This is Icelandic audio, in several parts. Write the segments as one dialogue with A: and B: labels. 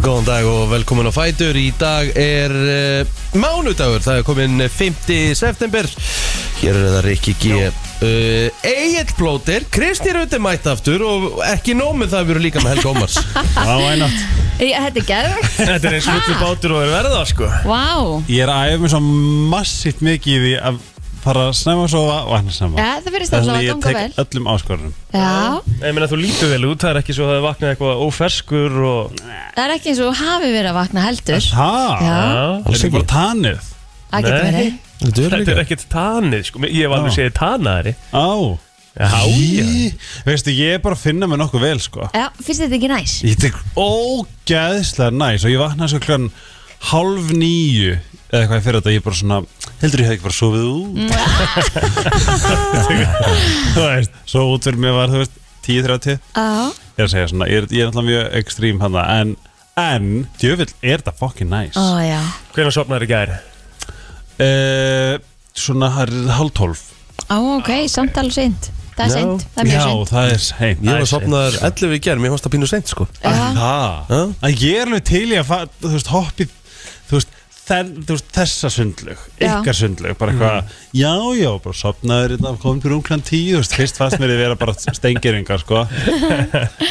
A: Góðan dag og velkomin á Fætur Í dag er uh, mánudagur Það er komin 5. september Hér er það Rikki G uh, Egil Blóter Kristi Rauti mætt aftur Og ekki nómið það við erum líka með Helga Ómars
B: Já, einnátt
C: Ég, þetta er geðvegt
B: Þetta er eins og
C: Ha?
B: allir bátur og er verða, sko
C: Vá
B: Ég er að æfa mig svo massíft mikið í því að fara að snemma að sofa og hann að snemma
C: Já, það virðist allavega
B: ég
C: ganga
B: tek öllum áskorunum
C: Já,
D: Ég meina þú lítur vel út, það er ekki svo að það vaknaði eitthvað óferskur og...
C: það er ekki eins og þú hafi verið að vakna heldur
B: Ha?
C: Já.
B: Er þetta bara tanið?
C: Það getur
D: Nei.
C: verið
A: Þetta er
D: Þetta
A: líka
D: er ekkert tanið, sko, ég hef
B: Já.
D: alveg segið tanaðari
B: Á
D: Já,
B: Í- Veistu, ég er bara að finna mig nokkuð vel, sko
C: Já, finnst þetta ekki næs?
B: Ég tek ógeðslega næs og ég vaknaði svo kljóðan hálf nýju eða eitthvað fyrir þetta, ég er bara svona heldur ég hef ekki bara sofið út Þú veist, svo út fyrir mér var, þú veist, 10.30
C: Já,
B: ég er að segja svona, ég er, ég er alltaf mjög ekstrím hann en, en, djöfull, er þetta fucking næs
C: ó
B: nice.
C: já
D: hvernig sopnaður í gær?
B: Eh, svona, það er hálf tólf
C: Á, ok, samt alveg seint Það er
A: Já.
C: seint, það er
B: já,
C: mjög seint
B: það er seint
A: Ég var
D: Æ,
A: sopnaður 11 í gerð Mér fannst það pínu seint sko
C: Já,
B: það,
A: Já.
B: að ég er alveg til í að fa- þú veist, hoppið, þú veist Þen, þú veist, þessa sundlög,
C: Já.
B: ykkar sundlög bara
A: Mm.
B: eitthvað, já, já, bara hérna, sopnaður innan, komum til runglan tíu, þú veist, fyrst fannst mér að vera bara stengeringar, sko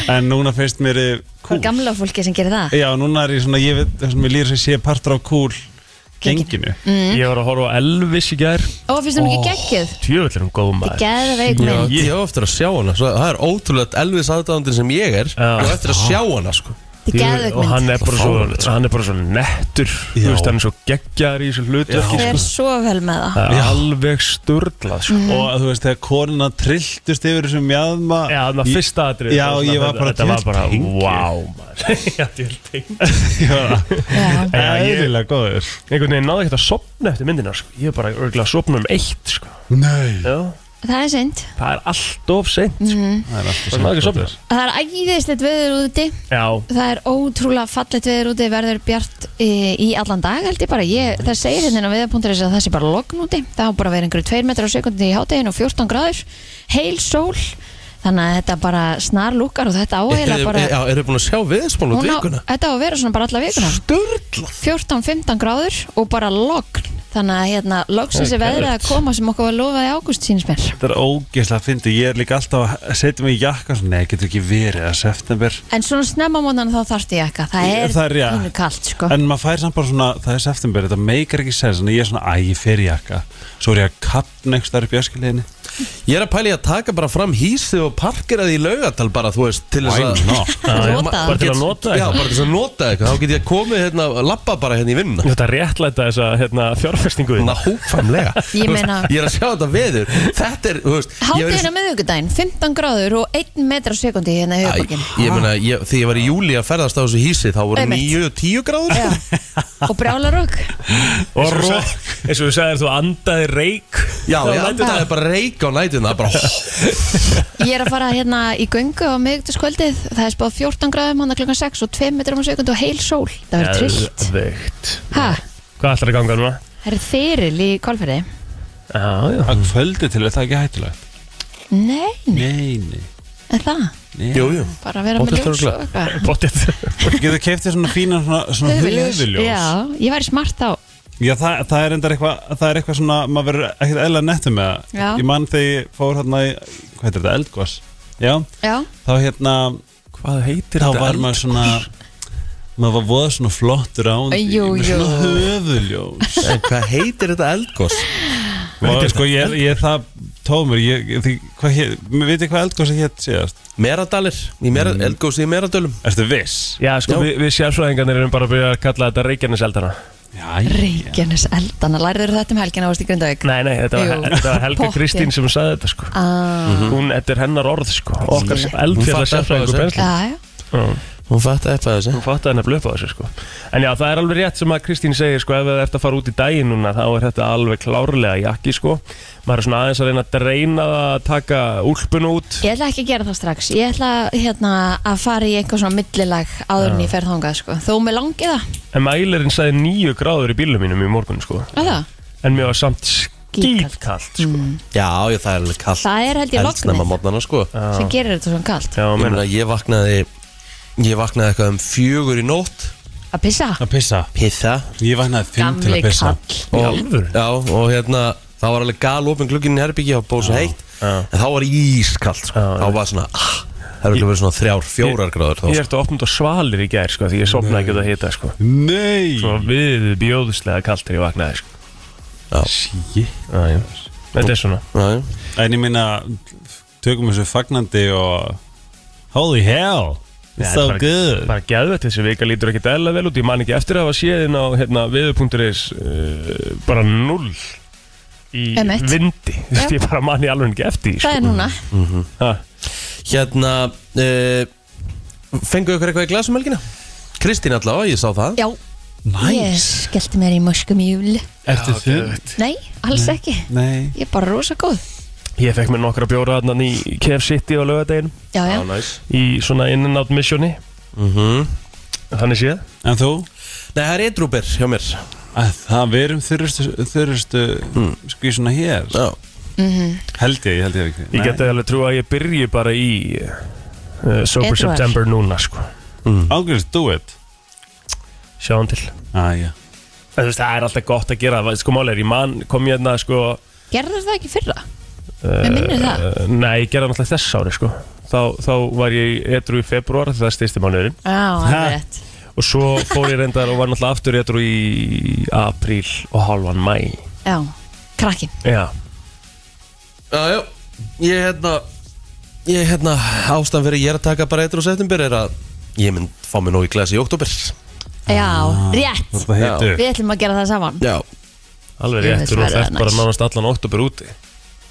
B: en núna finnst mér þið
C: hvað
B: kúl.
C: er gamla fólki sem gerir það?
B: Já, núna er ég svona, ég veit, þessum ég lýr sem sé partur af kúl genginu.
C: Mm.
D: Ég var að horfa á Elvis í gær
C: Ó, finnst það ekki geggjöð?
D: Tjöfull er hún góð um maður
C: Geðveik
A: Já,
C: mynd
A: ég hef eftir að sjá hana svo, Það er ótrúlega Elvis aðdáðandinn sem ég er
D: Já.
A: Og eftir að sjá hana sko
C: Þetta er geðveik
D: Og hann
C: mynd
D: er bara svo, hann er bara svo nettur Þú
B: sko. Já.
D: veist, hann er svo geggjar í þessu hlutverki
C: Fer
D: sko.
C: svo vel með það
D: Það er Alveg sturglað, sko
B: og þú veist þegar konuna trilltust yfir þessum mjadma
D: Já, þannig að fyrsta atrið
B: Já, ég var bara
D: Þetta var bara,
B: djöfull tengi.
D: wow, maður Já, djöfull tengi
C: Já,
D: Já, ég-
B: eðlilega góður
D: Einhvern veginn náði ekkert að sopna eftir myndina, sko Ég er bara örgulega að sopna um eitt, sko
B: Nei
D: Já,
C: það er seint
D: það er allt of seint, sko
C: Mhm.
B: Það er alltaf
D: Það er náði ekki að sopna
C: Það er æðislegt veður úti
D: Já,
C: Það er ótrúlega fallet veður úti verður bjart í, í allan dag held ég bara ég, það segir hérna inn á veðapunkturins að það sé bara logn úti, það á bara að vera einhverju 2 metrar á sekundi í hátegin og 14 gráður heil sól, þannig að þetta bara snar lukkar og þetta áheila bara
A: Já, eru búin að sjá viðspán út
C: hún á,
A: vikuna
C: þetta á að vera svona bara alla vikuna
A: Sturla
C: 14-15 gráður og bara logn þannig að hérna loksins er veðrið að koma sem okkur var lofað í ágúst sínist mér
B: Þetta er ógeðslega fyndi Ég er líka alltaf að setja mig í jakka svona, Nei, getur ekki verið að september
C: en svona snemma mónan þá þarfti ég ekka það er,
B: Það er, já.
C: pínu kalt sko
B: En maður fær samt bara svona Það er september, þetta meikar ekki sens Þannig að ég er svona, æ, ég fer í jakka Svo er ég að kappna einhvers þar upp í öskiliðinni
A: Ég er að pæli að taka bara fram hísið og parkera því í laugatal bara, þú veist, til þess
B: Why not?
A: að
D: Já, já,
C: Nota það.
D: bara til að nota
A: Já,
D: eitthvað
A: bara til þess að nota eitthvað, þá get ég komið hérna, lappa bara hérna í vinna
D: Þetta réttlæta þessa hérna, fjárfestingu þína.
A: Þannig að hófamlega
C: Ég meina-
A: Ég er að sjá þetta veður Þetta er, þú veist ég var í-
C: Hátegin á miðvíkudaginn, 15 gráður og 1 metra á sekundi hérna í
A: Æ,
C: höfbókin
A: Ég meina, ég, þegar ég var í júli að ferðast á þessu hísi Þá voru
C: Einmitt.
A: 9-10 gráður
C: og brjálarokk
D: Og rók Eins og þú sagðir þú andaði reik
A: Já,
D: Það
A: ég
D: lætur
A: andaði bara reik á nætuna bara,
C: Ég er að fara hérna í göngu á miðvíkudagskvöldið það er spáð 14 gráðum hann klukkan 6 og 2 metra á sekundi og heil sól það verður trillt
D: Geðveikt.
C: ha,
D: Hvað ætlar að ganga núna?
C: Það er þyril í kvalferði
D: Já, já
B: Að kvöldi til er það ekki hættulegt
C: Nei, nei,
B: Nei, nei,
C: en það
B: nei.
A: Jú, jú
C: bara að vera með
A: Óttast
C: ljós
A: örugglega.
C: og eitthvað
D: Bóttið
B: Getur keftið svona fínan svona, svona
C: Höfuðljós.
B: höfuljós
C: Já, ég væri smart á
B: Já, það, það er endar eitthvað, það er eitthvað svona, maður verður ekkert eðla nettum með það.
C: Já.
B: Ég mann þegar ég fór hérna í, hvað heitir þetta, eldgós? Já,
C: Já,
B: þá hérna,
D: Hvað heitir
B: þá var maður svona, maður var voða svona flottur á því,
C: Jú,
B: með
C: jú.
B: svona höfuljós.
A: En Eh, hvað heitir þetta eldgós?
B: Og sko, ég, ég það tómur, ég, því, hvað hér, veit ég hvað eldgós er hér síðast?
A: Meradalir í Mera, Eldgósi í Meradölum
B: Erstu viss?
D: Já,
A: Já.
D: sko, við, við sjálfsvæðingarnir erum bara að byrja að kalla þetta Reykjanes eldana
B: Já, já.
C: Reykjanes eldana, lærður þetta um helgina ást í Grindavík
D: Nei, nei, þetta var,
C: Jú.
D: þetta var Helga
C: Pottþétt.
D: Kristín sem sagði þetta, sko
C: Ah,
D: Hún, þetta er hennar orð, sko Okkar
C: Skilja.
A: Hún
D: eldfjalla
A: fattar
D: sjálfsvæðingur
A: hvað
D: pensli
C: já, já.
D: Hún
A: Hún fattaði eitthvað þessi
D: fattaði hennar blöpa þessu, sko En já, það er alveg rétt sem að Kristín segir, sko Ef það ert að fara út í daginn núna, þá er þetta alveg klárlega jakki, sko Maður er svona aðeins að reyna að dreina það að taka úlpun út
C: Ég ætla ekki að gera það strax Ég ætla hérna, að fara í einhver svona millilag áður en ég fer þangað sko. Þó með langið það
D: En mælirinn sagði nýju gráður í bílum mínum í morgun, sko
C: Er það? Mm.
D: En mér var samt skýtkalt, sko
A: Já, ég, það er alveg kallt
C: Það er held ég
A: Eldsnemma
C: lognið
A: mótnana, sko
C: sem gerir þetta svona kalt
D: Já,
A: Ég
D: meina
A: meina, ég vaknaði Ég vaknaði eitthvað um fjögur í nótt
C: að pissa
B: að pissa
A: Pissa
B: Ég vaknaði fimm til
C: Gamli
B: að pissa
C: kall
A: og,
D: alvöru?
A: Já, og hérna Það var alveg gal opin glugginn í herbyggi Það var bóð svo heitt
D: já.
A: En þá var ískalt sko.
D: Já, já.
A: Þá var svona ah, Það er alveg verið svona þrjár, fjórar gráður þá,
D: Ég
A: sko.
D: eftir að opna út á svalir í gær sko, Því ég sopnaði ekki út að hita sko.
B: Nei
D: Svo við bjóðslega kalt þegar ég vaknaði sko.
B: Shit.
D: já, já. Þetta er svona
A: Já, já.
B: En ég minna Tökum þessu fagnandi og Holy hell It's so
D: þetta er
B: good
D: Bara geðvett, þessi vika lítur ekki dæla vel út Ég man ekki eftir að hafa séðin á hérna, viður.is uh, Bara null Í
C: Einmitt.
D: vindi Þú veist, Ég bara man ég alveg ekki eftir því, sko.
C: Það er núna
D: Ha,
A: Hérna uh, Fengu ykkur eitthvað í glasum helgina? Kristín allavega, ég sá það
C: Já, ég skellti mér í möskum í júli
B: Ertu þið?
C: Nei, alls ekki
B: Nei
C: Ég er bara rosa góð
D: Ég fekk mér nokkra bjóra hérna í KF City á laugardeginum
C: Já,
B: Ah,
C: já,
A: næs
D: Í svona in and out missioni
A: mm
D: Þannig séð
B: Mhm. En þú?
A: Nei, það er eitrúber hjá mér
B: Að það við erum þurrustu, þurrustu skvísuna hér
A: Hmm. Já,
B: Held ég, ég held ég ekki
D: Ég geti alveg trú að ég byrji bara í uh, Sober
C: Edward.
D: September núna sko
A: Hmm.
B: Ángurist, do it
D: Sjáum til
B: Æja
D: En Þú veist, það er alltaf gott að gera Sko máli er, ég man kom ég hérna sko
C: gerður það ekki fyrra? Mér minnir það
D: uh, Nei, ég gerði náttúrulega þess ári sko Þá, þá var ég edru í februar Það styrsti mánuðurinn
C: Já, það er rétt
D: Og svo fór ég reyndar og var náttúrulega aftur edru í apríl og halvan mæ
C: Já, krakkin
D: Já,
A: já, já. Ég hérna Ég hérna Ástæðan fyrir ég er að taka bara eitrú september Er að ég mynd fá mér nóg í glasi í oktober
C: Já, rétt
B: Það heitu
C: Við ætlum að gera það saman
A: Ah, Já
D: alveg
C: Ég veist
D: réttur og
C: það er
D: þess bara
C: nice.
D: nánast allan oktober úti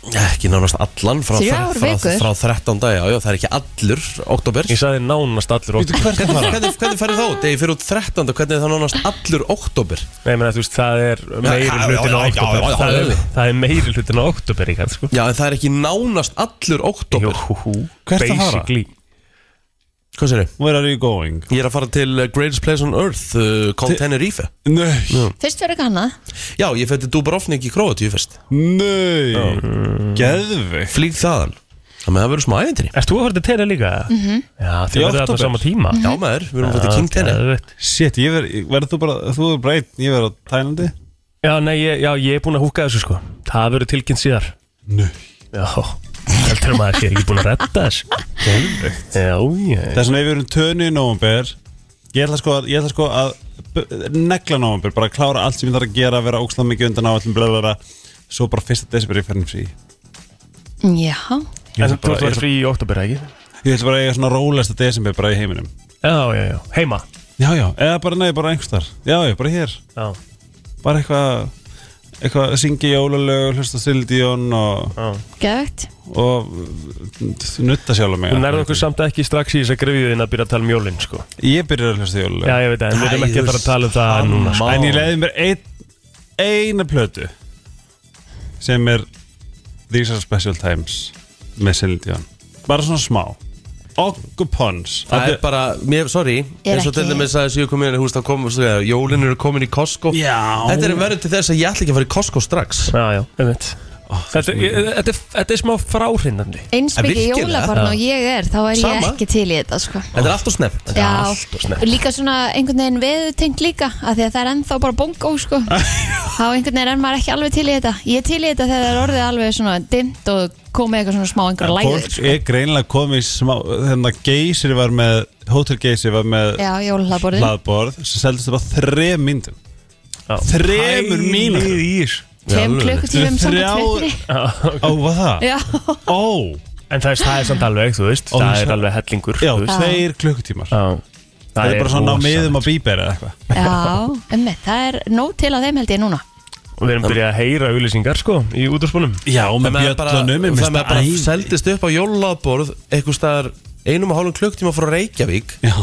A: Ekki nánast allan frá,
C: Þrjár
A: frá, frá,
C: vikur.
A: frá 13 dag, já, já, það er ekki allur oktober
D: Ég sagði nánast allir oktober
A: Hvernig, hvernig, hvernig færðu þá? Þegar ég fyrir út 13, hvernig er það nánast allur oktober?
D: Nei, menn þú veist, það er
A: Já,
D: meiri
A: já,
D: hlutin á
A: já, já, já,
D: oktober
A: já,
D: Það er-
A: já.
D: Það er meiri hlutin á oktober í kann sko
A: Já, en það er ekki nánast allur oktober
B: Hvert að fara?
D: Basically
A: Hvað sér ég?
B: Where are you going?
A: Ég er að fara til uh, Greatest Place on Earth, uh, Call Tenerife
B: Nei,
C: Fyrst verður ekki annað
A: Já, ég fyrir til Dubrovnik í Króatíu fyrst
B: nei Geðvig
A: Flýg þaðan Það með það verður smá ævintri
D: Erst þú að fara til Tenerife líka? -hmm. Já,
B: Í
D: þið verður þarna
B: október.
D: sama tíma
A: Já maður, við erum eh. að fara til King Tenerife
D: Tenerife
B: Shit, ég verð, verð þú bara, þú er breyt, ég verð á Tælandi
D: Já, nei, ég, já, ég er búin að húka þessu sko Það verður tilkynnt síðar
B: Nei
D: Já, heldur maður sé ekki búin að redda þess Geðvegt Já, já,
B: Þess vegna ef við erum tönu í nóvumbir Ég ætla sko, að- ég ætla sko að b- negla nóvumbir, bara klára allt sem ég þarf að gera vera ógslag mikið undan á allum blöðara Svo bara fyrsta desibur ég um fernum sí
C: Já,
B: bara-
D: en þú ert að vera frí í oktober, ekki?
B: Ég ætla bara að eiga svona rólesta desember bara í heiminum
D: Já, já, já, heima
B: Já, já, eða bara nei, bara einhverstar Já, já, bara hér,
D: Já,
B: bara eitthvað eitthvað að syngja jólalög hlusta á Sildion og,
D: já
C: geðvægt
B: og nutta sjálf mig
D: Þú nærðu okkur samt ekki strax í þess að grefjuðin að byrja að tala um jólinn, sko
B: Ég byrjar að hlusta á jólalög
D: Já, ég veit að, en við erum ekki að fara að tala um það núna, sko
B: En ég leiði mér ein, eina plötu sem er These are special times með Sildion bara svona smá Occupons
A: Það er bara, mér, sorry,
C: Er
A: eins og til
C: ekki-
A: dæmis að þessu ég kom inn í hús, þá kom, svo, ja, jólin eru komin í Costco
B: Já.
A: Þetta er verður til þess að ég ætla ekki að fara í Costco strax
D: Já, já, einmitt Þetta, ég, þetta, er- þetta er smá fráhrindandi
C: Eins
A: En
C: mikið
A: virkilega?
C: jólabarn og ég er Þá er ég
A: Sama.
C: ekki til í þetta sko
A: Þetta er allt og snemmt
C: Já,
D: allt og snemmt.
C: og líka svona einhvern veginn veðutengt líka af því að það er ennþá bara bongo sko þá einhvern veginn er maður ekki alveg til í þetta ég er til í þetta þegar það er orðið alveg svona dimmt og komið eitthvað svona smá einhverja læður
B: Fólk
C: sko.
B: er greinlega komið í smá þannig að geysir var með Hotel Geysir var með
C: Já, jólahlaðborðin
B: hlaðborð sem seldist þetta á þrem myndum
D: Já.
B: Þremur mínútur.
D: Pælið í þessu.
C: Tveim
A: alveg.
C: klukkutífum
B: Þrjá-
C: samkvæmt fréttinni
B: Ó, var það?
C: Já,
B: Ó,
D: En það er, það er samt alveg, þú veist
B: Ó,
D: Það
B: það-
D: er alveg hellingur
B: já,
D: þú veist.
B: tveir klukkutímar
D: Já.
B: Það er bara svona á
D: rosa.
B: miðum á bíber eða eitthvað
C: já, emmi, það er nóg til að þeim held ég núna
D: Við erum byrjað að heyra auðlýsingar sko Í útvarspunum
B: Já,
A: Það með bara,
B: ég
A: það
B: finnst
A: með bara
B: æði.
A: seldist upp á jólaborð einhver staðar einum og hálfum klukktíma frá Reykjavík
B: Já,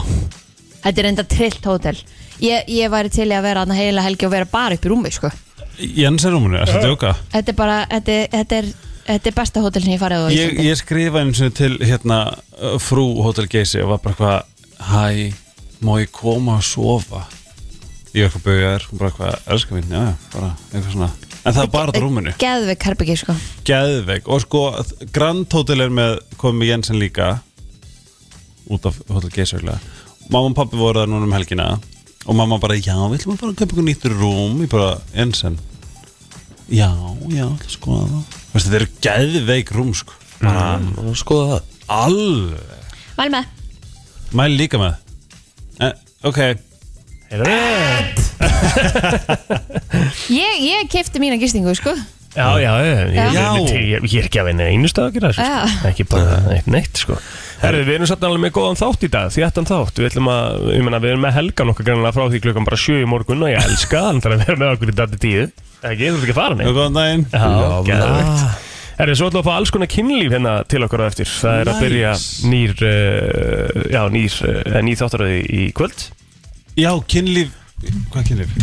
C: Þetta er enda trillt hótel ég, ég væri til í að vera aðna heila helgi og vera bara upp í rúmi sko.
B: Jens er rúmunu, þetta er okkar
C: Þetta er bara, þetta er, þetta er, þetta er besta hótel sem ég farið á
B: ég,
C: Íslandi
B: ég skrifa einu sinni til hérna uh, frú Hotel Geysi og var bara hvað hæ, má ég koma að sofa ég var eitthvað bauðar hún bara eitthvað elskar mín, já já, bara eitthvað svona en það er bara það rúminu,
C: Geðveik herbyggi sko
B: geðveik og sko, Grand Hotel er með komið með Jensen líka út af Hotel Geysi örugglega. mamma og pappi voru það núna um helgina og mamma bara, já, við ætlum bara að köpa eitthvað nýtt rúm ég bara, eins en já, já, sko Veistu, þetta eru geðveik rúm, sko bara,
A: Og Mm. skoða það
B: alveg
C: Mæl með
B: mæli líka með eh, ok,
D: Heyrðu rétt.
C: Ég, ég kefti mína gistingu, sko
D: Já, já, ég, ég,
B: Já.
D: ég, ég, ég er ekki að vinna einu stað að gera þessu, sko.
C: Já.
D: ekki bara neitt, neitt sko. Herru, við erum satt alveg með góðan þátt í dag, þéttan þátt, við ætlum að, ég meina, við erum með helgan okkar grannlega frá því klukkan bara sjö í morgun og ég elska það, hann þarf að vera með okkur í dati tíu, ekki, þú ert ekki að fara neitt.
B: góðan daginn
D: Já,
A: Já,
D: geðvegt Herri, svo ætlum við að fá alls konar kynlíf hérna til okkar á eftir Það er að
B: Nice.
D: byrja nýr, uh, já, nýr, uh, nýr þáttaröði í kvöld
B: já, kynlíf, hvað kynlíf?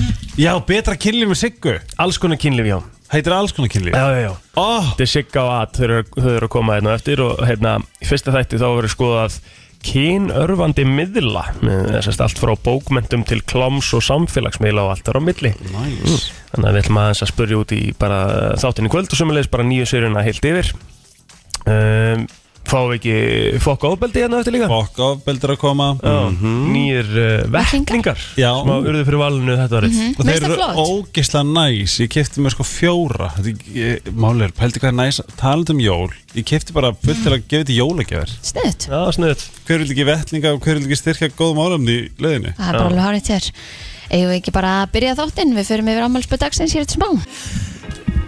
B: já, betra kynlíf með Siggu
D: Alls konar kynlíf, já
B: heitir alls konar kynlíf
D: Já, já, já
B: oh,
D: Þetta er sigga og að þau eru, þau eru að koma hérna á eftir Og hérna, í fyrsta þætti þá verður skoðað kynörfandi miðla Með þessast allt frá bókmentum til kláms og samfélagsmiðla og allt þar á milli Mm.
B: nice.
D: Þannig að við ætlum aðeins að spurja út í bara þáttinni kvöld og sömulegis bara nýju séruna heilt yfir um, Fáum við ekki fokk ofbeldi hérna eftir líka?
B: fokk ofbeldur að koma Mhm.
D: Mm Nýjir uh, vettlingar
B: Já.
D: sem að urðu fyrir valinu þetta árið
B: og þeir
C: Veist Mhm. það
B: eru
C: flott?
B: ógeðslega næs ég kefti mér sko fjóra Þetta er- ég- málið er, pældi hvað er næs talandi um jól, ég kefti bara fullt til að gefa þetta jólagjafir
C: Snuðt
D: Já, sniðut
B: hver vil ekki vettlinga og hver vil ekki styrkja góðum álefni í leiðinni
C: Það er bara alveg hárið þér Eigum við ekki bara að byrja þáttinn Við förum yfir ámælspöð dagsins hér eftir smá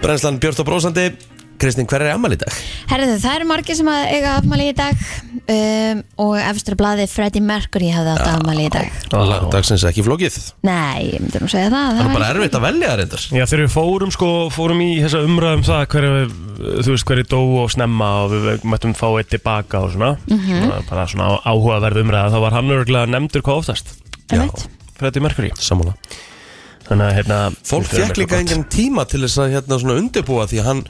A: Brennslan Björn og Brósandi Kristín, hver er ammali í dag?
C: Herðu, það eru margir sem að eiga afmæli í dag um, Og efstur blaði Freddie Mercury hafði átt afmæli í dag
A: Lag dagsins ekki flókið
C: Nei, ég myndi nú segja það
A: Það er
C: var
A: bara erfitt að velja það reyndar
D: Já, þegar við fórum sko, fórum í þessa umræðum það hverju, þú veist, hverju dó og snemma og við möttum fá eitt tilbaka og svona
A: Mhm.
C: Mhm.
D: Svona, bara svona áhugaverð umræða þá var hann örgulega nefndur hvað oftast
C: Einmitt.
D: Freddy Mercury
A: Sammála
D: Þannig að hérna
A: Fólk
D: við
A: fekk
D: förum eitthvað
A: líka
D: gott.
A: engan tíma til þess að hérna svona undirbúa því að hann,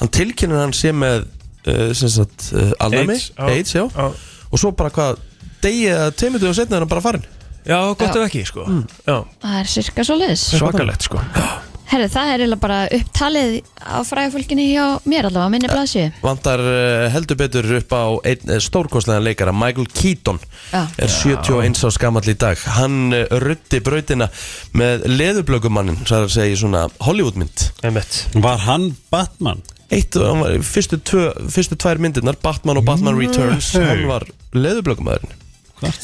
A: hann tilkynir hann sé með uh, sem sagt uh, alnæmi
D: AIDS, já.
A: AIDS, já
D: Já.
A: og svo bara hvað degi eða teimutu og setna er hann bara Mm. farin
D: Já, gott
C: Já.
D: ef ekki, sko Já,
C: Það er cirka svo liðs
D: svakalegt, sko
C: Herðu, það er eiginlega bara upptalið á fræðafólkinni hjá mér allavega, minni blaðsju
A: vantar uh, heldur betur upp á einn eh, stórkostlegan leikara Michael Keaton
C: Já.
A: er 71 á skamall í dag hann uh, ruddi brautina með leðublökumannin, svo er að segja í svona Hollywoodmynd
D: Einmitt
B: var hann Batman?
A: Eitt, hann var, fyrstu, tvö, fyrstu tvær myndirnar Batman og
D: Mm.
A: Batman Returns
B: Nei.
A: hann var leðublökumæðurinn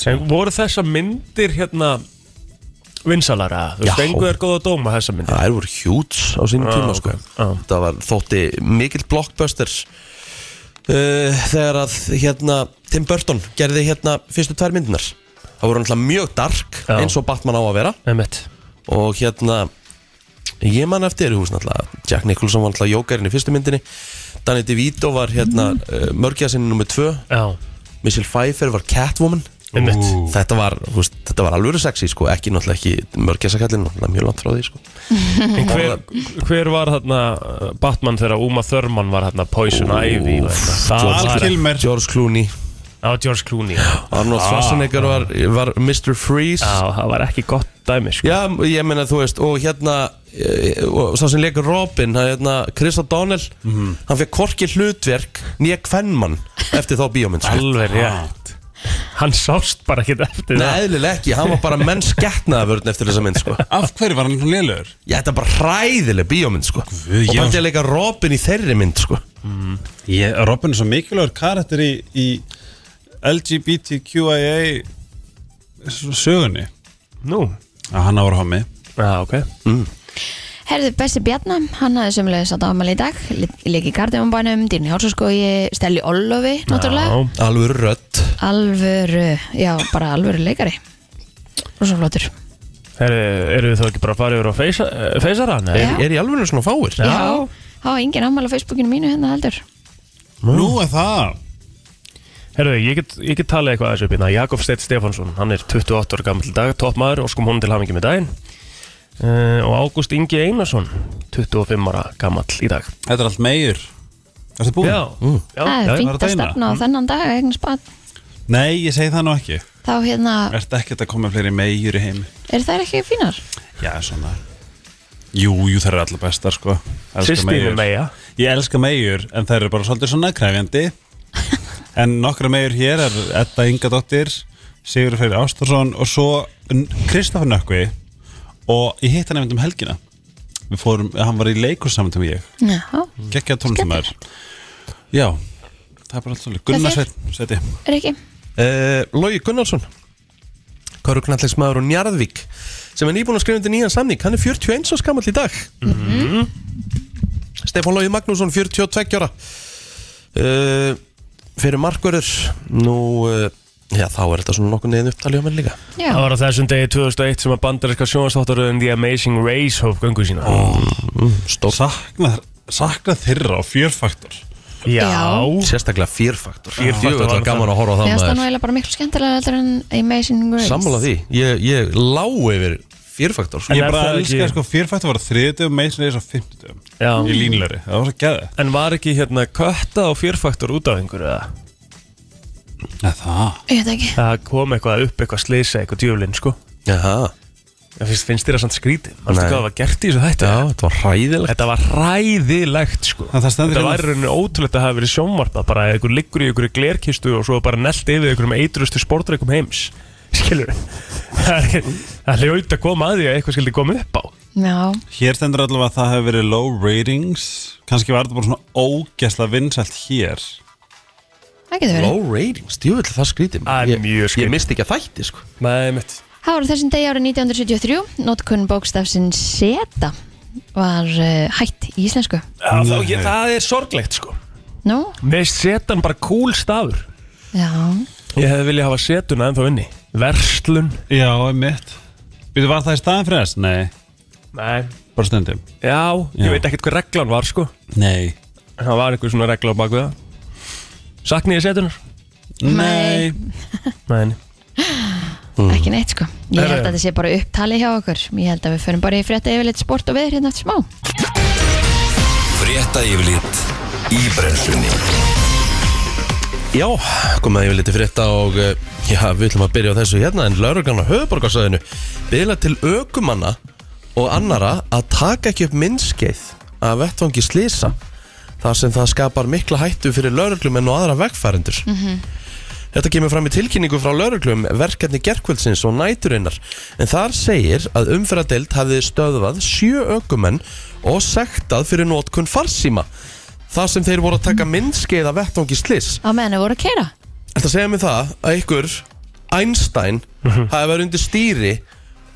D: En voru þessa myndir hérna vinsalara? Þú
A: Já.
D: fengu þér góða dóma þessa myndir?
A: Það voru hjúts á sín
D: Ah,
A: tíma
D: ok.
A: sko.
D: Ah.
A: Það var þótti mikill blockbuster uh, Þegar að hérna, Tim Burton gerði hérna fyrstu tvær myndinar Það voru náttúrulega mjög dark
D: Já.
A: eins og Batman á að vera
D: Einmitt
A: Og hérna Ég man eftir, þú veist náttúrulega Jack Nicholson var náttúrulega jókarinn í fyrstu myndinni Danny DeVito var hérna mm. uh, mörgjasinni nummer 2
D: Já,
A: Michelle Pfeiffer var Catwoman
D: einmitt
A: Þetta var, þú veist, þetta var alvöru sexy sko, ekki náttúrulega ekki mörgjasakallin náttúrulega mjög langt frá því sko.
D: En hver, hver var þarna uh, Batman þegar Uma Thurman var þarna Poison Ivy var þetta? Það
B: Val
D: var-
B: Kilmer
A: George Clooney
D: Já, George Clooney Ah. Já,
A: Arnold Schwarzenegger var, var Mr. Freeze
D: það var ekki gott dæmi sko.
A: Já, ég meina þú veist og hérna, e, og sá sem leikur Robin hann, hérna, Chris O'Donnell
D: Mhm.
A: hann fekk korki hlutverk nýja kvennmann eftir þá bíómynd sko.
D: Alveg rétt Hann sást bara ekkert eftir
A: Nei, eðlilega ekki, hann var bara mennskettnaða vörn eftir þessa mynd sko.
B: af hverju var hann svona lélugur?
A: Ég, þetta er bara hræðileg bíómynd sko.
B: Guð,
A: og
B: ég- Mm.
A: bara til að leika Robin í þeirri mynd sko.
B: Ég, Robin er svo mikilvægur karakter í, í LGBTQIA sögunni
D: það Nú
B: að hann ára homi
D: Já, ok
A: Mm,
C: Herðu, Bessi Bjarnam, hann hafði sömulegis átt afmæli í dag Leki Kardimumbanum, Dýrni Hálsaskogi, Stelli Ollofi, náttúrulega
D: Já,
A: alveg rödd
C: Alvöru, já, bara alvöru leikari Rosa flottur
D: Herri, Eru við þá ekki bara að fara yfir á feysa- eh, feysara? Nei.
C: Já.
A: er, er í alveg svona fáir?
D: Já.
C: það var engin afmæli á Facebookinu mínu hérna heldur
B: nú er það
D: Herðu, ég get, ég get talið eitthvað aðeins upp hérna Jakob Steinn Stefánsson, hann er 28 ára gammal dag Toppmaður, óskum honum til hamingi með daginn uh, Og Ágúst Ingi Einarsson 25 ára gammal í dag
B: þetta er allt meir Ertu búin?
D: Já,
A: mm.
D: já,
C: Það
D: já,
C: er
B: var að
C: fínt
B: um
C: að
B: dæna.
C: stefna á þennan dag eignis bad
B: Mm. Nei, ég segi það nú ekki
C: Þá hérna,
B: Ertu ekkert að koma með fleiri meir í heimi?
C: er þær ekki fínar?
B: Já, svona Jú, jú, það er allar bestar, sko Elska
D: Sistínu
B: meyjur.
D: meja
B: Ég elska meir, en það eru bara svolítið svona krefjandi En nokkra meir hér er Edda Ingadóttir Sigur Freyri Ástarsson og svo Kristoffer Nökkvi og ég hitt hann einmitt um helgina við fórum, hann var í leikur saman til mig
C: Já,
B: geggja tónlistamæður já, það er bara allt svolítið Gunnar
C: Hvað er
B: Sveinn, seti
C: er ekki
A: uh, Lógi Gunnarsson Köruknallegsmaður og Njarðvík sem er nýbúin að skrifa undir nýjan samning hann er 41 og skamall í dag
D: Mhm.
A: Stefán Lógi Magnússon 42 ára uh, fyrir markverður nú uh, já þá er þetta svona nokkuð neðin upptalið á mér líka
C: Já,
D: Það var á þessum degi 2001 sem að bandarinska sjónastáttaröðin The Amazing Race hóf göngu sína
B: mm,
A: Stór.
B: sakna, sakna þeirra á fjörfaktor
C: Já.
A: sérstaklega fyrfaktor
D: Fear-faktor
A: það
D: var
A: var gaman að horfa á það
C: Mér finnst það nú
A: maður
C: eiginlega bara miklu skemmtilega heldur en Amazing Race
A: sammála því ég, ég lá yfir fyrfaktor
D: En
B: ég
D: er
B: bara
D: það
B: elska
D: ekki-
B: sko fjörfaktor var á þriðdöfum meðslega þess á fimmtudöfum
D: Já.
B: í línleiri, það var svo geði
D: En var ekki hérna kötta og fjörfaktor út af einhverju eða?
B: ja, það,
C: Ég veit ekki
D: Það kom eitthvað upp, eitthvað slisa, eitthvað djöflinn sko
A: Jaha.
D: Ég finnst, finnst þér að samt skrítið Manstu
A: Nei.
D: hvað var gert í þessu þetta?
A: já þetta var hræðilegt
D: Þetta var ræðilegt sko
B: það, það stendur
D: Þetta
B: hérna-
D: væri rauninni ótrúlegt að hafa verið sjónvarpað bara að ykkur liggur í ykkur glerkistu og svo bara nelt yfir ykkur um eitrustu sportreikum heims skilur það er- það er hljóta að koma að því að eitthvað skildi koma upp á
C: Já,
B: Hér stendur allavega að það hefur verið low ratings kannski var þetta bara svona ógesla vinsælt hér
C: það getur verið
A: low ratings, djúvill það skrítið maður.
D: Það er
A: Ég-
D: mjög skrítið.
A: ég misti ekki að þætti sko
D: Nei, mitt
C: Það var á þessum degi árið 1973 Notkun bókstafsinn seta var uh, hætt í íslensku
D: Já, þá, ég, það er sorglegt sko
C: Nú,
D: Mér finnst setan bara cool stafur
C: já
D: Ég hefði viljað hafa setuna ennþá inni Verslun
B: Já, mitt Býtu, var það í staðin fyrir þess? Nei,
D: Nei
B: bara stundum
D: Já, ég
B: Já.
D: veit ekkert hvað reglan var sko
B: Nei
D: En það var einhver svona regla á baku það Sakniði setunar?
B: Nei
D: Nei
C: Ekki neitt sko Ég
D: Herru.
C: held að þetta sé bara upptalið hjá okkur Ég held að við förum bara í frétta yfirleitt sport og veður hérna eftir smá
E: Frétta yfirlit í brennslunni
A: Já, komið að ég vil liti frétta og eh, já, við ætlum að byrja á þessu hérna en lauruglan á höfuborgarsæðinu bila til ökumanna og annara að taka ekki upp minnskeið að vettvangi slisa þar sem það skapar mikla hættu fyrir lauruglumenn og aðra vegfærendur
E: Mm.
A: Þetta kemur fram í tilkynningu frá lauruglum verkefni gerkvöldsins og næturinnar en þar segir að umferðadeild hafði stöðvað sjö ökumenn og sektað fyrir nótkunn farsíma þar sem þeir voru að taka minnskeið að vettvangi slis
C: Á meðan við vorum að keira
A: Þetta segja mig það að ykkur Einstein
D: Mhm.
A: hafi verið undir stýri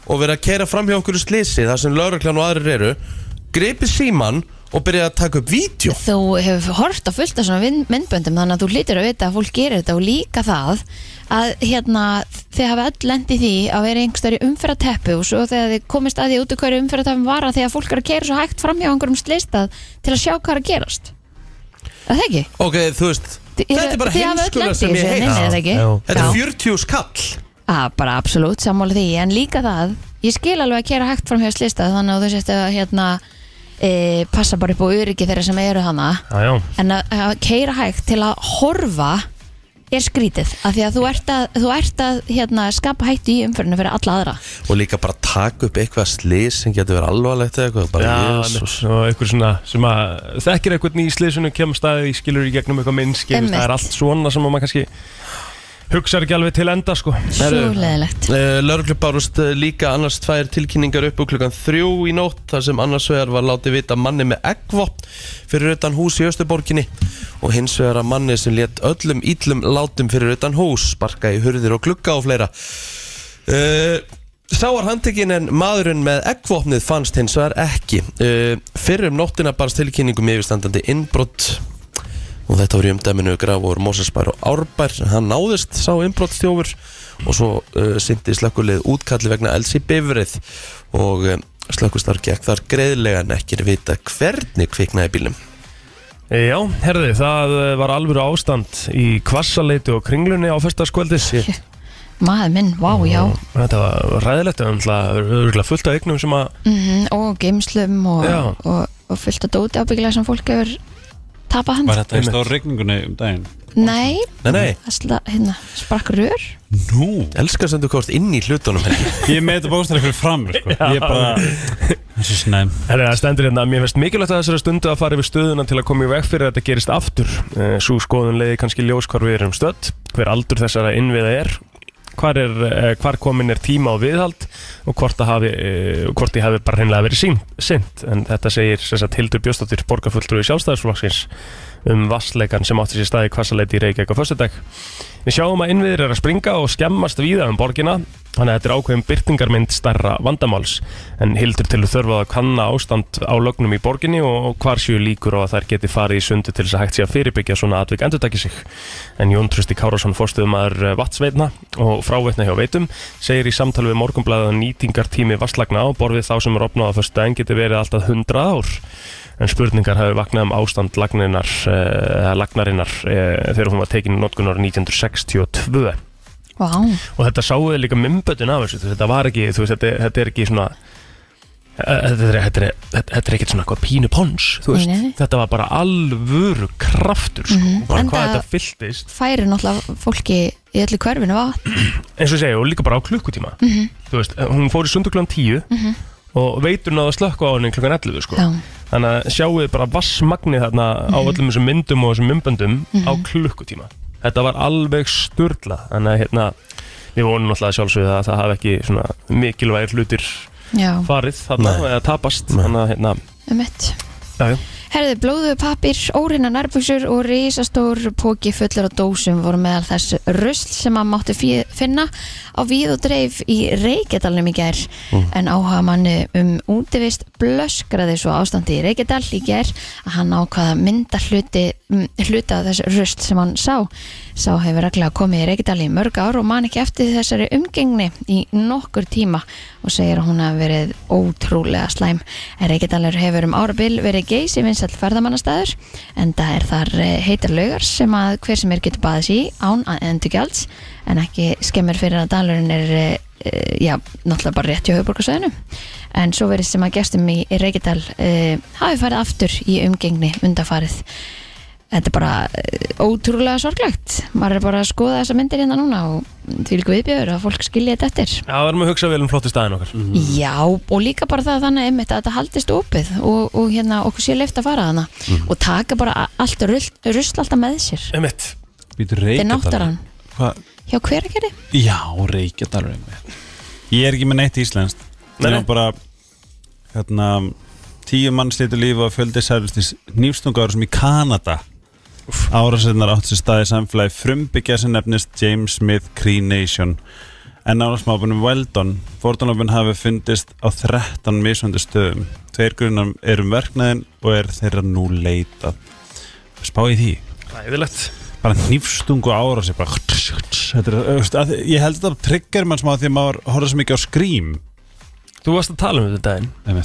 A: og verið að keira fram hjá okkur í slisi þar sem lauröklan og aðrir eru greipið síman og byrjaði að taka upp vídeo
C: Þú hefur hort á fullt af svona vin- myndböndum þannig að þú hlýtur að vita að fólk gerir þetta og líka það að hérna þið hafa öll lendið því að vera einhverstari umferðateppu og svo þegar þið komist að því út í hverju umferðateppum var að því að fólk er að keira svo hægt framhjá einhverjum slistað til að sjá hvað er að gerast Er Það ekki?
A: Ok, þú veist,
C: Þið-
A: þetta er bara
C: þið hafið öll
A: heimskula
C: lent í
A: sem ég
C: þessu,
A: heit
C: nei, nei, er það ekki? Já.
A: Þetta er
C: Já.
A: 40 skall
C: Að bara absolutt sammála því en líka það, ég skil alveg að kera hægt framhjá slistað þannig að þú sést að hérna e, passa bara upp á öryggi þeirra sem eru hana
D: Já, já
C: en að, að keira hægt til að horfa er skrítið af því að þú ert að, þú ert að hérna, skapa hættu í umfyrinu fyrir alla aðra
A: Og líka bara taka upp eitthvað slis sem getur verið alvarlegt eða eitthvað bara,
D: Já,
A: Jesus.
D: einmitt. og einhver svona sem að þekkir eitthvað í slisunum kemur staðið í skilur í gegnum eitthvað minnski
C: Einmitt.
D: það er allt svona sem að maður kannski hugsar ekki alveg til enda sko
C: svo leðilegt
A: Lörglu bárust eh, líka annars tvær tilkynningar upp úr klukkan þrjú í nótt þar sem annars vegar var látið vita manni með eggvopn fyrir utan hús í Östuborginni og hins vegar að manni sem létt öllum íllum látum fyrir utan hús sparka í hurðir og glugga og fleira uh, Sáar handtekinn en maðurinn með eggvopnið fannst hins vegar ekki uh, Fyrir um nóttina barst tilkynningum yfirstandandi innbrott og þetta var í umdæminu Grafur Mósesbær og Árbær hann náðist sá innbrottstjófur og svo uh, syndi slökkulið útkalli vegna elds í bifrið og uh, slökkustar gekk þar greiðlega en ekki er vita hvernig kviknaði bílum
D: Eh, Já, herði, það eh, var alvöru ástand í kvassaleitu og kringlunni á fyrstaskvöldi
C: maður minn, vá já
D: Þetta var ræðilegt, það var örugglega fullt af eignum sem að
C: mm og geimslum og,
D: Já.
C: og, og fullt að dóti ábyggilega sem fólk hefur tapað hann
B: Var þetta í
D: Einmitt.
B: stór regningunni um daginn?
C: nei,
A: Nei, nei,
C: það sla, hérna, sprakk rör
B: Nú
A: elskar sem þú komst inn í hlutunum Helgi.
B: Ég meiti bókstæri fyrir fram sko. Ég bara Þessi snæm
D: Herri, það stendur hérna, mér finnst mikilvægt að þessari stundu að fara yfir stöðuna til að koma í veg fyrir að þetta gerist Eh, aftur. Svo skoðun leiði kannski ljós hvar við erum stödd, hver aldur þessara innviða er, hvar, er, eh, hvar komin er tíma og viðhald og hvort, það hafi, eh, hvort ég hafi bara hreinlega verið sín- sinnt en þetta segir sem sagt, Hildur Bjóstóttir borgarfulltrúi sjálfstæðisflokksins um vassleikan sem átti sér staði kvassaleiti í Reykjavík á föstudag. Við sjáum að innviðir er að springa og skemmast víða um borgina þannig að þetta er ákveðin byrtingarmynd starra vandamáls en Hildur til þörfa að kanna ástand á lögnum í borginni og hvar séu líkur og að þær geti farið í sundu til þess að hægt sé að fyrirbyggja svona atvik endurtaki sig en Jón Trösti Kárásson fórstuðumar vatsveitna eh, og fráveitna hjá veitum segir í samtali við morgumblæða nýtingartími vasslagna og borfið þá sem er opnað á fyrstu daginn geti verið alltaf 100 ár en spurningar hafi vaknað um ástand lagninar, uh, lagnarinnar uh, þegar hún var tekin í notkun ára 1962
C: Vá,
D: og þetta sáuði líka mymbötun af þessu þú veist, þetta var ekki, þú veist, þetta, þetta er ekki svona eh, þetta er, þetta er, þetta þetta er ekkert svona eitthvað pínu pons þú veist,
C: Nei, nei.
D: þetta var bara alvöru kraftur sko,
C: Mhm.
D: bara hvað
C: Enda-
D: þetta fylltist
C: færi náttúrulega fólki í öllu hverfinu vatn
D: eins og ég segi, og líka bara á klukkutíma
C: Mhm.
D: þú veist, hún fór í sundu klukkan 10 og veitur náðu að slökka á henni klukkan 11 sko.
C: Já, Mhm.
D: þannig að sjáu þið bara vassmagnið þarna á öllum þessum myndum og þessum mymböndum á klukkutíma þetta var alveg sturla þannig að hérna við vonum alltaf sjálfsögðu að það hafi ekki svona mikilvægir hlutir
C: já,
D: farið þarna
A: Nei.
D: eða tapast
A: Nei.
D: þannig að hérna
C: um mitt
D: já, já.
C: Herðu, blóðu pappir, óreina nærbuksur og risastór póki fullur á dósum voru meðal þess rusl sem að mátti fí- finna á víð og dreif í Reykjadalnum í gær en áhuga manni um útivist blöskraði svo ástandi í Reykjadal í gær að hann ákvaða mynda hluti, mm, hluta af þess rusl sem hann sá sá hefur reglulega komið í Reykjadal í mörg ár og man ekki eftir þessari umgengni í nokkur tíma og segir að hún hafi verið ótrúlega slæm en Reykjadalur hefur um árabil verið geysi vinsall ferðamannastæður en það er þar eh, heitar laugar sem að hver sem er getur baðið sér í án að endurgjalds en ekki skemmir fyrir að dalurinn er eh, eh, já, náttúrulega bara rétt hjá höfuborgarsöðinu en svo verið sem að gestum í í Reykjadal eh, hafi farið aftur í umgengni undafarið þetta er bara eh, ótrúlega sorglegt maður er bara að skoða þessa myndir hérna núna og því líka viðbjöður að fólk skilja þetta eftir
D: já, við erum að hugsa vel um flotti staðin okkar
A: Mhm.
C: Já, og líka bara það þannig einmitt að þetta haldist opið og, og hérna okkur sé leift að fara þarna og taka bara a- allt rusl, rusl alltaf með sér
D: emitt
B: Býtu
C: þetta er náttarann
B: Hvað?
C: hjá hveragerði
B: Já, Reykjadalur einmitt. Ég er ekki með neitt íslenskt Nei,
D: Nei, nei.
B: Ég er bara hérna, Tíu mann slítur lífi og fjöldi særlustis nýfstungaður sem í Kanada Árasinnar átt sér staði samfélagi frumbyggja sem nefnist James Smith Cree Nation en árasmápunum Weldon fordunlöfin hafi fundist á 13 misvöndu stöðum Tveir grunum eru um verknæðin og er þeirra nú leitað Spá í því
D: ræðilegt
B: bara nýfstungu ára sér bara þetta er, þú veist, að, ég held að það trigger mann smá því að maður horfður svo mikið á skrím
D: þú varst að tala um þetta daginn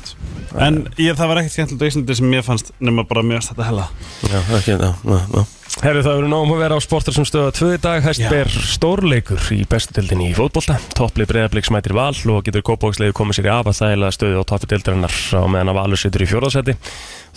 B: en ég, það var ekkert skemmtilegt á Íslandi sem ég fannst nema bara mjög stætt að hella
A: Já, ekki, já, já, já
D: Herri, það verður nógum að vera á sportar sem stöða tvö í dag, hæst
B: Já.
D: ber stórleikur í bestutildinni í fótbolta, topplið breyðarblik smætir val og getur kópóksleiðu komið sér í afa þægilega stöðu á toppi dildarinnar á meðan að valur situr í fjórðarsæti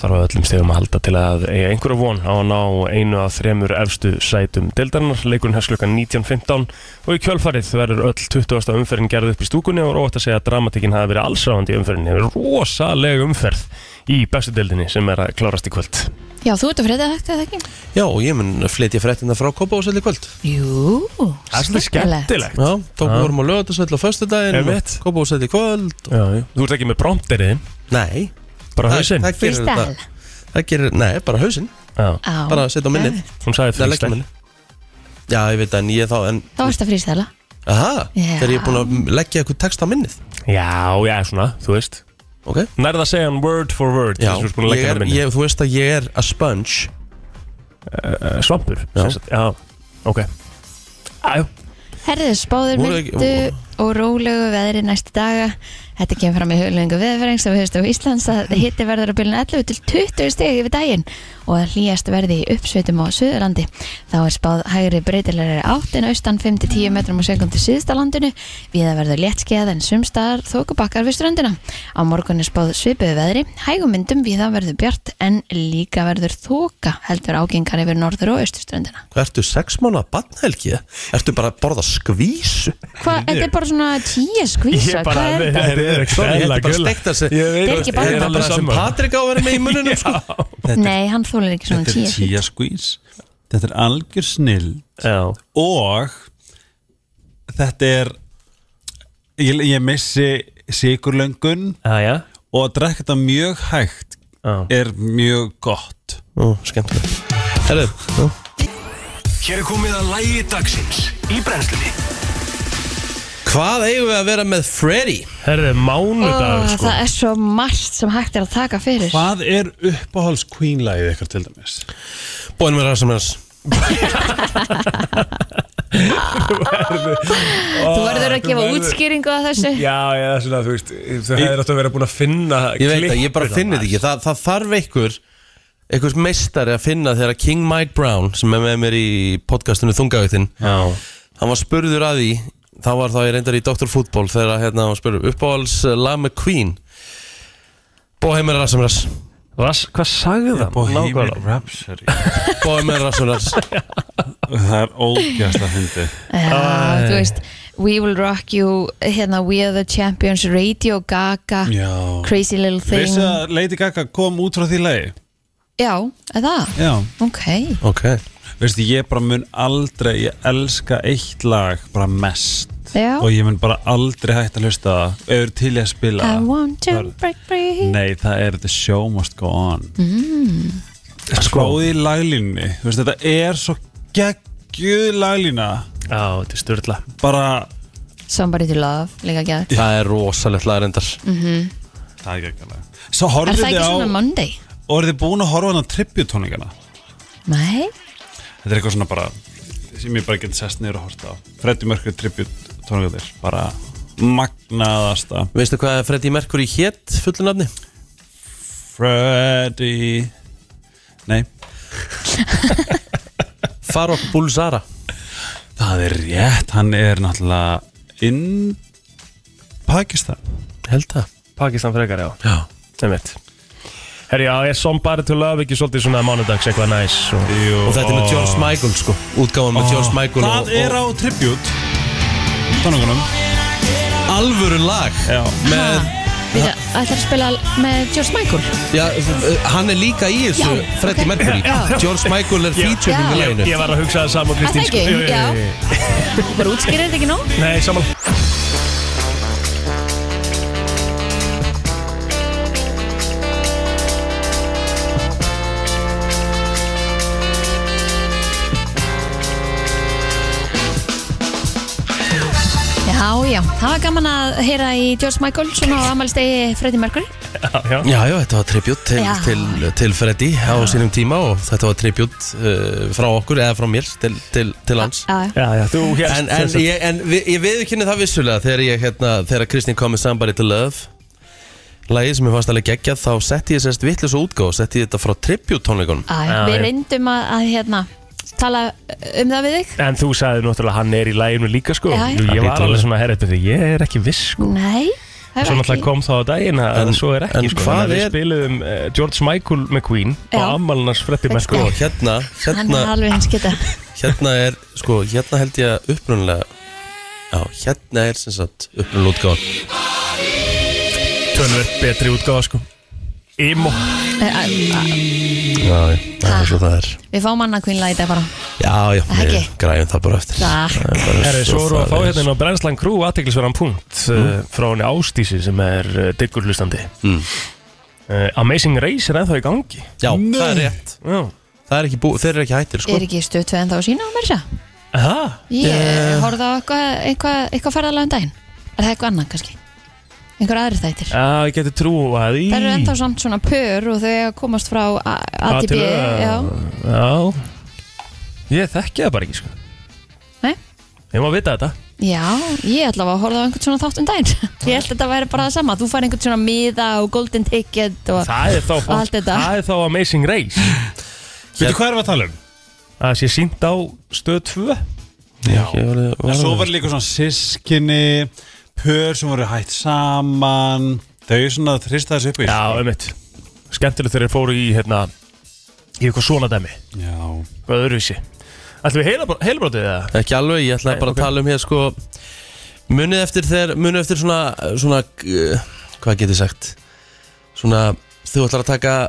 D: þarf að öllum stegum að halda til að eiga einhverja von á að ná einu af þremur efstu sætum dildarinnar, leikurinn hefst klukkan 19.15 og í kjölfarið verður öll 20. umferðin gerð upp í stúkunni og rótt að segja að dramatikin hafi verið allsráðandi í umferðinni, rosaleg umferð í bestutildinni sem er að klárast í kvöld.
C: Já, þú ert að frétta þetta, eða ekki?
A: Já, og ég mun flytja fréttina frá Kópa og í kvöld
C: Jú,
D: Það er svolítið skemmtilegt
A: Já, tókum
D: Já.
A: vorum á lögatarsvöld á föstudaginn
D: Einmitt.
A: Kópa og í kvöld
D: Já, já. Þú ert ekki með prompteriðin,
A: Nei,
D: bara
A: það,
D: hausinn
A: það gerir
C: Freestyle.
A: þetta Það gerir, nei, bara hausinn
D: Já,
C: Á,
A: Bara setja á minnið
D: Hún sagði
A: Það er
D: freestyle
A: leggminni Já, ég veit að en ég þá en
C: Þá ertu að frístæla
A: Aha,
C: Já.
A: þegar ég er búin að leggja eitthvað text á minnið
D: Já, já, svona, þú veist
A: Ok
D: Nærða að segja hann word for word
A: Já,
D: þess að við skulum
A: ég
D: leggja
A: er,
D: hann minni.
A: ég, þú veist að ég er a sponge
D: Eh, Svampur,
A: Já.
D: sem sagt. já, ok Æjú,
C: Herðið spáður
A: Voru ekki-
C: myndu og rólegu veðri næstu daga Þetta kemur fram í huglengu veðfæring sem höfst á Íslands
A: Mm.
C: að hitti verður á bylun 11 til 20 steg yfir daginn og að hlýjast verði í uppsveitum á Suðurlandi Þá er spáð hægri breytilegri átt en austan 5-10 metrum á sekund til síðsta landinu við að verður léttskeið en sumstaðar þókubakkar við ströndina Á morgun er spáð svipuðu veðri hægum myndum við að verður bjart en líka verður þóka heldur ágengar yfir norður og austurströndina
A: Hvað ertu sex mánuða badnhelgi? Ertu bara að borða skvísu?
C: Hvað, þetta er bara svona tíu skvísa
D: ég bara
C: Hvað er þetta?
D: Þetta er ekki
A: Sorry, þetta
D: eðla
A: er bara
D: gulla.
A: steikt að segja.
D: Ég veit
C: Þetta er ekki bara-
D: ég
A: Það er bara
D: alveg
A: sem
D: sammála.
A: Patrik á að vera með í mununum sko.
C: Nei, hann þólar ekki svona
B: þetta er
C: tíu skvísa
B: tíja skvís þetta er algjör snill
D: Já,
B: og þetta er ég, ég missi sigurlöngun
D: Jæja
B: og að drekka þetta mjög hægt
D: Já.
B: er mjög gott
A: Ó, skemmtilegt Herðu, já.
E: Hér er komið að lægi dagsins í brennslunni
A: hvað eigum við að vera með Freddy?
D: Herðu, mánudag
C: Ó,
D: sko
C: Það er svo margt sem hægt er að taka fyrir
B: Hvað er uppáhalds Queen-lægið ykkar til dæmis?
A: Bónum við rastum hans
C: Þú verður að
F: þú
C: gefa
F: verður-
C: útskýringu á þessu
F: Já, já, svona, þú veist, þau hefur átt að vera búin að finna
A: Ég veit það, ég bara
D: hérna.
F: klippuna,
A: finn þetta ekki það, það þarf einhver einhvers meistari að finna þegar King Mike Brown sem er með mér í podcastinu Þungavíktin
D: Já
A: hann var spurður að því þá var þá ég reyndar í Dr. Fútból þegar hérna, hann var spurður uppáhalds uh, lag með Queen Bohemian Rhapsody
D: Vas, Hvað sagði það? Nákvæmlega.
B: Rhapsody
A: Bohemian Rhapsody
B: Það er ógæsla hindi
C: Já, þú veist We Will Rock You, hérna We Are The Champions, Radio Gaga
B: Já
C: Crazy Little Thing
B: Vissi að Lady Gaga kom út frá því lægi?
C: Já, er það?
B: Já
C: Ok,
A: Ok
B: Veistu, ég bara mun aldrei, ég elska eitt lag bara mest
C: já
B: og ég mun bara aldrei hægt að hlusta á það eða til ég að spila
C: I
B: það.
C: want to
B: Hörðu.
C: break free
B: Nei, það er The Show Must Go On mm. Skóði í laglínni Þú veist, Þetta er svo geggjuð laglína
D: Já, þetta er styrla
B: Bara
C: Somebody to Love, líka gæð Mhm.
A: Það er rosalegt lag reyndar
B: Það er geggjuð Svo
C: Er
B: horfðu
C: það
B: þið
C: ekki
B: á
C: svona Monday?
B: og eru þið búin að horfa á hann á tribjutóningana
C: Nei,
B: Þetta er eitthvað svona bara sem ég bara geti sest niður að horta á Freddy Mercury tribjutóningarnir bara magnaðasta
A: Veistu hvað Freddy Mercury hétt fullu nafni?
B: Freddy Nei,
A: Farok Bulsara
B: það er rétt hann er náttúrulega inn Pakistan
A: Held það
D: Pakistan frekar, já
A: Já
D: Einmitt Herri, já, ég somebody to love ekki svolítið svona mánudags eitthvað næs og... Ah.
B: Jú,
A: Og þetta er með George Michael sko Útgáðan með George Michael
B: Það
A: og,
B: er á tribut Tónungunum
A: og alvöru lag
B: Já,
A: með,
C: við ætlar að spila með George Michael
A: já, uh, Hann er líka í þessu
C: Já,
A: Freddy
C: ok.
A: Mercury
C: Já.
A: George Michael er featuring
C: Já.
A: í laginu
D: Ég var að hugsa það saman,
C: Að það
D: Kristín
C: ekki,
D: Jú, jú, jú, jú.
C: já Þú bara útskýrir þetta ekki nóg
D: Nei, saman
C: Já, já, það var gaman að heyra í George Michael svona á amalstegi Freddy Mercury
D: Já, já.
A: Já, já, þetta var tribut til,
C: Já.
A: til, til Freddy á sínum tíma og þetta var tribut uh, frá okkur eða frá mér til, til, til hans
C: Já, já.
D: já, já þú hérst
A: En, en, ég, en við, ég viðkynni það vissulega þegar, ég, hérna, þegar Kristín kom með Somebody to Love lagið sem ég fannst alveg geggjað þá setti ég sérst vittlis og útgáð setti ég þetta frá tribut tónleikunum
C: Æ,
D: Já,
C: Við
D: já.
C: reyndum að, að hérna tala um það við þig
D: En þú sagði náttúrulega hann er í læginu líka sko
C: Já, já.
D: Jú, Ég var alveg svona herrið því ég er ekki viss sko
C: Nei,
D: Svo
C: það var
D: náttúrulega
C: ekki
D: kom það á daginn að
A: En-
D: svo er
A: en
D: ekki sko
A: hvað
D: Þannig að Við
A: er-
D: spiluðum uh, George Michael McQueen og
C: Já.
D: Amalnas Freddy
C: Freddy
A: Sko,
D: Mercury
C: Mercury.
A: hérna,
C: Hann er
A: hérna,
C: alveg hans geta
A: hérna er sko, hérna held ég að upprunnulega Já, hérna er sem sagt upprunnulega útgáð
D: Tölvöld betri útgáða sko Imo
C: Æ, æ, æ,
A: Já, já, það er svo það er
C: Við fáum annað kvinnlega í dag bara
A: Já, já,
C: Ekki?
A: við græjum það bara eftir
C: Takk.
A: Það er bara
D: Herri, svo
A: svo
D: eru að fá
A: það er.
D: hérna inn á Brennslan Crew aðteklisverðan punkt uh, frá henni Ástísi sem er uh, diggur hlustandi
A: Mm.
D: uh, Amazing Race er ennþá í gangi
A: Já, það er rétt
D: Já
A: Það er ekki bú, Þeir eru ekki hættir sko
C: Er ekki stöð tveið en þá sína á mér sér
D: Það?
C: Ég
A: Eh.
D: Eh.
C: yeah. horfði á eitthvað eitthva, eitthva ferðalega um daginn Er það eitthvað annað kannski? Einhver aðri þættir
D: Já, ég geti trú að í
C: Það eru ennþá samt svona pör og þau eiga að komast frá A- ATB Já,
D: Já Ég þekki það bara ekki sko
C: Nei.
D: Ég má vita þetta
C: Já, ég ætla að horfa á einhvern svona þátt um daginn Ég held að þetta væri bara það sama Þú fær einhvern svona miða og golden ticket og...
D: Það er þá,
C: Og allt þetta.
D: það er þá Amazing Race
B: veitu hvað erum við að tala um?
D: að sé sínt á stöð 2 hérna.
A: Já, ég var,
B: En svo var líka svona sískinni Pör sem voru hætt saman Þau svona þrista þessu upp í sko.
D: Já, einmitt Skemmtilegt þegar þeir fóru í hérna í eitthvað svona dæmi,
B: Já.
D: hvað öðruvísi Ætlum við heilabr- heilabrótið eða?
A: Ekki alveg, ég ætlaði bara
D: ok.
A: að tala um hér sko Munið eftir þegar Munið eftir eh, svona, svona uh, Hvað get ég sagt Svona Þú ætlar að taka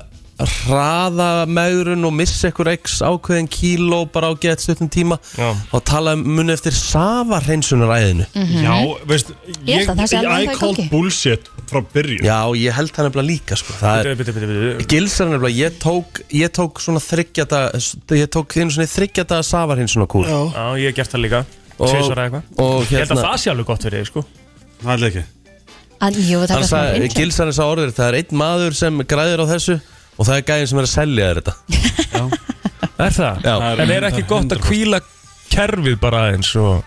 A: hraða meðurinn og missa ekkur x ákveðin kíló bara á gett stuttum tíma
D: Já.
A: og tala um muni eftir safa hreinsunaræðinu
G: Já, veist,
C: Mhm. Ég held að það sé alveg það í
G: I called
C: gangi.
G: bullshit frá byrjun
A: Já, ég held það nefnilega líka sko. það er
D: Bitu, bitu, bitu, bitu.
A: Gilsar nefnilega, ég tók, ég tók svona þryggjata, ég tók einu svona þryggjata safar hins svona kúl
G: Já.
D: Já, ég hef gert það líka
A: Og-
D: Tvisvar eða eitthvað
A: og
D: Ég held að
A: hérna,
D: það sé alveg gott fyrir þig sko
B: Það er ekki
C: En jú, þetta
A: hann
C: er svona
A: sagði,
C: innflutning.
A: Gilsar er sá orður, það er einn maður sem græðir á þessu og það er gæðin sem er að selja þér þetta
D: Er það?
A: Já.
D: En er ekki gott að kvíla kerfið bara eins og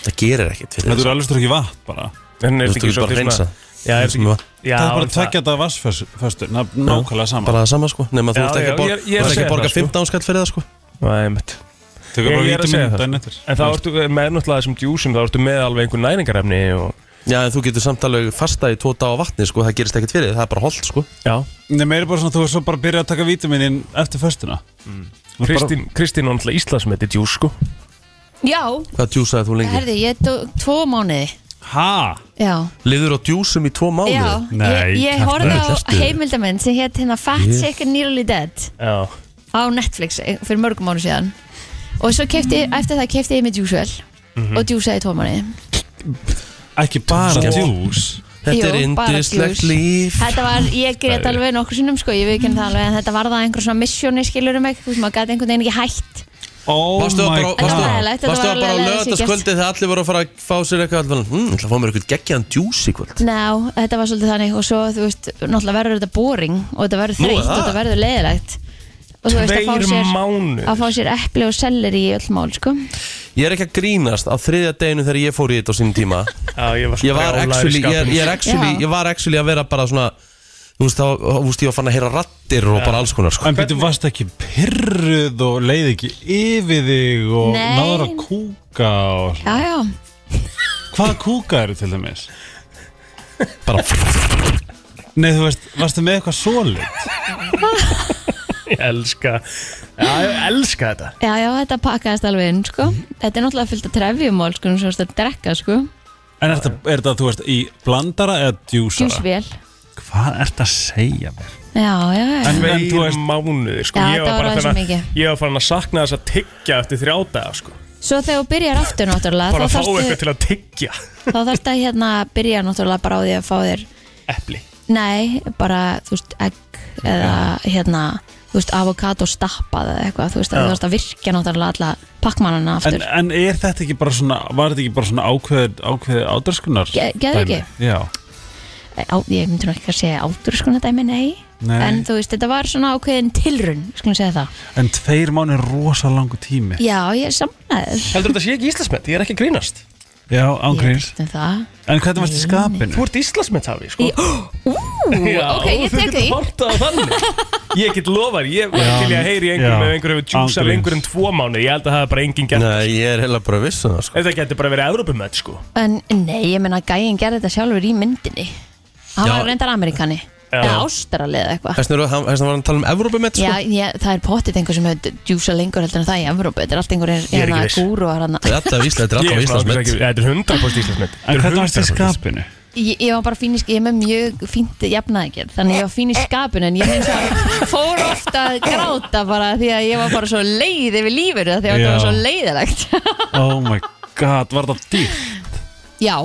A: Það gerir ekkert fyrir
B: Þetta er alveg stór ekki vatn bara
D: En er
A: Þú
D: þetta ekki
A: ert bara að
D: svolítið
A: hreinsa.
D: svona Já, er þetta
A: Sem
D: ekki
A: var-
D: Já,
B: Það er bara
D: en
B: að tvekja þetta vassföstur Nákvæmlega sama
A: bara það sama sko nema þú
D: Já,
A: ert ekki
D: já,
A: að borga,
D: ég-
A: þú
D: ég er að
A: ert ekki
D: segja
A: að borga
D: það, sko.
A: 15 skall fyrir það sko
D: Nei, mitt
B: Tökur bara
D: Ég- ég er að segja
B: vítamín
D: það,
B: daginn eftir
D: En þá ertu með náttúrulega þessum djúsum Þá ertu með alveg einhver næringarefni og...
A: já en þú getur samt alveg fasta í tvo dag á vatni sko það gerist ekkert fyrir þér, það er bara holdt sko
D: Já,
B: Nei, meira bara svona, þú er svo bara að byrja að taka vítaminin eftir föstuna
A: Mm.
D: Kristín, Kristín er náttúrulega Íslandsmeti djús sko
C: Já,
A: hvað djúsaði þú lengi?
C: herði, ég tók tvo mánuði
B: Hæ?
C: Já,
A: lifður á djúsum í tvo mánuði?
C: já
B: Nei,
C: Ég, ég
B: kjaftur.
C: horfði á
A: Lestu.
C: heimildamenn sem hétt hérna Fat Sick and Nearly Dead
D: Já
C: á Netflix eh, fyrir mörgum mánu síðan og svo kefti, eftir það kefti ég með djúsvel
D: Mhm.
C: og djúsaði tvo mánuði
B: Ekki bara djús
A: þetta er
C: Jú, bara
A: indislegt
C: djús.
A: líf
C: Þetta var, ég grét alveg nokkur sinnum sko, ég viðkynna það alveg en þetta var það einhver svona missjóni skilur um ekki, þú veist maður gæti einhvern veginn ekki hætt
B: Oh
A: Varstu
B: my
A: það bara,
B: god
C: Þetta
A: varstu,
C: var leiðilegt,
A: varstu
C: þetta var
A: það bara á
C: leiðilegt
A: lögataskvöldi þegar allir voru að fara að fá sér eitthvað alveg, hm, ég ætla að fá mér eitthvað geggjaðan djús í kvöld
C: Ná, þetta var svolítið þannig og svo þú veist, náttúrulega verður þetta boring og þetta verður
A: Nú er
C: þreytt og
A: það.
C: þetta verður leiðilegt og þú veist að fá
D: Tveir
C: sér
D: mánu
C: að fá sér epli og selleri í öll mál sko.
A: Ég er ekki að grínast á þriðja deginu þegar ég fór í þetta á sínum tíma
D: Já, ég var,
A: Ég var
D: brjálaður í
A: actually, ég, er-
D: skapinu.
A: ég, er actually,
C: Já.
A: ég var actually að vera bara svona Þú veist, þá, þú veist, ég var fann að heyra rattir og bara alls konar sko.
B: En býttu, varst ekki pyrruð og leið ekki yfir þig og
C: Nei.
B: náður að kúka og...
C: Já, já,
B: Hvaða kúka eru til dæmis?
A: Bara
B: Nei, þú veist, varstu með eitthvað sólitt?
D: Ég elska Já, ég elska þetta
C: já, já, þetta pakkaðist alveg inn sko. Þetta er náttúrulega fyllt að trefjumál sko, sem þú veist að drekka sko.
B: En er þetta, er þetta, þú veist, í blandara eða djúsara?
C: djúsvél
B: Hvað ert að segja mér?
C: Já, já, já
B: En, en þú
D: Tveir
B: veist,
D: mánuði sko
C: Já,
D: Ég
C: þetta var
D: bara
C: aðeins
D: farin
C: mikið.
D: að- Ég var farin að sakna þess að tyggja eftir þrjá daga sko
C: Svo þegar þú byrjar aftur náttúrulega
D: Bara
C: þá
D: að fá eitthvað
C: þarftu,
D: til að tyggja
C: þá þarftu að hérna byrja náttúrulega bara á því að fá þér
D: Epli
C: Nei, bara, þú veist, egg eða hérna, þú veist, avokado stappað eða eitthvað, þú veist, að þú veist að virkja náttúrulega alla pakkmannana
B: en,
C: aftur
D: eh,
B: en er þetta ekki bara svona, var þetta ekki bara svona ákveðið, ákveðið ádarskunar?
C: Ge- geðveiki.
B: Já.
C: á, Ég myndi nú ekki að segja átur sko dæmi, nei.
B: Nei.
C: En þú veist, þetta var svona ákveðin tilrun, skulum segja það
B: En tveir mánu er rosa langu tími.
C: Já, ég samnaði
D: Heldur þetta sé ekki Íslandsmet? Ég er ekki að grínast
B: Já,
C: Ég
B: ángríns.
C: veist um það
B: En hvernig varst í skapinu?
D: Þú ert Íslandsmet hafi sko
C: Í- Ú, ok, ég tek því
D: Þú getur hortað þannig Ég get lofað, ég var til í að heyri í
B: Já.
D: einhverjum ef einhverjum hefur djúsa
B: Ángríns.
D: lengur en tvo mánu Ég held að það er bara engin gert
A: Nei, ég er heila bara að vissa það sko.
D: Þetta getur bara verið Evrópumöð sko
C: En nei, ég menna gæinn gerði þetta sjálfur í myndinni Hann
A: Já.
C: var reyndar amerikani
D: Já.
C: Eða ástralið eða eitthvað
A: Þessna var hann að tala um Evrópumett sko.
C: Já, ég, það er pottit einhver sem hefur djúsa lengur heldur en það í Evrópu Þetta er allt einhver
D: Ég er ekki
C: hérna
D: viss.
C: gúruar hann
A: Þetta er Ísland, þetta er
D: Ég
A: alltaf
D: er svona
A: Íslandsmet
D: ekki- Þetta er 100%
B: En
D: Íslandsmet Þetta er
B: hvernig varst í
D: 100%
B: skapinu?
C: ég, ég var bara fín í, sk- ég er með mjög fínt jafnaði ekki Þannig ég var fín í skapinu en ég hins að fór oft að gráta bara Því að ég var bara svo leið yfir lífinu Því að þetta var
B: Já.
C: svo leiðilegt
B: Oh my god, var þetta dýr?
C: Já,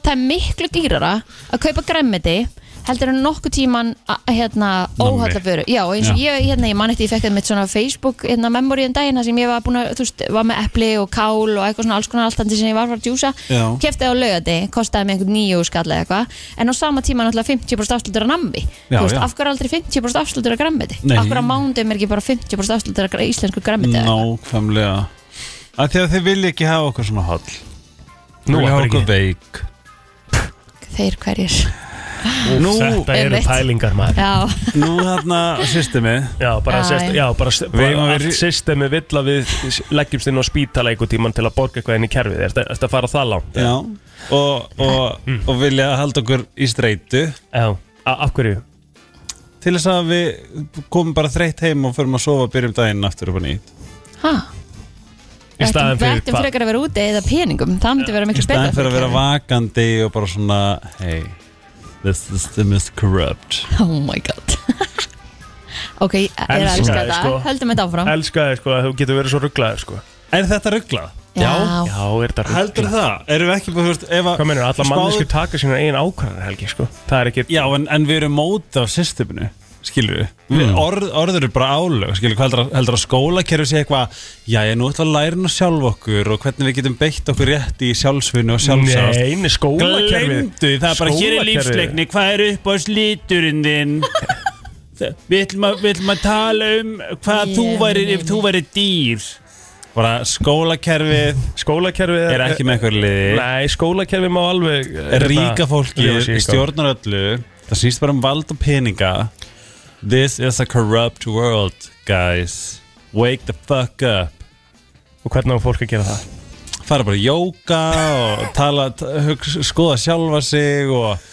C: það er miklu dýrara að kaupa græmmiti heldur en nokkuð tíman að hérna óhaldaföru, já eins og
B: Já.
C: ég hérna ég man eftir ég fekk þetta mitt svona Facebook hérna memory en daginn þar sem ég var búin að þú veist var með epli og kál og eitthvað svona alls konar allt þannig sem ég var að fara að djúsa
B: Já.
C: keftið á laugandi, kostaði mig einhvern nýju skall eða eitthvað, en á sama tíma náttúrulega 50% afslutur að nammi,
B: Já,
C: þú veist
B: já.
C: af hverju er aldrei 50% afslutur að græmmiti,
B: Nei.
C: af hverju á mándum er ekki bara 50% afslutur að gr- íslensku græmmiti eða eitthvað?
B: Nákvæmlega. Að því að þið vilja ekki hafa okkur svona hall.
D: Nú,
B: Vilja hafa
D: bara
B: okkur veik. Mm.
C: þeir hverjir,
B: Nú,
D: Þetta eru
C: Einmitt.
D: pælingar maður
C: já
B: nú þarna, systemi,
D: Já, bara,
C: Já,
D: sest,
C: já.
D: já, bara, st- bara
B: eigum að
D: allt
B: vera-
D: systemi vill að við leggjumst inn á spítala einhver tíman til að borga eitthvað inn í kerfið Er þetta að fara það langt?
B: já, og, og, og vilja halda okkur í streitu.
D: Já, A- af hverju?
B: til þess að við komum bara þreytt heim og förum að sofa byrjum daginn aftur upp á nýtt
C: ha
D: Í staðin
C: Við
D: fyrir
C: ættum
D: hvað?
C: frekar að vera úti eða peningum Það myndi vera
B: í
C: miklu betra
B: staðan fyrir að vera vakandi og bara svona hey, this system is corrupt
C: Oh my god Ok, ég er að elska þetta Höldum þetta áfram
D: sko. Elska þið sko að þú getur verið svo rugglaður sko
B: Er þetta rugglað?
C: Já,
D: Já, er þetta rugglaður
B: Heldur það? Erum við ekki búin, þú veist, ef að
D: Hvað mennur, alla
B: spáð-
D: manneskur taka sína eigin ákvarðan helgi sko Það er ekki
B: Já, en, en við erum móti á systeminu skilur við, orð, orður er bara álög skilur, hvað heldur að, heldur að skólakerfi sé eitthvað, já, ég nú ætla að læra hann á sjálf okkur og hvernig við getum beitt okkur rétt í sjálfsvinnu og sjálfsást
D: Nei, nei, skólakerfið
B: Gleimdu, því, það er bara hér er
D: Skólakerfið.
B: lífsleikni, hvað er upp á slíturinn þinn? Það- Við ætlum að, við ætlum að tala um hvað
C: Ég
B: þú væri, ef
C: meina.
B: þú væri dýr. Bara skólakerfið
D: Skólakerfið
B: er ekki með eitthvað liði.
D: Nei, skólakerfið má alveg
B: Er ríka fólkið
D: Lifa sig í
B: stjórnar öllu. Það snýst bara um vald og peninga. This is a corrupt world, guys. Wake the fuck up.
D: Og hvernig á fólk að gera það?
B: Fara bara í jóka og tala, t- hugsa- skoða sjálfa sig og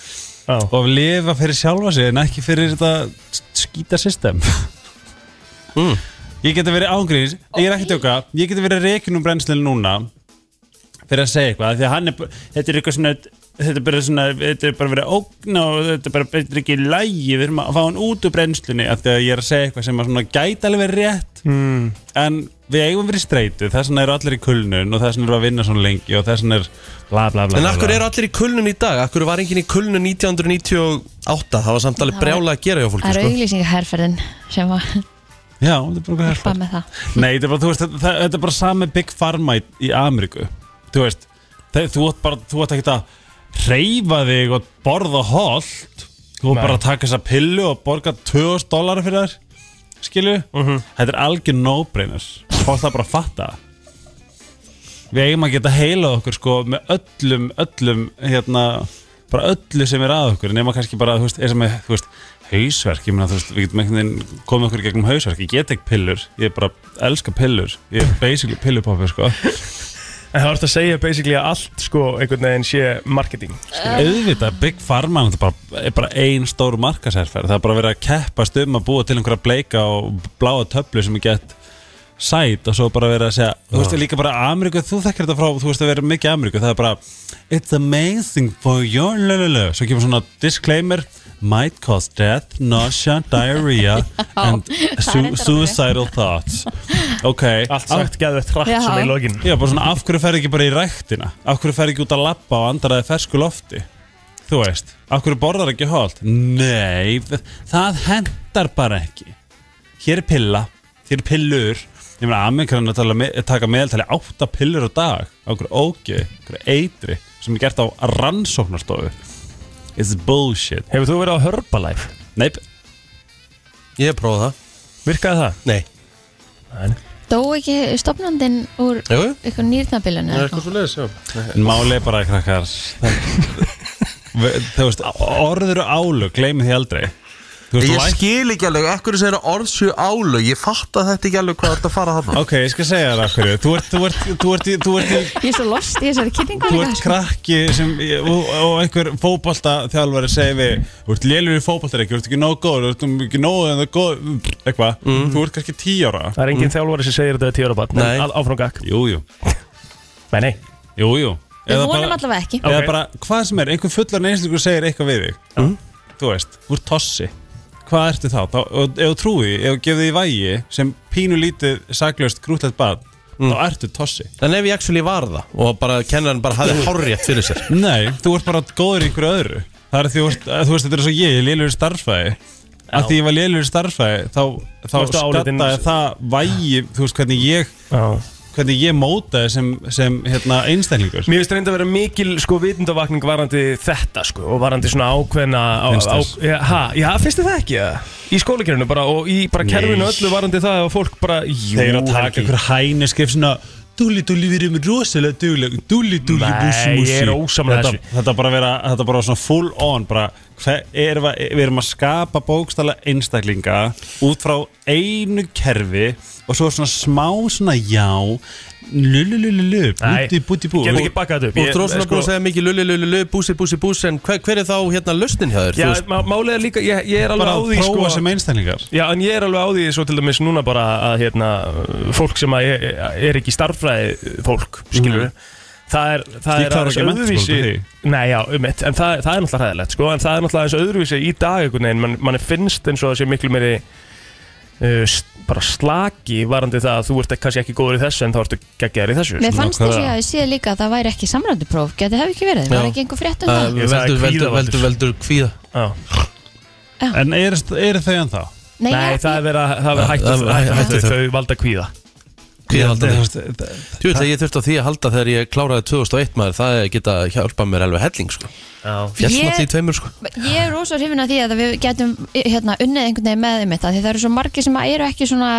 D: Já,
B: og lifa fyrir sjálfa sig en ekki fyrir þetta skýta system
A: Mm.
B: ég geti verið ángriðis ég er ekki tjóka, ég geti verið reikin um brennslil núna fyrir að segja eitthvað af því að hann er, bara- þetta er eitthvað svona þetta er bara svona, þetta er bara verið að ógna og þetta er bara, þetta er ekki í lægi við erum að fá hann út úr brennslinni af því að ég er að segja eitthvað sem að svona gæti alveg verið rétt mm. en við eigum verið streitu þess vegna eru allir í kulnun og þess vegna eru að vinna svona lengi og þess vegna er bla bla bla
A: En
B: bla,
A: akkur
B: bla.
A: eru allir í kulnun í dag? Akkur var enginn í kulnun 1998? Það var samt alveg
C: Það var-
A: brjála að gera hjá fólki
C: það er
A: sko.
C: auglýsingaherferðin sem var
B: Já, þetta er bara eitthvað herfært.
C: bara með það
B: Nei, þetta er bara, þú veist, þetta, þetta er bara sami Big Pharma í, í Ameríku Þú veist, það, þú átt bara, þú átt ekkert að reyfa þig og borða holt Þú átt
D: Nei.
B: bara að taka þessa pillu og borga 2000 dólar fyrir þær Skilju, þetta er algjör no-brainers Fólk það bara að fatta það. Við eigum að geta heila okkur sko með öllum, öllum, hérna bara öllu sem er að okkur nema kannski bara, þú veist, eins og með, þú veist hausverk, ég meina, þú veist, við getum einhvern veginn komið okkur í gegnum hausverk, ég get ekki pillur ég bara elska pillur, ég er basically pillupoppi, sko,
D: En það vart að segja basically að allt sko einhvern veginn sé marketing
B: auðvitað Big Pharma er bara, er bara ein stór markasærferð, það er bara verið að keppast um að búa til einhverja bleika og bláa töflu sem er gett sæt og svo bara verið að segja, þú veist, líka bara Ameríku, þú þekkir þetta frá, þú veist að vera mikið Ameríku, það er bara, it's amazing for your lalala, svo kemur svona disclaimer, might cause death, nausea, diarrhea and
C: það er
B: su
C: reyndar
B: suicidal thoughts ok,
D: Allt sagt geðið trætt
C: Já.
D: svona í lokin
B: Já, bara svona, af hverju ferði ekki bara í ræktina? Af hverju ferði ekki út að lappa og andaraði fersku lofti? Þú veist, af hverju borðar ekki holt? Nei, þ- það hendar bara ekki. Hér er pilla, hér er pillur. Ég meina, Amerikanar tala, me- taka meðaltali átta pillur á dag. Af hverju ógeð, af hverju eitri, sem er gert á rannsóknarstofu. It's bullshit.
D: Hefur þú verið á Herbalife?
B: Nei,
A: Ég prófaði það
D: Virkaði það?
A: Nei
C: Dó ekki stopnandinn úr
A: Jú, jú.
C: eitthvað nýrnabilun
A: Það er
C: eða
A: eitthvað
C: eitthvað?
A: svo já
B: En máli er bara krakkar Ve- Þú veist, orður og álug Gleimi því aldrei Þú veist,
A: Ég
B: læk-
A: skil ekki alveg, akkur þessi eru orðsjö álög Ég fatt að þetta ekki alveg hvað þetta fara þarna
B: Ok, ég skal segja þér af hverju Þú ert, þú ert, þú ert, í- þú ert, í-
C: Ég er svo lost í þessari kynningu
B: þú
C: líka
B: ert
C: sko.
B: krakki sem, og, og einhver fótbolta þjálfari segir við Þú ert lélur í fótboltareik, þú ert ekki nóg góð Þú ert ekki nóg en það er góð Eitthvað, þú ert kannski tí ára
D: Mm.
B: Mm.
D: Það er engin þjálfari sem segir þetta við tíu ára barn
A: Nei.
D: Áfram gakk
B: Jú, jú,
D: Nei, nei
B: jú, jú
C: Við vonum allavega ekki
B: Eða
D: Ok. Mm.
B: bara, hvað sem er, einhver fullar einslingur segir eitthvað við þig Þú veist, þú ert tossi Hvað ertu þá? þá og, ef þú trúi, ef þú gefði í vægi sem pínu lítið, saklaust, grútlegt bad þá ertu tossi
A: Mm. En ef ég actually var það og bara kennarinn bara hafði hárrétt fyrir sér
B: Nei, þú ert bara góður í einhverju öðru Það er því, þú veist, þú veist þetta er svo ég, ég lélur starfæði að því ég var lélur starfæði þá, þá
D: Þú veist að álitin-
B: skattaði það vægi, þú veist hvernig ég
D: Já
B: hvernig ég mótaði sem, sem hérna, einstaklingur
D: Mér finnst reynda að vera mikil sko vitundavakning varandi þetta sko og varandi svona ákveðna á,
B: Finnst
D: á,
B: þess?
D: já, ha, já, finnst þið það ekki eða? Í skólakerfinu bara og í bara kerfinu öllu varandi það og fólk bara, jú
B: Þeir eru að taka
D: Helgi.
B: ykkur hæni skrif svona Dúli dúli við erum rosalega dugleg Dúli dúli
D: Nei,
B: búsi músi
D: ég er ósammála
B: þetta,
D: þessu.
B: þetta bara vera Þetta bara svona full on bara, hve, er, va- Við erum að skapa bókstala einstaklinga Út frá einu kerfi Og svo svona smá svona já Lululululu
D: Nei,
B: Búti búti bú
D: Get ekki bakkað þetta upp
A: Og
D: Ég- sko-
A: þrósuna búið að segja mikið lulli lulli lulli búsi búsi búsi En hver, hver er þá hérna lausnin hjá þér?
D: Já,
A: Þú veist,
D: má- málið er líka, ég, ég er alveg
B: Bara
D: á
B: að
D: því
B: prófa
D: sko
B: sem einstaklingar
D: Já, en ég er alveg á því svo til dæmis núna bara að hérna, fólk sem að er, er ekki starffræði fólk, skilur við Það er, það
B: Ég
D: er
B: Mhm. klára
D: aðeins
B: ekki menntaskóla
D: öðruvísi
B: til því.
D: Nei, já, um mitt, en það, það er náttúrulega hræðilegt sko, en það er náttúrulega aðeins öðruvísi í dag einhvern veginn, mann man finnst eins og það sé miklu meiri uh, s- bara slaki varandi það að þú ert kannski ekki góður í þessu en þá ertu geggjaður í þessu
C: Mér fannst þess að ég hafi séð líka að það væri ekki samrændupróf Geti það ekki verið, var
A: Já.
C: ekki einhver frétt um
A: Uh,
C: það
D: Ég sagði
A: veldur, veldur,
D: kvíðavaldur.
A: veldur, veldur kvíða
D: Já.
B: En eru er þau en þá?
C: Nei,
D: Nei,
C: ég-
D: það er verið að það er verið
A: Það
D: hægt
A: er
D: að- hægt að
A: hægt að-
D: hægt að þau valda kvíða
A: Kvíðavaldandi
B: Kvíðaldandi
A: Þú veit að ég þurfti á því að halda þegar ég kláraði 2001 maður Það geta hjálpað mér alveg helling sko
D: Já,
A: Fjallna
C: Ég-
A: því tveimur sko
C: Ég er rosa hrifin af því að við getum hérna, unnið einhvern veginn með þeim þetta því það eru svo margir sem eru ekki svona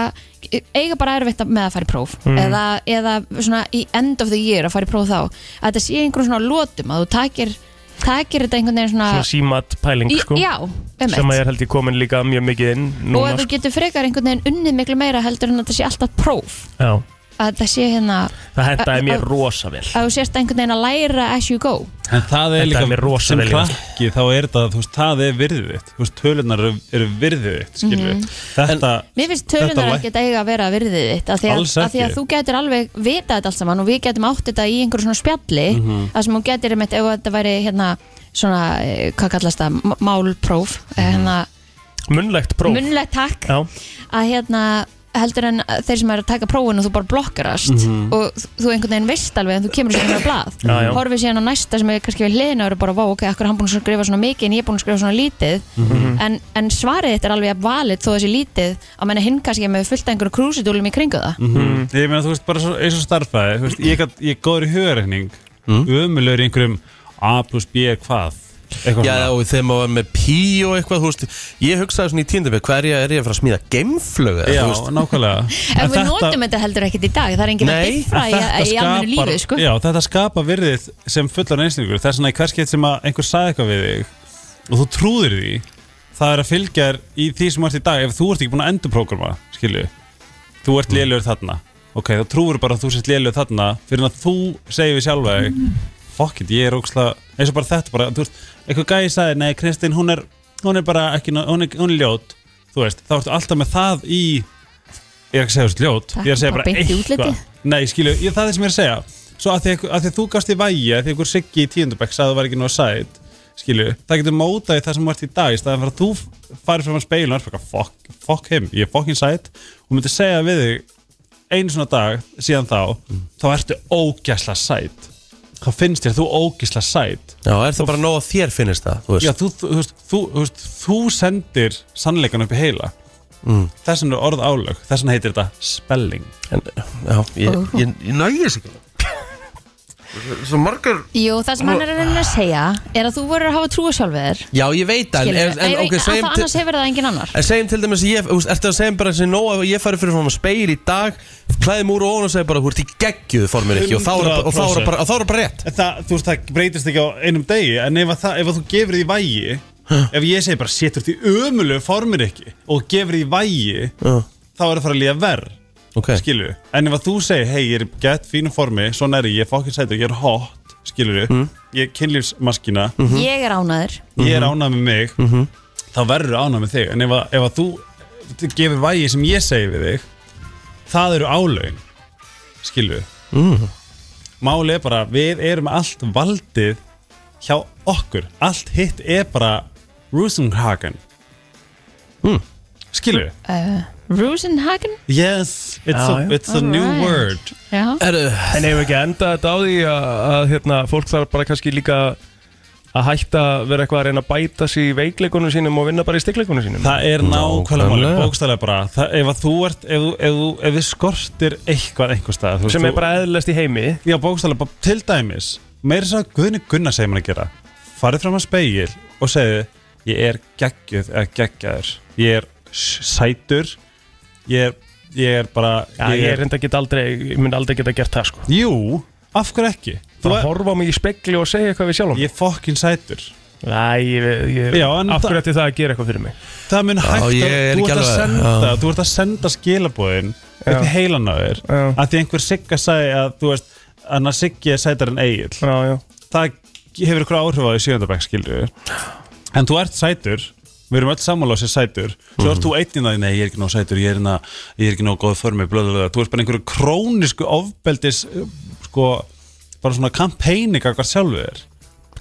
C: eiga bara erfitt með að fara í próf
D: Mm.
C: eða, eða svona í end of the year að fara í próf þá að þetta sé einhverjum svona lótum að þú takir, takir þetta einhvern veginn svona,
D: svona símat pæling
C: í,
D: sko
C: já,
D: sem að
C: um
D: ég held ég komin líka mjög mikið inn
C: og
D: núna sko.
C: að þú getur frekar einhvern veginn unnið miklu meira heldur en að þetta sé alltaf próf
D: sko. Já.
C: að þetta sé hérna
D: Það hendaði mér
C: Að-
D: rosa vel
C: að þú sérst einhvern veginn að læra as you go
B: En það er
D: Þetta er mér
B: líka
D: rosa
B: sem
D: vel í þessu.
B: krakki þá er það, þú veist, það er virðið þitt Þú veist, tölunar eru, eru virðið þitt, skilur við Þetta,
C: Mhm. Mér finnst tölunar
B: Þetta læk-
C: ekkert eiga að vera virðið þitt af því að,
B: Alls
C: að, því að
B: ekki.
C: þú getur alveg vitað þetta allt saman og við getum átt þetta í einhverjum svona spjalli mm
B: Mhm.
C: sem þú getur einmitt ef þetta væri hérna svona, eh, hvað kallast það, m- málpróf mm
B: Mhm.
C: hérna,
D: Munnlegt próf
C: munnlegt takk
D: Já,
C: að hérna heldur en þeir sem eru að taka prófin og þú bara blokkarast og þú einhvern veginn veist alveg en þú kemur sér hérna blað
D: Já, já.
C: horfið síðan á næsta sem er kannski við hliðina og eru bara, vá, ok, akkur er hann búin að skrifa svona mikið en ég er búin að skrifa svona lítið en, en svarið þetta er alveg að valið þó þessi lítið að menna hinn kannski með fullt af einhverju krúsidúlum í kringu
B: Mm.
C: það
B: Mhm.
D: Mhm.
B: ég meina, þú veist, bara svo, eins og starfæði Þú veist, ég, gat, ég er góður í hugareikning
D: Mhm.
B: mm. Ömulegur í einhverjum A plus B er hvað Eitthvað
A: Já,
B: svona
A: og þegar maður var með pí og eitthvað, þú veist Ég hugsaði svona í tíndabæk, hverja er ég að fara að smíða geimflög eða,
B: Já,
A: þú veist?
B: nákvæmlega
C: en við notum þetta heldur ekkit í dag það er enginn að
A: Nei,
C: diffra í,
B: þetta
C: í almennu
B: skapar-
C: lífi sko.
B: Já, þetta skapa virðið sem fullan einslingur Það er svona í hverskið sem að einhver sagði eitthvað við þig og þú trúðir því það er að fylgja þér í því sem þú ert í dag ef þú ert ekki búin að endurprógrama, skilju þú ert lélugur þarna ok, þá trúir bara að þú sért lélugur þarna fyrir að þú segir við sjálfa þig fuck it, ég er ógslag, eins og bara þetta bara, þú veist, eitthvað gæði sagði, nei Kristinn hún er, hún er bara ekki, ná- hún er, hún er ljót þú veist, þá ertu alltaf með það í ég er ekki að segja þessu ljót
C: Takk,
B: ég er að segja
C: bara
B: bara
C: beint í útliti.
B: eitthvað, nei skilju, ég, það er það sem ég er að segja svo að því, að, að því að þú gafst í vægi að því að einhver siggi í tíundabæk sagði að þú var ekki nóg sæt skilju, það getur mótað í það sem þú ert í dag í staðan fyrir að þú farir fram að speilin og er bara fuck, fuck him, ég er fucking sæt og myndi segja við þig einu svona dag síðan þá þá ertu ógæsla sæt þá finnst þér þú ógæsla sæt
A: Já, er það bara nóg að þér finnist það, þú veist
B: Já, þú, þú, þú, veist, þú, þú, veist, þú sendir sannleikan upp í heila mm. þess vegna er orð álög, þess vegna heitir þetta spelling
A: en, já ég, ég, ég nægir þess ekki Svo margar
C: Jú, það sem hann er að reyna að segja er að þú voru að hafa trúa sjálfið þér
A: Já, ég veit það, en,
C: skilurðu.
A: en, en ok,
C: Ef-
A: segjum
C: að-
A: til-
C: annars hefur það engin annar
A: En segjum til dæmis, ég, þú veist, ertu að segja bara sem nóg að ég fari fyrir fram að speil í dag klæðum úr og ofan og segja bara, þú ert í geggjuðu formir ekki og þá er og þá er bara, og þá er bara rétt
B: það, Þú veist, það breytist ekki á einum degi en ef, að það, ef að þú gefur því vægi ef ég segi bara setur því ömulegu formir ekki og gefur því vægi
A: Já.
B: þá er það fara að líða verð
A: Ok,
B: skilu, en ef að þú segir hei, ég er í gett fínu formi, svona er ég, ég er fokkin sætur ég er hot, skilur
A: Mm.
B: ég er kynlífsmaskina,
A: Mhm.
C: Ég er ánaður
B: Mhm. ég er ánað með mig þá verður ánað með þig en ef að, ef að þú gefur vægi sem ég segi við þig það eru álögin skilu mm. máli er bara, við erum allt valdið hjá okkur allt hitt er bara Rosenhagen mm. skilu
C: uh, Rosenhagen
B: yes, it's a,
D: Já, já.
B: it's a new
C: Alright.
B: word
C: Já.
A: Herru,
D: en hefur ekki endað þetta á því að, að hérna, fólk þarf bara kannski líka að hætta að vera eitthvað að reyna að bæta sér í veikleikunum sínum og vinna bara í stikleikunum sínum
B: Það er nákvæmlega
A: Nákvæmlega.
B: máli, bókstæðlega bara það, ef, að þú ert, ef, þú- ef, þú- ef við skortir eitthvað einhver stað þú veist,
D: sem er
B: þú-
D: bara eðlast í heimi
B: Já, bókstæðlega, bara til dæmis Meira þess að Guðni Gunnar segir mann að gera Farið fram að speil og segðu Ég er geggjuð eða geggjaður Ég er s- sætur Ég er, ég er bara
D: Já, ég, er reynda að geta aldrei, ég myndi aldrei geta gert það sko
B: Jú, af hverju ekki? Þú
D: Bara
B: er,
D: horfa á mig í spegli og segja eitthvað við sjálfum
B: ég er fokkin sætur
D: Nei, ég, ég,
B: Já, en
D: af
B: það-
D: hverju ætti það að gera eitthvað fyrir mig
B: Það mun hægt að,
A: ég er
B: þú
A: ekki
B: ert að
A: alveg-
B: senda
A: já.
B: Þú ert að senda skilabóðin upp í heilan á þér
D: Já.
B: að því einhver sigga sagði að þú veist að siggi er sætar en eigil
D: Já, já,
B: það hefur ykkur áhrif á því sjöndabæk skilur en þú ert sætur við erum öll sammála á sér sætur svo
A: Mhm.
B: ert þú einn í það, nei ég er ekki nóg sætur ég er, inna, ég er ekki nóg góð formi, blöðulega þú ert bara einhverju krónisku ofbeldis uh, sko, bara svona kampæni hvað sjálfu þér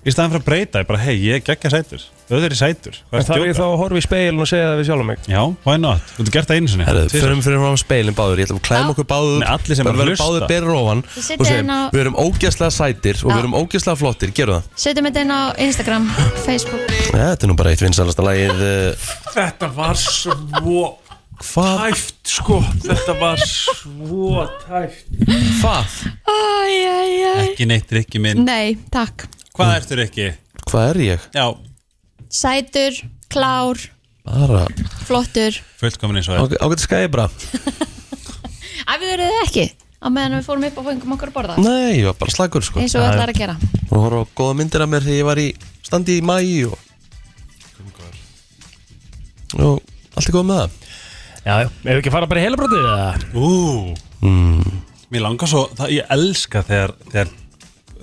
B: Í staðan fyrir að breyta, ég bara, hei, ég er geggja sætur Þau eru sætur, hvað
D: En
B: er
D: þarf ég þá
B: stjóka?
D: að horfa í speilin og segja það við sjálfum mig
B: Já, why not? Þú ert gert það einu sinni
A: Herðu,
B: tvisvar.
A: förum fyrir fram speilin báður, ég ætla að klæma okkur báður
B: Nei, allir sem eru
A: Bara
B: að
A: verðum
B: hlusta.
A: báður berur ofan
C: Þið sitja
A: og segjum,
C: inn á-
A: við erum ógæslega sætir og
C: Já.
A: við erum ógæslega flottir, gerum það
C: Setjum þetta inn á Instagram, Facebook
A: ja, Þetta er nú bara eitt vinsalasta lagið uh,
D: Þetta var svo
A: Hvað?
D: tæft sko Þetta var svo tæft
A: Hvað?
C: Æj, æj, æj
B: Ekki neitt Rikki minn
C: Nei, takk
B: Hvað ertu Rikki?
A: Hvað er ég?
B: Já,
C: Sætur, klár,
A: Bara
C: flottur
B: fullkomin eins og er
A: ágætt skæði bara
C: Æ, við verðum það ekki á meðan við fórum upp og fengum okkur að borða
A: Nei, ég var bara slagur sko
C: eins og við ætlar að gera
A: og horfa á góða myndir af mér þegar ég var í standi í mæi og og allt er góð með það
D: Já, já, ef við ekki fara bara í heilabrótið eða? Hmm.
B: Ú, mér langar svo það, Ég elska þegar, þegar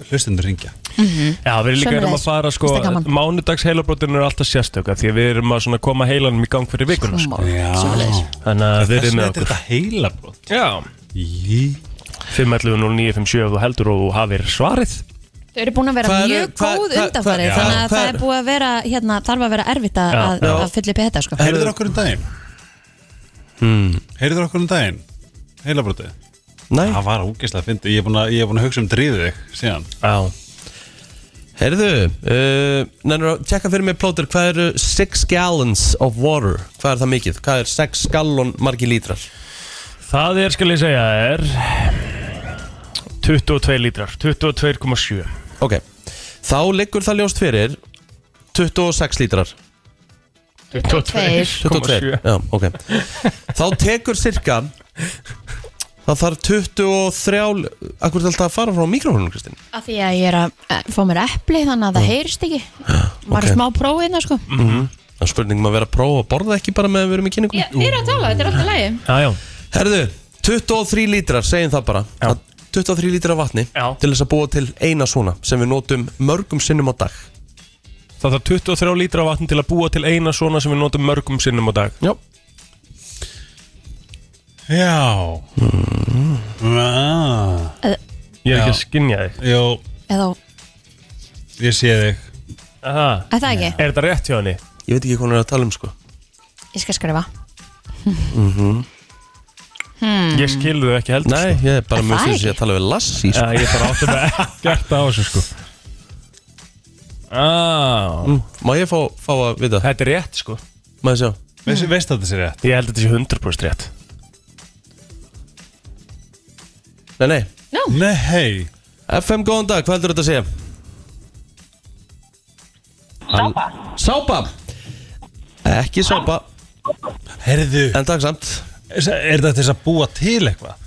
B: hlustundur ringja
D: Já, við erum líka erum að
C: Sömuleiðis.
D: fara sko
C: Finnst það gaman?
D: Mánudags heilabrótin eru alltaf sérstöka Því að við erum að svona koma heilanum í gang fyrir vikuna sko.
B: Já.
C: Svoleiðis.
D: Þannig að
B: Þess
D: við erum
B: vegna
D: með
B: er
D: okkur
B: þetta heila brot
D: Já,
B: Jí
D: 5.11.09.57 ef þú heldur og þú hafir svarið
C: Þau eru búin að vera
A: Hvað eru-
C: mjög
A: hvað-
C: góð
A: hvað-
C: undanfarið
A: hvað- já,
C: þannig að það
A: hvað-
C: er búið að vera hérna, þarf að vera erfitt að,
D: Já,
C: að,
A: já.
C: að fylla upp í þetta sko.
B: Heyrður okkur um daginn? Hmm. Heyrður okkur um daginn? Heila brotið?
A: Nei,
B: Það var ógeðslega fyndið, ég er búin að, ég er búin að hugsa um dríðu þig síðan
D: Já
A: heyrðu uh, Nennir að tjekka fyrir mig plótur hvað eru 6 gallons of water hvað er það mikið? Hvað er 6 gallon margi lítrar?
D: Það er, skal ég segja, er 22 lítrar, 22,7
A: Ok, þá liggur það ljóst fyrir 26 lítrar 22,
D: 22,7
A: já, ok Þá tekur cirka Það þarf 23 Akkur er alltaf að fara frá mikrofónum, Kristinn?
C: Af því að ég er að eh, fá mér epli þannig að það heyrist ekki Bara
A: ok.
C: smá prófið hérna sko
D: Mhm.
A: Það er spurningum að vera að prófa að borða ekki bara með að við erum í kynningum
C: Ég er að tala, þetta er alltaf lægi
D: Já, já,
A: Herðu, 23 lítrar, segjum það bara Það- 23 lítrar af vatni
D: Já.
A: til þess að búa til eina svona sem við notum mörgum sinnum á dag
D: það þarf 23 lítra af vatn til að búa til eina svona sem við notum mörgum sinnum á dag
A: Já,
B: Já mm. ah.
D: Hmm. Ég er ekki
B: Já.
D: að skinja þig
B: Jó,
C: Eða,
B: ég sé þig
D: Aha.
C: er það ekki?
D: Er þetta rétt hjá henni?
A: ég veit ekki hvað hún er að tala um sko
C: Ég skal skrifa
A: Mhm.
C: Hmm.
D: Ég skilði þau ekki heldur
A: Nei, ég er bara
C: Er
A: mjög
C: það
A: fyrir
C: ekki?
A: sig að tala við Lassi
D: sko.
A: sko.
D: Já, Ég bara átti með ekkert á þessu sko ah,
A: Mm, Má ég fá, fá að vita?
D: Þetta er rétt sko
A: Má ég sjá?
B: Veist, veist þetta sér rétt?
D: Ég held að þetta sé 100% rétt
A: Nei, nei
B: Nei, hei
A: FM, góðan dag, hvað heldur þetta að segja? Sápa Sápa Ekki sápa,
B: Herðu,
A: en takk samt
B: er þetta til þess að búa til eitthvað?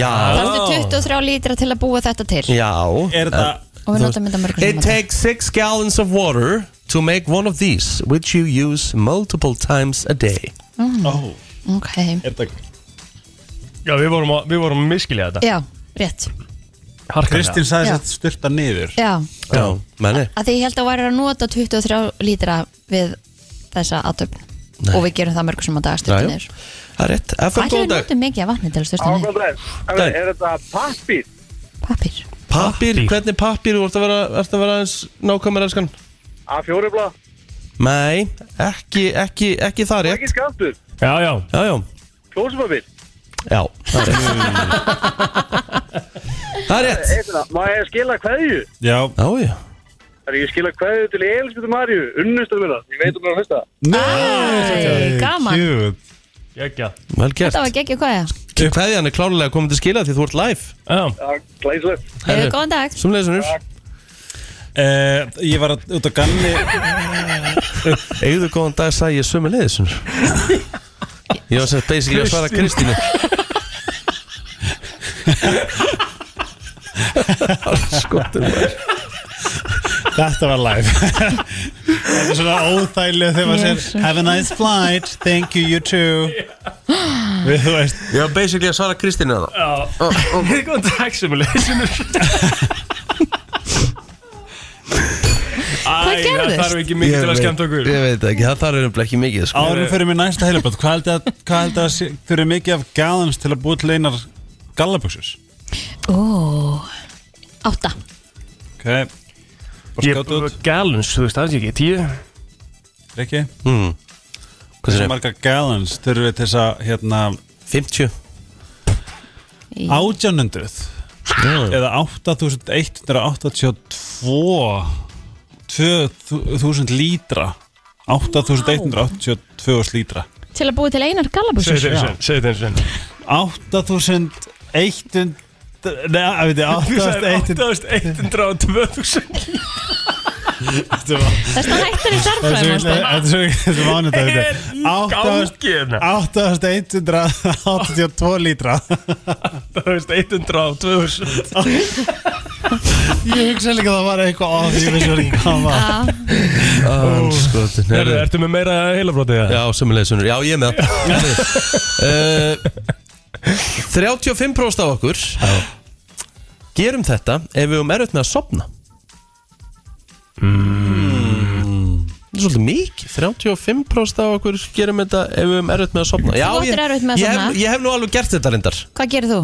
A: Já,
C: Það er 23 lítra til að búa þetta til
A: já
B: Er þetta,
C: Og við notum þetta
A: It
C: mörgum sinnum á dag
A: takes six gallons of water to make one of these, which you use multiple times a day.
B: ó,
C: Mm, Ok,
B: Oh. er þetta
D: Já, við vorum að, við vorum að miskilja þetta
C: já, rétt
D: Harkarlega.
B: Kristín sagði
C: Já.
B: þetta styrta niður
C: Já,
A: Já, menni.
C: að því ég held að væri að nota 23 lítra við þessa aðtöfn og við gerum það mörgum sem að
A: Já,
C: dagastöfnir
A: já. Það er rétt. FM,
C: Ætli
A: góðan
C: við
A: dag.
C: notum mikið af vatni til að stöfnir
A: Dag.
H: Er þetta pappir?
C: Pappir
A: Pappir,
D: Pappír.
A: hvernig pappir, þú ert að vera, ert að vera aðeins nákvæmur elskan?
H: A4-blá?
A: Nei, ekki, ekki, ekki það rétt.
H: Ekki skaptur?
D: Já, já,
A: Já, já,
H: Klósumabir?
A: já, það er rétt. það er rétt.
H: Má ég skila kveðju?
B: Já,
A: Já, já.
H: Það er ég skila kveðju til Elisbjörn Marju, unnustur minna. Ég veit um hún að hlusta.
C: Æ, gaman
B: cute
D: ekki
A: Vel gert.
C: Þetta var geggjöð hvaðja
A: Kveðjan er klárlega komið til skila því þú ert live.
D: Já,
H: Já, glæsilegt.
C: Hefur góðan dag
A: Sumleðisunur.
B: Uh, ég var að- út á ganni
A: Eigðu góðan dag sagði ég sömu leiðisunur Ég var sem sagt basically að svara Kristínu Skotur maður
B: Þetta var live Þetta er svona óþægilega þegar maður sér Have a nice flight, thank you, you too Við þú veist
A: Ég var basically að svara Kristínu þá
D: Góðan dag sem er leysinur
C: Hvað
D: Það
C: gerðist?
D: þarf ekki mikið til að skemmt okkur
A: Ég veit ekki, það þarf um ekki mikið sko.
B: Árum fyrir mér næsta heilabrætt Hvað held að, hvað held að sé- þurfi mikið af gæðans til að búa til einar gallabuxus?
C: Ó, átta
B: Ok Bara
D: Ég,
B: skjóta út
D: gallons, þú veist, það er ekki, tíu
B: Rikki
A: mm. Hvað
B: Hversu
A: segirðu?
B: marga gallons þurfum við til þess að hérna
A: 50
C: Í-
B: 1800
A: Já.
B: eða 8182 2000 lítra 8182 lítra
C: Til að búi til einar gallabúsur
D: Segðu þetta einu sinni, segðu þetta eins og
B: 8100 Nei, að veit ég, 8100
D: 812000
C: Þess að hættir í
B: Þetta
C: starfræðum
B: er svo- þetta er svo þetta er mánudag þetta er.
D: Gangi hérna
B: 8182 lítra
D: 812000
B: Ég hugsa líka að það var eitthvað á því ég vissi verið ekki hvað það var
C: Já,
A: Andskotinn,
D: Herðu,
A: herðu.
D: ertu með meira heilabrótið það?
A: sko, Já, sömulegis Já, ég er með það uh, 35% af okkur Gerum þetta ef við um erfitt með að sopna Það er svolítið mikið 35% af okkur gerum þetta ef við um erfitt með að sopna Já,
C: Þú
A: ég,
C: áttir erfitt með að
A: ég,
C: sofna.
A: hef, ég hef nú alveg gert þetta reyndar
C: hvað gerir þú?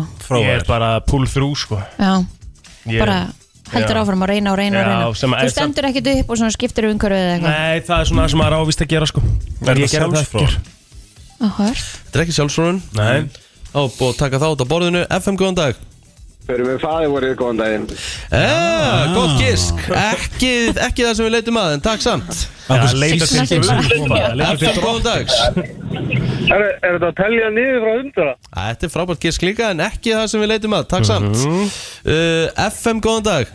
D: Ég er bara pull through sko
C: Já,
D: Ég-
C: bara heldur
D: Já.
C: áfram að reyna og reyna og
D: Já, sem
C: reyna
D: að-
C: Þú stendur ekkit upp og svona skiptir um umhverfið eða eitthvað
D: Nei, það er svona það sem maður ávist að gera sko
B: Er
D: Ég
B: það
D: gerði það
B: sjálfsfróður?
D: ekki.
C: Áhört.
A: Þetta er ekki sjálfsrónun
D: Nei,
A: Á, búið að taka það út á borðinu FM, góðan dag
H: Fyrir með faði voruð góðan daginn
A: Já, Ah, gott gisk ekki, ekki það sem við leitum að, en takk samt
D: það leita til
C: Sýkna sig.
D: Guðs bara, leita til
A: FM, góðan dags
H: Er, er þetta að telja niður frá hundra?
A: Æ, Þetta er frábært gisk líka en ekki það sem við leitum að, takk samt
D: Mhm.
A: uh, FM, góðan dag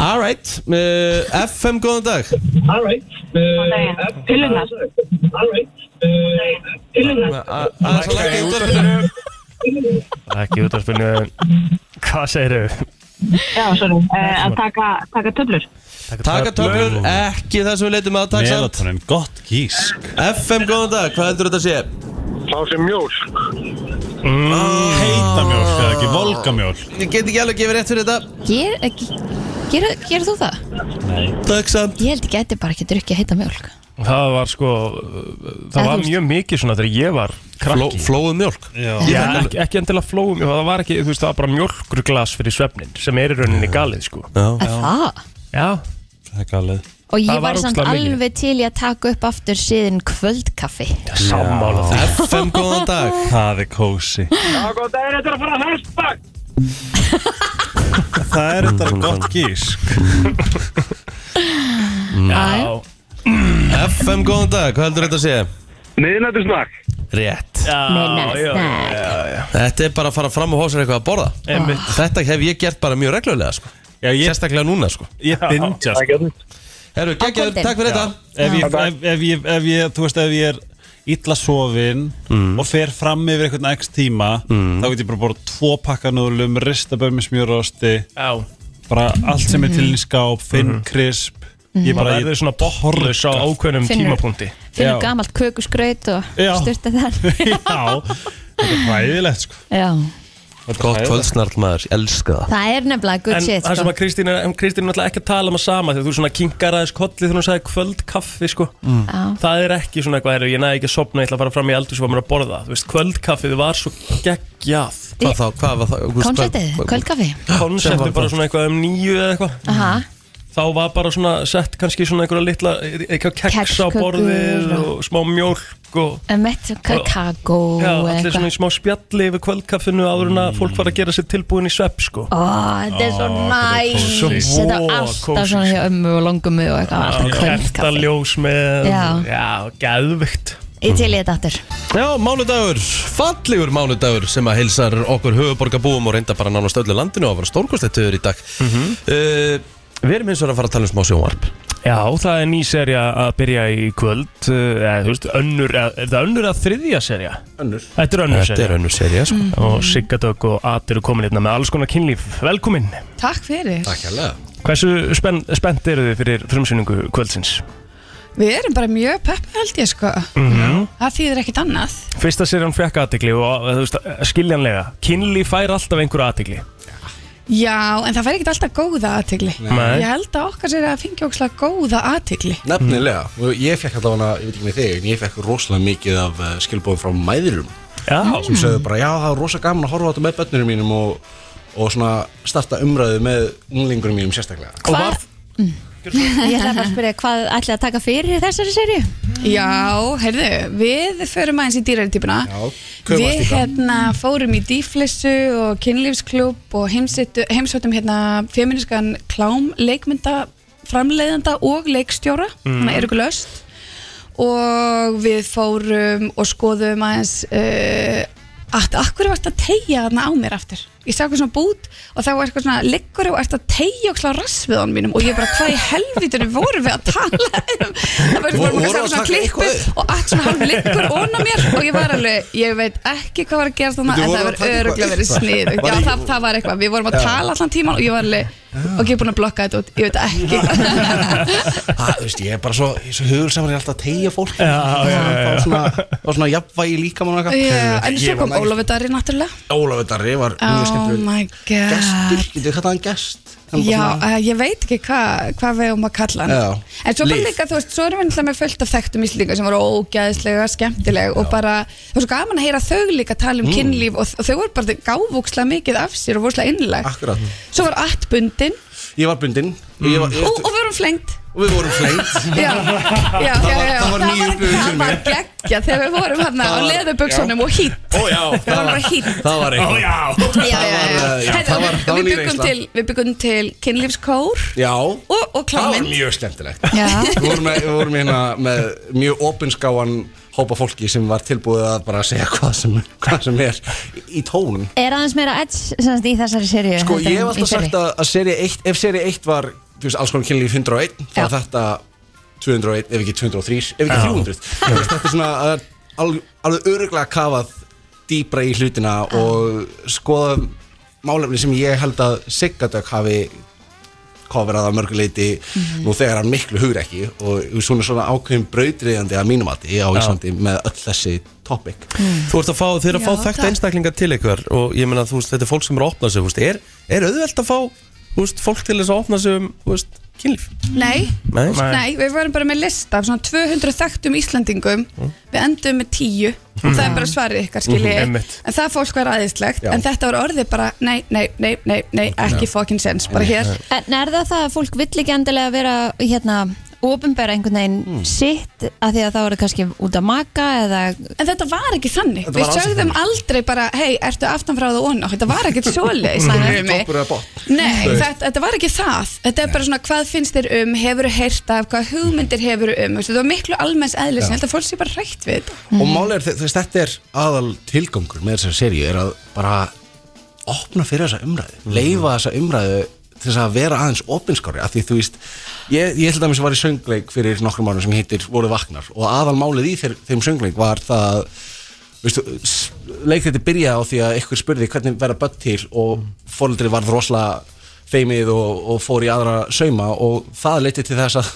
A: Alright, uh, FM, góðan dag
H: Uh,
I: Pilunar
A: A- a- aðeins að lækka í útvarpinu.
D: Ekki út af spilinu Hvað segir þau?
I: Já, sorry uh, Að taka, taka töflur
A: Taka töflur, ekki það sem við leitum að, takk samt
B: Melatonin, gott gís
A: FM, góðan dag, hvað heldur þetta að sé?
H: Fá sem mjólk
B: Heitamjólk eða ekki, volgamjólk
A: Ah. Ég get ekki alveg að gefa rétt fyrir þetta
C: Ger, eh, ge- gerir- Gerir þú það?
A: Takk samt
C: Ég held ekki að þetta bara ekki drukkið að heita mjölk
D: Það var sko
C: Eða
D: Það var
C: þú veist-
D: mjög mikið svona þegar ég var
A: Fló,
D: krakki
A: Flóðu mjólk
D: Já, ekki, ekki endilega flóum, það var ekki, þú veist, það var bara mjölkur glas fyrir svefnin sem er í rauninni galið, sko.
A: Já.
C: Er það?
D: Já,
B: Það er galið
C: Og ég
D: Það var
C: var samt
D: ógeðslega mikið.
C: alveg til í að taka upp aftur síðan kvöldkaffi
D: sammála því.
A: FM, góðan dag
B: Það er kósi
H: Já, góðan daginn, þetta er að fara að hesta
B: Það er þetta gott gís
D: Já,
A: FM, góðan dag, hvað heldur þetta að sé?
H: Miðnættisnakk
A: Rétt
D: já, já,
C: Minna
A: Þetta er bara að fara fram og hósa eitthvað að borða Ah.
D: einmitt.
A: Þetta hef ég gert bara mjög reglulega sko.
B: Já, ég,
A: Sérstaklega núna sko.
B: ég bindja sko.
A: Herru, geggjaður,
C: kvöldin.
A: takk fyrir þetta
B: ef, ég, ef, ef, ég, ef ég, þú veist, ef ég er illa sofin
A: Mm.
B: og fer fram yfir einhvern x tíma þá get ég bara borða tvo pakkanúlum ristaböð með smjörosti
D: Já,
B: bara allt sem er til í skáp finn
A: Mhm.
B: krisp ég
D: það
B: bara, ég,
D: verður svona botnlaus á ákveðnum
C: Finnur.
D: Um tímapunkti.
C: Finnur
B: Já.
C: gamalt kökuskraut og
B: Já.
C: styrta þar
B: já, þetta er hræðilegt sko.
C: Já,
A: Gott kvöldsnarl maður, ég elska það
C: það er nefnilega good
D: En
C: shit
D: það sem
C: sko.
D: að Kristín er, en Kristín er náttúrulega ekki að tala um að sama þegar þú svona kinkar aðeins kollið þegar hún sagði kvöldkaffi, sko.
A: Mm.
C: Já.
D: Það er ekki svona eitthvað, heyrðu, ég næði ekki að sopna, ég ætla að fara fram í eldur sem var mér að borða. Þú veist, kvöldkaffið var svo geggjað.
A: Hvað þá, hvað var það? Gúst,
C: Konceptið,
A: hvað-
C: kvöldkaffi
A: Sem var
D: Konseptið bara
A: það.
D: svona eitthvað um nýju eða eitthvað.
C: Aha,
D: þá var bara svona sett kannski svona einhverja litla eitthvað keks á
C: Kexkökur
D: borðið
C: og-
D: og smá mjólk og
C: mett kakagó
D: já, allir svona í smá spjalli yfir kvöldkaffinu áður en að fólk var að gera sér tilbúin í svepp sko
C: Ó, þetta er svo næs
D: Ah, kósí.
C: Þetta er
D: Svo
C: alltaf
D: kósí,
C: svona hjá
D: sko.
C: ömmu og longumu og eitthvað alltaf
D: Kerta
C: kvöldkaffi
D: ljós með
C: Já.
D: já geðvikt
C: Ég til í þetta aftur
A: Já, mánudagur, fallegur mánudagur sem að heilsar okkur höfuborgarbúum og reynda bara nánast öllu landinu og að vera stórkostettuður í dag uh, Við erum eins og að fara að tala um smá sjónvarp
D: Já, það er ný serja að byrja í kvöld eh, eða þú veist, önnur, eða- er það önnur að þriðja serja? Önnur Þetta er önnur
A: Þetta er
D: serja
A: önnur serið, sko
C: Mm.
D: og Sigga Dögg og At eru komin hérna með alls konar kynlíf Velkomin
J: Takk fyrir.
A: Takk hérlega
D: Hversu spenn, spennt eru þið fyrir frumsýningu kvöldsins?
J: Við erum bara mjög peppi held ég sko.
D: Mm
K: Mhm.
D: -hmm.
J: Það þýðir ekkit annað.
D: Fyrsta serið fekk aðtegli og þú veist, skiljanlega Kynli fær alltaf einhverju aðtegli
J: Já, en það fær ekkit alltaf góða aðtigli.
D: Nei.
J: Ég held að okkar sér að fengi ókslega góða aðtigli.
K: Nefnilega, og ég fekk allavega, ég veit ekki með þig, en ég fekk rosalega mikið af uh, skilbóðum eh, frá mæðurum sem sögðu bara, já það var rosa gaman að horfa á þetta með börnunum mínum og, og svona starta umræðu með unglingurum mínum sérstaklega
C: Hvað? Mm. Ég ætla bara að spyrja hvað ætlaði að taka fyrir í þessari serju
J: Já, heyrðu, við förum aðeins í dýrartýpuna
K: köfum
J: Við
K: aðeins dýpra.
J: hérna fórum í dýflissu og kynlífsklub og heimsittu- heimsóttum hérna feminískan klám leikmynda framleiðanda og leikstjóra
L: Mm.
J: mm. er ykkur löst og við fórum og skoðum aðeins uh, að akkur er þetta að tegja þarna á mér aftur ég sá eitthvað svona bút og þá var eitthvað svona liggur og ert að tegja og slá rassviðan mínum og ég bara hvað í helvitinu vorum við að tala um það var bara
L: Voru-
J: maður sá
L: voru að
J: svona
L: taka
J: klippu og allt svona hann liggur óna mér og ég var alveg, ég veit ekki hvað var að gerast þarna
L: Bíddu,
J: en
L: voru að
J: það var
K: um
L: taka eitthvað
J: öruglega verið
L: eitthvað? Var
J: snið já
L: í-
J: það, það var eitthvað, við vorum að
K: Já.
J: tala allan tíman og ég var alveg, og ég er búin að blokka þetta út ég veit ekki
K: það, þú veist, ég er bara svo, ég er svo hugulsamur ég er alltaf að tegja fólk já,
J: já, já.
K: Fá, svona, fá svona jafnvægi líka mann
J: Já, en svo kom Ólafur Darri náttúrulega
K: Ólafur Darri var mjög
J: Oh
K: skemmtileg
J: my god
K: Getur þetta hann gest? Hann bara
J: Já,
K: svona-
J: uh, ég veit ekki hvað hva við um að kalla hann
K: Já.
J: En svo bara
K: Líf.
J: líka, þú veist, svo erum við náttúrulega með fullt af þekktum íslendingar sem voru ógæðislega skemmtileg og bara, þú veist, svo gaman að heyra þau líka tala um
K: Mm.
J: kynlíf og, og þau voru bara gáfúkslega mikið af sér og voru slag innleg
K: Akkurat
J: Svo var allt bundin
K: Ég var bundinn ég var, ég,
J: og, og við vorum flengt
K: og Við vorum flengt
J: Já, já,
K: Það
J: já,
K: var-
J: já.
K: það var nýju upplifun fyrir
J: Það var
K: mig.
J: geggja þegar við vorum hann á
K: Það var-
J: leðuböksunum og hít
K: Ó já,
J: Við vorum bara hít
K: það var
J: Ó,
K: eitthvað
J: já. Já, já, já. Herðu,
K: Það var, það var
J: Við
K: nýr
J: byggum
K: reynsla.
J: til, við byggum til kynlífskór
K: Já
J: og, og
K: Það var
J: klámynd
K: mjög skemmtilegt
J: Já.
K: Við vorum, með, við vorum hérna með mjög opinskáan hópa fólki sem var tilbúið að bara segja hvað sem, hvað sem er í- í tónum
C: Er aðeins meira edge semst, í þessari serju
K: Sko
C: heldur
K: ég hef
C: en í
K: alltaf
C: fyrri?
K: sagt að, að seria 1, ef seria 1 var þú veist, alls konar kynlíf 101 þá er þetta 201, ef ekki 203 ef ekki
E: Já.
K: 300 Þú veist, Þetta er svona að alveg, alveg öruglega kafað dýpra í hlutina og skoða málefni sem ég held að Siggadök hafi coverað að mörguleiti
E: Mhm.
K: nú þegar hann miklu hugur ekki og svona svona ákveðin brautriðandi að mínum að á
A: Já.
K: Íslandi með öll þessi topic
C: Mm.
A: Þú ert að fá, þeir að
K: Já,
A: fá þekkt
K: takk.
A: einstaklingar til ykkur og ég meina, þú veist, þetta er fólk sem er að opna sig, þú veist, er, er auðvelt að fá, þú veist, fólk til þess að opna sig um, þú veist, kynlíf?
J: Nei,
A: Nei.
J: nei, við vorum bara með lista af svona 200 þekktum Íslandingum Við endum með 10
A: Mm.
J: og það er bara svarið ykkar skilji
A: Mhm,
J: En
A: einmitt.
J: það fólk var aðeinslegt
A: Já.
J: En þetta var orðið bara, nei, nei, nei, nei, nei ekki
C: Já.
J: fucking sense Bara hér
C: En er það það að fólk vill ekki endilega vera hérna ofinbæra einhvern veginn sitt að því að það voru kannski út að maka eða
J: En þetta var ekki þannig Við
C: Þetta var alls ekki
J: sögðum aldrei bara, hei, ertu aftanfráð og onna Þetta var ekkert svoleiðis skilurðu mig.
K: Toppur eða botn
J: Nei,
K: Þú veist.
J: þetta, þetta var ekki það Þetta er bara svona hvað finnst þér um, hefur þú heyrt af hvað hugmyndir hefur um, veistu, þetta var miklu almenns eðlis,
K: Já.
J: en þetta fólk sé bara hrætt við þetta
K: og
C: Mm.
K: málið er þess þetta er aðal tilgangur með þessari seríu er að bara opna fyrir þessa umræðu leifa þessa umræðu til þess að vera aðeins opinskári af því þú veist ég, ég held að mér sem var í söngleik fyrir nokkrum árum sem heitir voru vaknar og aðal málið í þeir, þeim söngleik var það að, veistu, s- leik þetta byrjaði á því að ykkur spurði hvernig verða börn til og fóreldri varð rosalega feimið og, og fór í aðra sauma og það leiti til þess að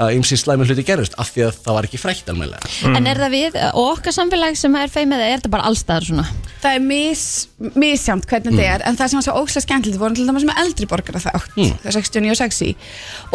K: að ymsi slæmi hluti gerist af því að það var ekki frækt almennilega
C: En er það við og okkar samfélag sem er feimið eða er þetta bara allstaðar svona?
J: Það er mis, misjamt hvernig þetta er en það sem var svo óslega skemmtilegt voru til dæmis með eldri borgara þátt
C: Mm.
J: mm. 69 og 60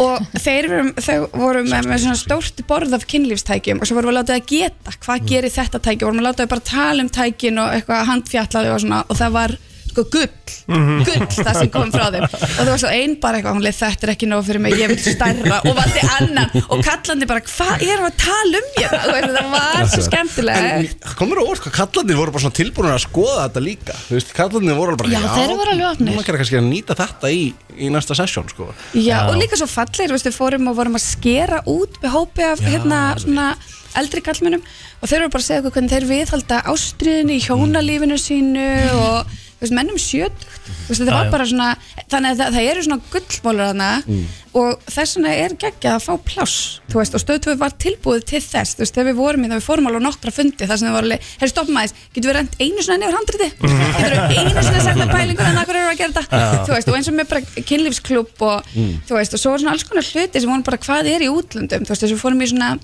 J: og þeir voru, þeir voru með, með svona stórt borð af kynlífstækjum og svo vorum við að láta það geta hvað gerir þetta tæki, vorum við að láta það bara tala um tækin og eitthvað handfjallaði og svona og það var sko gull
D: Mhm.
J: gull það sem kom frá þeim og það var svo einn bara eitthvað, hún leið þetta er ekki nóg fyrir mig ég vil stærra og valdi annan og kallandi bara, hvað er að tala um ég það var svo skemmtilegt
K: En það komur á orð hvað kallarnir voru bara svona tilbúin að skoða þetta líka Þú veist, kallarnir voru alveg bara
J: Já, þeir voru alveg opnir."
K: Nú er kannski að nýta þetta í, í næsta sesjón, sko
J: Já, og líka svo fallegir, veistu, fórum og vorum að skera út með hópi af hérna svona eldri kallmennum og þeir eru bara að segja okkur hvernig þeir viðhalda ástriðinu í hjónalífinu sínu og þú veist, mennum sjötugt þú veist, þetta
L: Já,
J: var
L: já.
J: bara svona, þannig að það, það eru svona gullmólur hana
C: Hmm.
L: Mm.
J: og þess vegna er geggjað að fá pláss þú veist, og stöðtöfu var tilbúið til þess þú veist, þegar við vorum í það, við fórum alveg á nokkra fundi þar sem þau voru alveg, herri stoppum aðeins, getur við rent einu svona niður handriti? Getur við einu svona sagt að pælingur en akkur eru að gera þetta?
L: Já.
J: Þú veist, og eins og með bara kynlífsklub og
L: Mm.
J: þú veist, og svo var svona alls konar hluti sem voru bara hvað er í útlöndum, þú veist, þess að við fórum í svona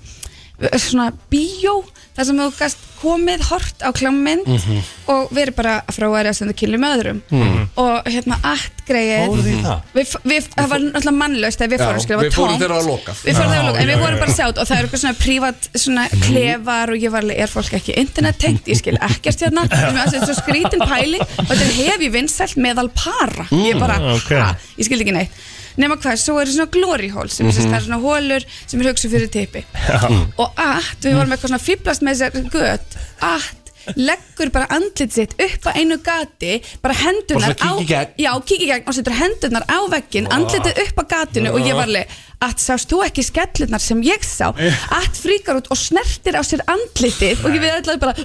J: svona bíó þar sem þú gast komið hort á klámynd
L: Mhm.
J: og verið bara frá að reyða stundum kynlu með öðrum
K: Mm.
L: Mhm.
J: og hérna allt greið
L: Fóruð þið í það?
J: Við, við, það var náttúrulega mannlaust þegar við
K: Já,
J: fórum skilur, það var
K: við fórum
J: tómt.
K: þegar það var lokað.
J: Við fórum þegar
K: Já,
J: að loka, en
K: já,
J: við
K: já,
J: vorum bara
K: já.
J: sjátt og það eru eitthvað svona prívat svona klefar og ég var alveg, er fólk ekki internet tengt, ég skil ekkert hérna Mér fannst þetta svo skrítin pæling og þetta er hefi vinsælt meðal para Ég bara,
K: Mm.
C: Hmm,
J: ha, ég skildi ekki neitt nema hvað, svo eru svona glory holes sem mm
L: Mhm.
J: það eru svona hólur sem er hugsu fyrir tippi og allt, við
L: Mm.
J: vorum eitthvað svona fýblast með þessar gött, allt leggur bara andlit sitt upp á einu gati bara hendunar
L: Bara svona kíkja í gegn.
J: já, kíkja í gegn og setur hendunar á veggin
L: Vá.
J: andlitið upp á gatinu og ég var alveg að sást þú ekki skellurnar sem ég sá að fríkar út og snertir á sér andlitið og ég við ætlaði bara uh,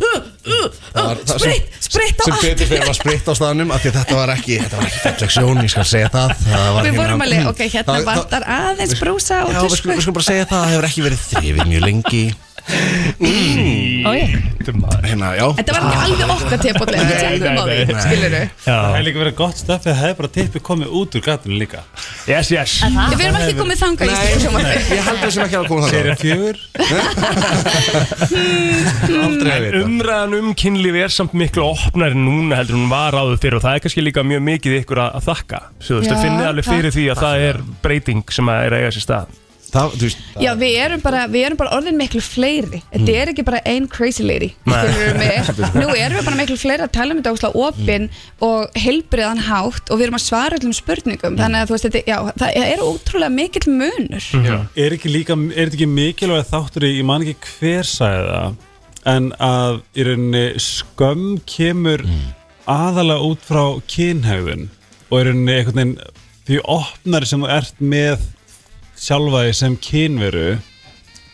J: uh, uh, spritt, spritt á
K: sem
J: allt
K: betur fyrir var spritt á staðnum af því að þetta var ekki, þetta var ekki falleg sjón ég skal segja það, það var
J: við
K: hérna-
J: vorum alveg, ok, hérna
K: Það- það-
J: vantar aðeins brúsa og
K: Já, við skulum, við skulum bara segja það, það hefur ekki verið þrifið mjög lengi Mm.
J: Oj.
K: Hérna, já
J: Mm. Þetta
L: Ah.
J: var ekki alveg okkar tepotlega Tjekkum á því, skilur við
B: Það hefði líka verið gott stöf Það hefði bara tippið komið út úr gatinu líka
D: Yes, yes
J: Við erum ekki komið þangað í stíku sjómanfi
B: Serið fjögur
D: En umræðan um kynlífi er samt miklu opnari núna heldur en hún var áður fyrir og það er kannski líka mjög mikið ykkur að, að þakka Svo þú veist,
J: Já,
D: það finnið alveg fyrir
J: takk.
D: því að það er breyting sem að er að eiga sér stað
K: Það, þú veist
J: Já, við erum bara, við erum bara orðin miklu fleiri Þetta
K: Mm.
J: er ekki bara ein crazy lady skilurðu mig. Nú erum við bara miklu fleiri að tala um þetta óslega
K: Mm.
J: opin og heilbriðan hátt og við erum að svara öllum
K: Mm.
J: spurningum þannig að þú veist, þetta, já, það er ótrúlega mikill munur
B: Er ekki líka, er þetta ekki mikilvæg þáttur í, ég man ekki hver sagði það en að í rauninni skömm kemur aðalega út frá kynhauðun og í rauninni einhvern veginn því opnari sem þú ert með sjálfaði sem kynveru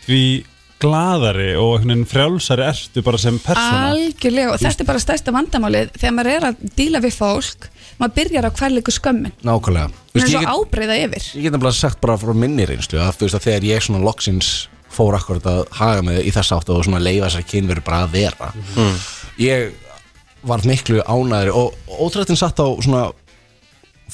B: því gladari og einhvern veginn frjálsari ertu bara sem persóna
J: Algjörlega, og þetta er bara stærsta vandamálið þegar maður er að díla við fólk maður byrjar á hverleiku skömmin
K: nákvæmlega Þú
J: hún er svo
K: veist, ég, get,
J: ábreyða yfir
K: ég get nefnilega sagt bara frá minni reynslu að, þú veist, að þegar ég svona loksins fór akkurat að haga mig í þess átt og svona leifa þessar kynveru bara að vera
A: Mm.
K: ég var miklu ánæðri og ótrættin satt á svona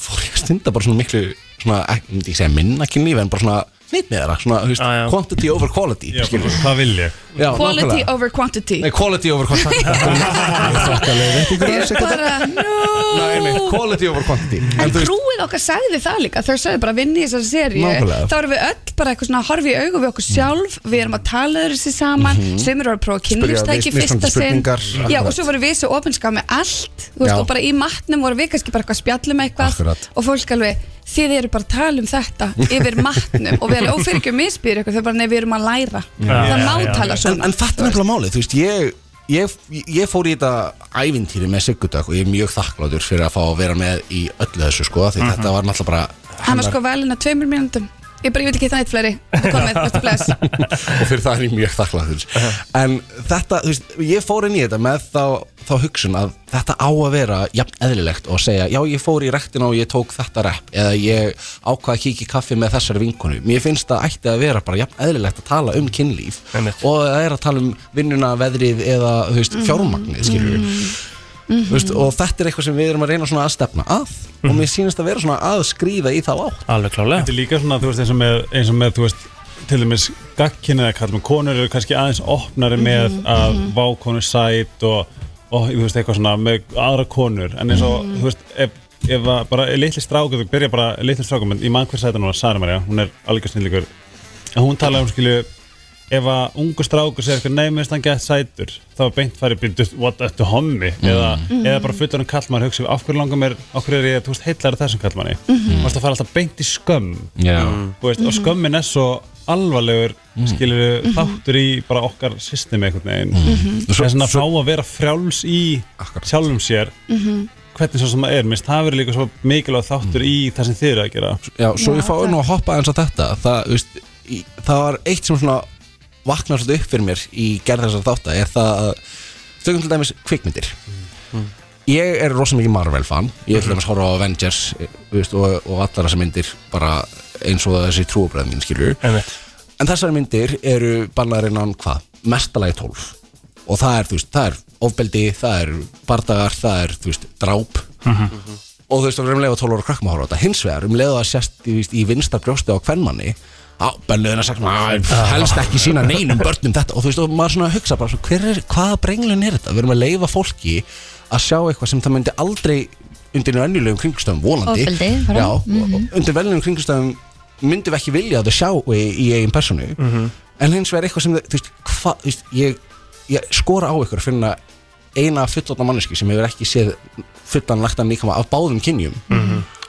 K: fór ég að stunda bara svona miklu svona, ekki, myndi ég segja minna kynlífi en bara svona neitt með þeirra, svona, þú veist, quantity over quality
B: Já,
K: skilur.
B: bara, hvað vil ég?
K: Já,
J: Quality
K: nákvæmlega.
J: over quantity
K: Nei, quality over quantity Þakkalega veitingur
J: Ég bara,
K: Nei, nei,
J: no
K: quality over quantity
J: En krúið okkar sagði það líka, þau sagði bara vinni í þessari séri
K: Nákvæmlega.
J: Þá erum við öll bara eitthvað svona að horfa í augu við okkur sjálf Við erum að tala öðru sér saman mm
K: Mhm.
J: Sumir eru að prófa
K: Spyrja
J: kynlífstæki
K: mis-
J: fyrsta
K: mismunandi
J: sinn
K: spurningar,
J: Já,
K: akkurat.
J: og svo voru við svo opinská með allt Þú
K: Já.
J: veist, og bara í matnum voru við kannski bara eitthvað að spjalla með eitthvað
K: Akkurat.
J: Og fólk alveg, þið eru bara að tala um þetta yfir matnum Og við erum ófyrirgjum misbýður ykkur, þau bara, nei, við erum að læra Það má tala
K: En, en
J: svona
K: þetta er nefnilega málið, þú veist, ég Ég, ég fór í þetta ævintýri með Sigurdök og ég er mjög þakkláttur fyrir að fá að vera með í öllu þessu sko því þetta var náttúrulega bara
J: Hann var sko velin að tveimur mínúndum Ég bara, ég vil ekki hitta neitt fleiri Komið, vertu bless
K: og fyrir það er ég mjög þakkláttur en þetta, þú veist, ég fór inn í þetta með þá, þá hugsun að þetta á að vera jafn eðlilegt og segja já, ég fór í rektina og ég tók þetta rep eða ég ákvaða að kíkja í kaffi með þessari vinkonu mér finnst það ætti að vera bara jafn eðlilegt að tala um kynlíf og það er að tala um vinnuna, veðrið eða, þú
J: Mhm.
K: veist, fjármagnið, skilur við Þú veist, og þetta er eitthvað sem við erum að reyna svona að stefna að og mér sýnist að vera svona að skrýða í þá átt
D: Alveg klálega
B: Þetta er líka svona, þú veist, eins og með, eins og með þú veist, til dæmis gagkinni eða kallum konur eru kannski aðeins opnari með að vá konu sæt og, og þú veist, eitthvað svona með aðra konur, en eins og, þú veist, ef, ef að bara litli strákur, þú byrja bara litli strákur, menn ég man hver sæta núna, Sara Maria, hún er algjör snillíkur, en hún talaði um, skilju, ef að ungu strákur segir eitthvað neymist hann gett sætur þá er beint farið byrjum what up to hommi eða,
G: Mhm.
B: eða bara fullorinn kallmann hugsa af hverju langar mér, af hverju er ég þú veist, heillar af þessum kallmanni, þú
G: Mhm.
B: veist að fara alltaf beint í skömm
K: Já.
B: Þú veist, og
G: Mhm.
B: skömmin er svo alvarlegur mm. skilur
G: Mhm.
B: þáttur í bara okkar systemi einhvern veginn
G: Mhm.
B: það er svona að fá að vera frjáls í sjálfum sér
G: Mhm.
B: hvernig svo sem það er, minnst það verður líka svo mikilvæg þáttur í það sem þið eru að gera
K: Já, svo ég fáið nú að hoppa eins á þetta það, þú veist, í, það var eitt sem svona vaknar svolítið upp fyrir mér í gerð þessar þáttar er það að tökum til dæmis kvikmyndir
A: Mm.
K: ég er rosa mikið Marvel fan ég er til dæmis að horfa á Avengers eh, þú veist, og, og allar þessar myndir bara eins og þessi trúabræð mín skilur
D: Einmitt.
K: en þessar myndir eru bannaðar innan hvað? mestalagi 12 og það er, þú veist, það er ofbeldi, það er bardagar, það er, þú veist, dráp um og þú veist, við erum leið að 12 ára krakkum að horfa á þetta hins vegar, um leið að sérst í, víst, í vinstar brjósti á hvernmanni á, bönnuðina sagt maður, æ,
A: Ah.
K: helst ekki sína neinum börnum þetta og þú veist, og maður svona hugsa bara svona, hver er, hvaða brenglun er þetta? Við erum að leifa fólki að sjá eitthvað sem það myndi aldrei undir venjulegum kringustöðum, volandi
C: Ofbeldi, bara.
K: Já,
C: Mhm.
K: undir venjulegum kringustöðum myndum við ekki vilja að það sjá í, í eigin personu en hins vegar eitthvað sem, þau- þú veist, hvað, þú veist, ég, ég skora á ykkur að finna eina fullotna manneski sem hefur ekki séð fullan lagtan líkama af báðum kynjum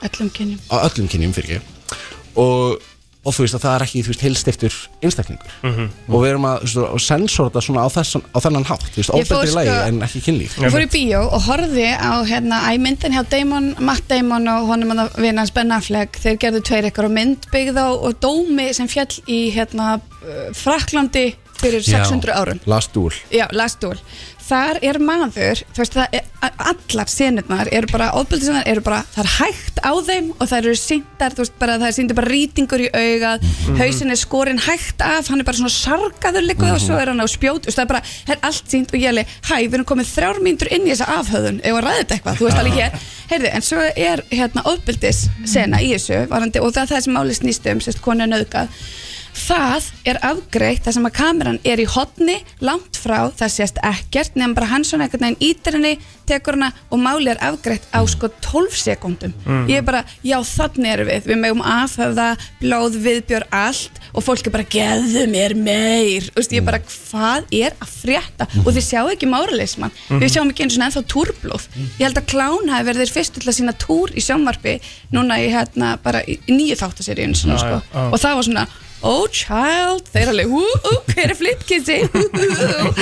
J: öllum kynjum
K: á öllum kynjum fyrir ekki og, og þú veist að það er ekki þú veist heilstiftur einstaklingur
A: Mhm.
K: og við erum að, þú veist, að sensora þetta svona á, þessan, á þennan hátt, þú veist,
J: Ég fór
K: óbættir í lagi
J: sko-
K: en ekki kynlíf
J: Ég fór í bíó og horfði á hérna, æ, myndin hjá Damon, Matt Damon og honum að vinna hans Ben Affleck þeir gerðu tveir ykkur á mynd byggð á og dómi sem fjall í hérna, eh, Frakklandi fyrir 600 árum
K: Last Duel
J: Já, lastúl. Þar er maður, þú veist, það er, allar senurnar eru bara, ofbeldisnar eru bara, það er hægt á þeim og það eru síndar, þú veist, bara, það er síndir bara rýtingur í augað,
L: Mhm.
J: hausinn er skorinn hægt af, hann er bara svona sargaður líkuð og svo er hann á spjót, þú veist, það er bara, það er allt sínd og ég alveg, hæ, við erum komið þrjár mínútur inn í þessa afhöðun, ef að ræða þetta eitthvað, þú veist, alveg hér, heyrðu, en svo er hérna ofbeldis sena í þessu, varandi, og það er það sem máli snýst um, sérst, konu nöðgað, það er afgreitt þar sem að kameran er í hotni langt frá, það sést ekkert nefn bara hann svona einhvern veginn ítir henni tekur hana og máli er afgreitt á sko 12 sekúndum
L: Mm.
J: ég er bara, já þannig erum við, við megum aðhöfða blóð, viðbjör, allt og fólk er bara, geðu mér meir og ég er bara, hvað er að frétta og þið sjáu ekki máralisman
L: Mhm.
J: við sjáum ekki einu svona ennþá túrblóð ég held að klán hafi verið þeir fyrst til að sína túr í sjónvarpi núna í hérna bara í, í nýju þáttaseríun svona,
L: Já, já,
J: sko.
L: já.
J: og það var svona oh child, þeir alveg hú, hú, hver er flipkissi hú, hú, hú.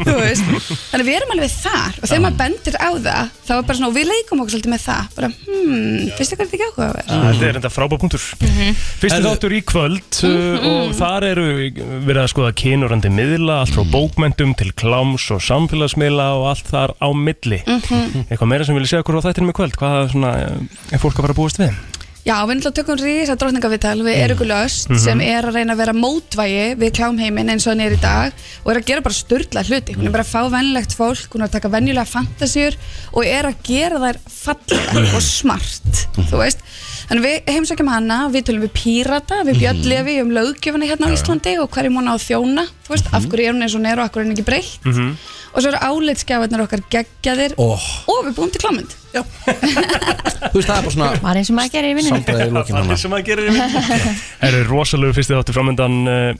J: þú veist þannig að við erum alveg þar og þegar maður bendir á það þá er bara svona, og við leikum okkur svolítið með það bara, hmm, finnst ykkur þetta ekki áhugaverð
D: Þetta er enda frábær punktur
M: Mhm.
D: Fyrsti
J: Herðu-
D: þáttur í kvöld uh, og þar eru verið að skoða kynurandi miðla, allt frá bókmendum til kláms og samfélagsmiðla og allt þar á milli
J: Mhm.
D: Eitthvað meira sem vilja segja okkur á þættinum í kvöld hvað svona, eh, er fólk að fara að búast við?
J: Já, við náttúrulega tökum rísa drottningavital við Eriku Löst
D: Mhm.
J: sem er að reyna að vera mótvægi við klámheimin eins og hann er í dag og er að gera bara störla hluti, hún er bara að fá venlegt fólk, hún er að taka venjulega fantasjur og er að gera þær fallegar og smart, þú veist Þannig við heimsækjum hana, við tölum við pírata, við Björn
L: Mhm.
J: Lefi um löggjöfuna hérna á
L: Já, já.
J: Íslandi og hverjum hún á að þjóna, þú veist, af hverju er hún eins og hún er og af hverju er hún ekki breytt
D: Mm.
J: og svo eru álitskjafarnar okkar geggjaðir
K: Oh.
J: og við búum til klámynd.
K: Já. Þú veist, það er bara svona
C: Var eins og maður gerir í vinnunni
D: Það sem að gera í vinnunni Eru rosalegu fyrsti þáttur framöndan uh,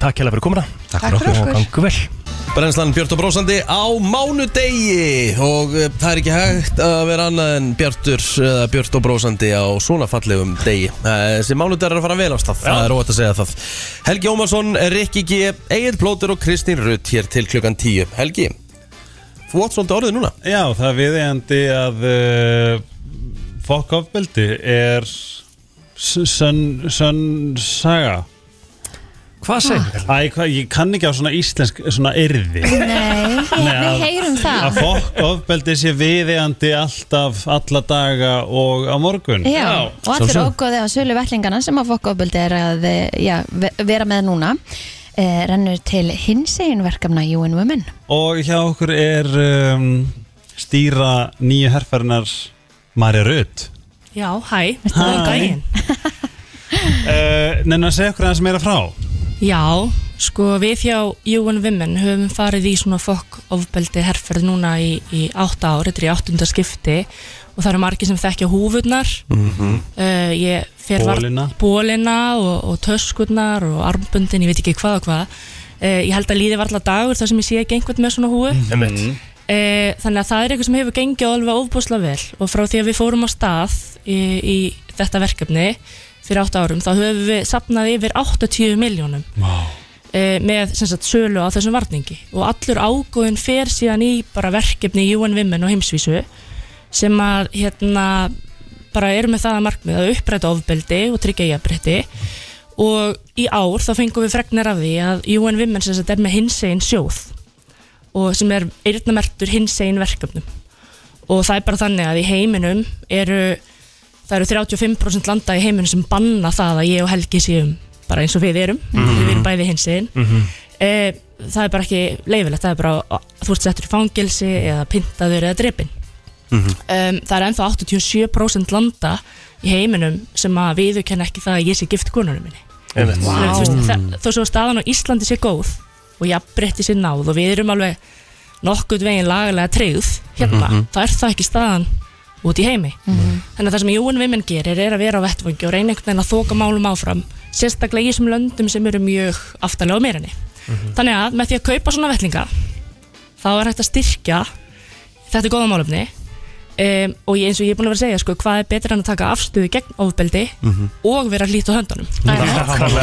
D: Takk hérlega fyrir komuna
C: Takk fyrir okkur.
D: Og gangu vel
A: Brennslan Björn og Brósandi á mánudegi og eh, það er ekki hægt að vera annað en Björtur eða Björn og Brósandi á svona fallegum degi Eh, þessi mánudegar er að fara vel á stað það er óvægt að segja það Helgi Ómarsson, Rikki G, Egil Plóter og Kristín Rutt hér til klukkan 10 Helgi, þú átt svolítið orðið núna
B: Já, það viðeigandi að uh, fokk ofbeldi er s- sönn sönn saga Ah.
D: Hvað segir?
B: Æ, hvað, ég kann ekki á svona íslensk svona yrði
C: Nei, við
B: að-
C: heyrum
B: Að
C: það
B: fokk ofbeldi sé viðeigandi alltaf, alla daga og á morgun
D: Mhm.
C: Já, og allir ógóði á sölu vellingana sem að fokkaobildi er að eh, já, ve- vera með núna eh, rennur til hinsegin verkefna UN Women
B: Og hjá okkur er um, stýra nýju herrferðinar Marja Rutt
M: Já, hæ,
B: Hæ.
M: góðan daginn
B: uh, Nenna að segja okkur aðeins meira frá
M: Já, sko við hjá UN Women höfum farið í svona fokk ofbeldi herferð núna í, í átta ár, þetta er í áttunda skipti og það eru margir sem þekkja húfurnar
B: Mhm.
M: uh, ég fer
B: Bólina.
M: bólina og, og töskurnar og armböndin, ég veit ekki hvað og hvað uh, ég held að líði varla dagur þar sem ég sé ekki einhvern með svona húfu
D: Emmett
M: Eh, þannig að það er eitthvað sem hefur gengið alveg ofbúslega vel og frá því að við fórum á stað í, í þetta verkefni fyrir 8 árum þá höfum við sapnað yfir 80 miljónum
B: wow.
M: eh, með sem sagt, sölu á þessum varningi og allur ágóðin fer síðan í bara verkefni í UN Women og heimsvísu sem að hérna bara eru með það að markmið að uppræta ofbeldi og tryggja jafnbrytti og í ár þá fengum við fregnir af því að UN Women sem sagt, er með hinsegin sjóð og sem er eyrnamertur hinsegin verkefnum og það er bara þannig að í heiminum eru það eru 35% landa í heiminum sem banna það að ég og Helgi séum bara eins og við erum,
L: Mhm.
M: við erum bæði hinsegin
D: Mm.
L: Mhm.
M: e, það er bara ekki leifilegt, það er bara að þú ert settur í fangelsi eða pyntaður eða drepin
D: Mhm.
M: um, það er ennþá 87% landa í heiminum sem að viðurkenna ekki það að ég sé gift konunum minni
D: Einmitt.
M: Wow. Þú veist, það, þó svo staðan á Íslandi sé góð og jafnbreytti sé náð og við erum alveg nokkuð veginn lagalega treyð hérna,
L: Mhm.
M: það er það ekki staðan út í heimi
L: Mhm.
M: þannig að það sem UN Women gerir er að vera á vettvangi og reyna einhvern veginn að þoka málum áfram sérstaklega í þessum löndum sem eru mjög aftalega á meirinni þannig að með því að kaupa svona vettlinga þá er hægt að styrkja þetta er góða málumni um, og ég, eins og ég er búin að vera að segja sko, hvað er betra en að taka afstöðu gegn ofbeldi
A: Mhm.
M: og vera hlýtt á höndunum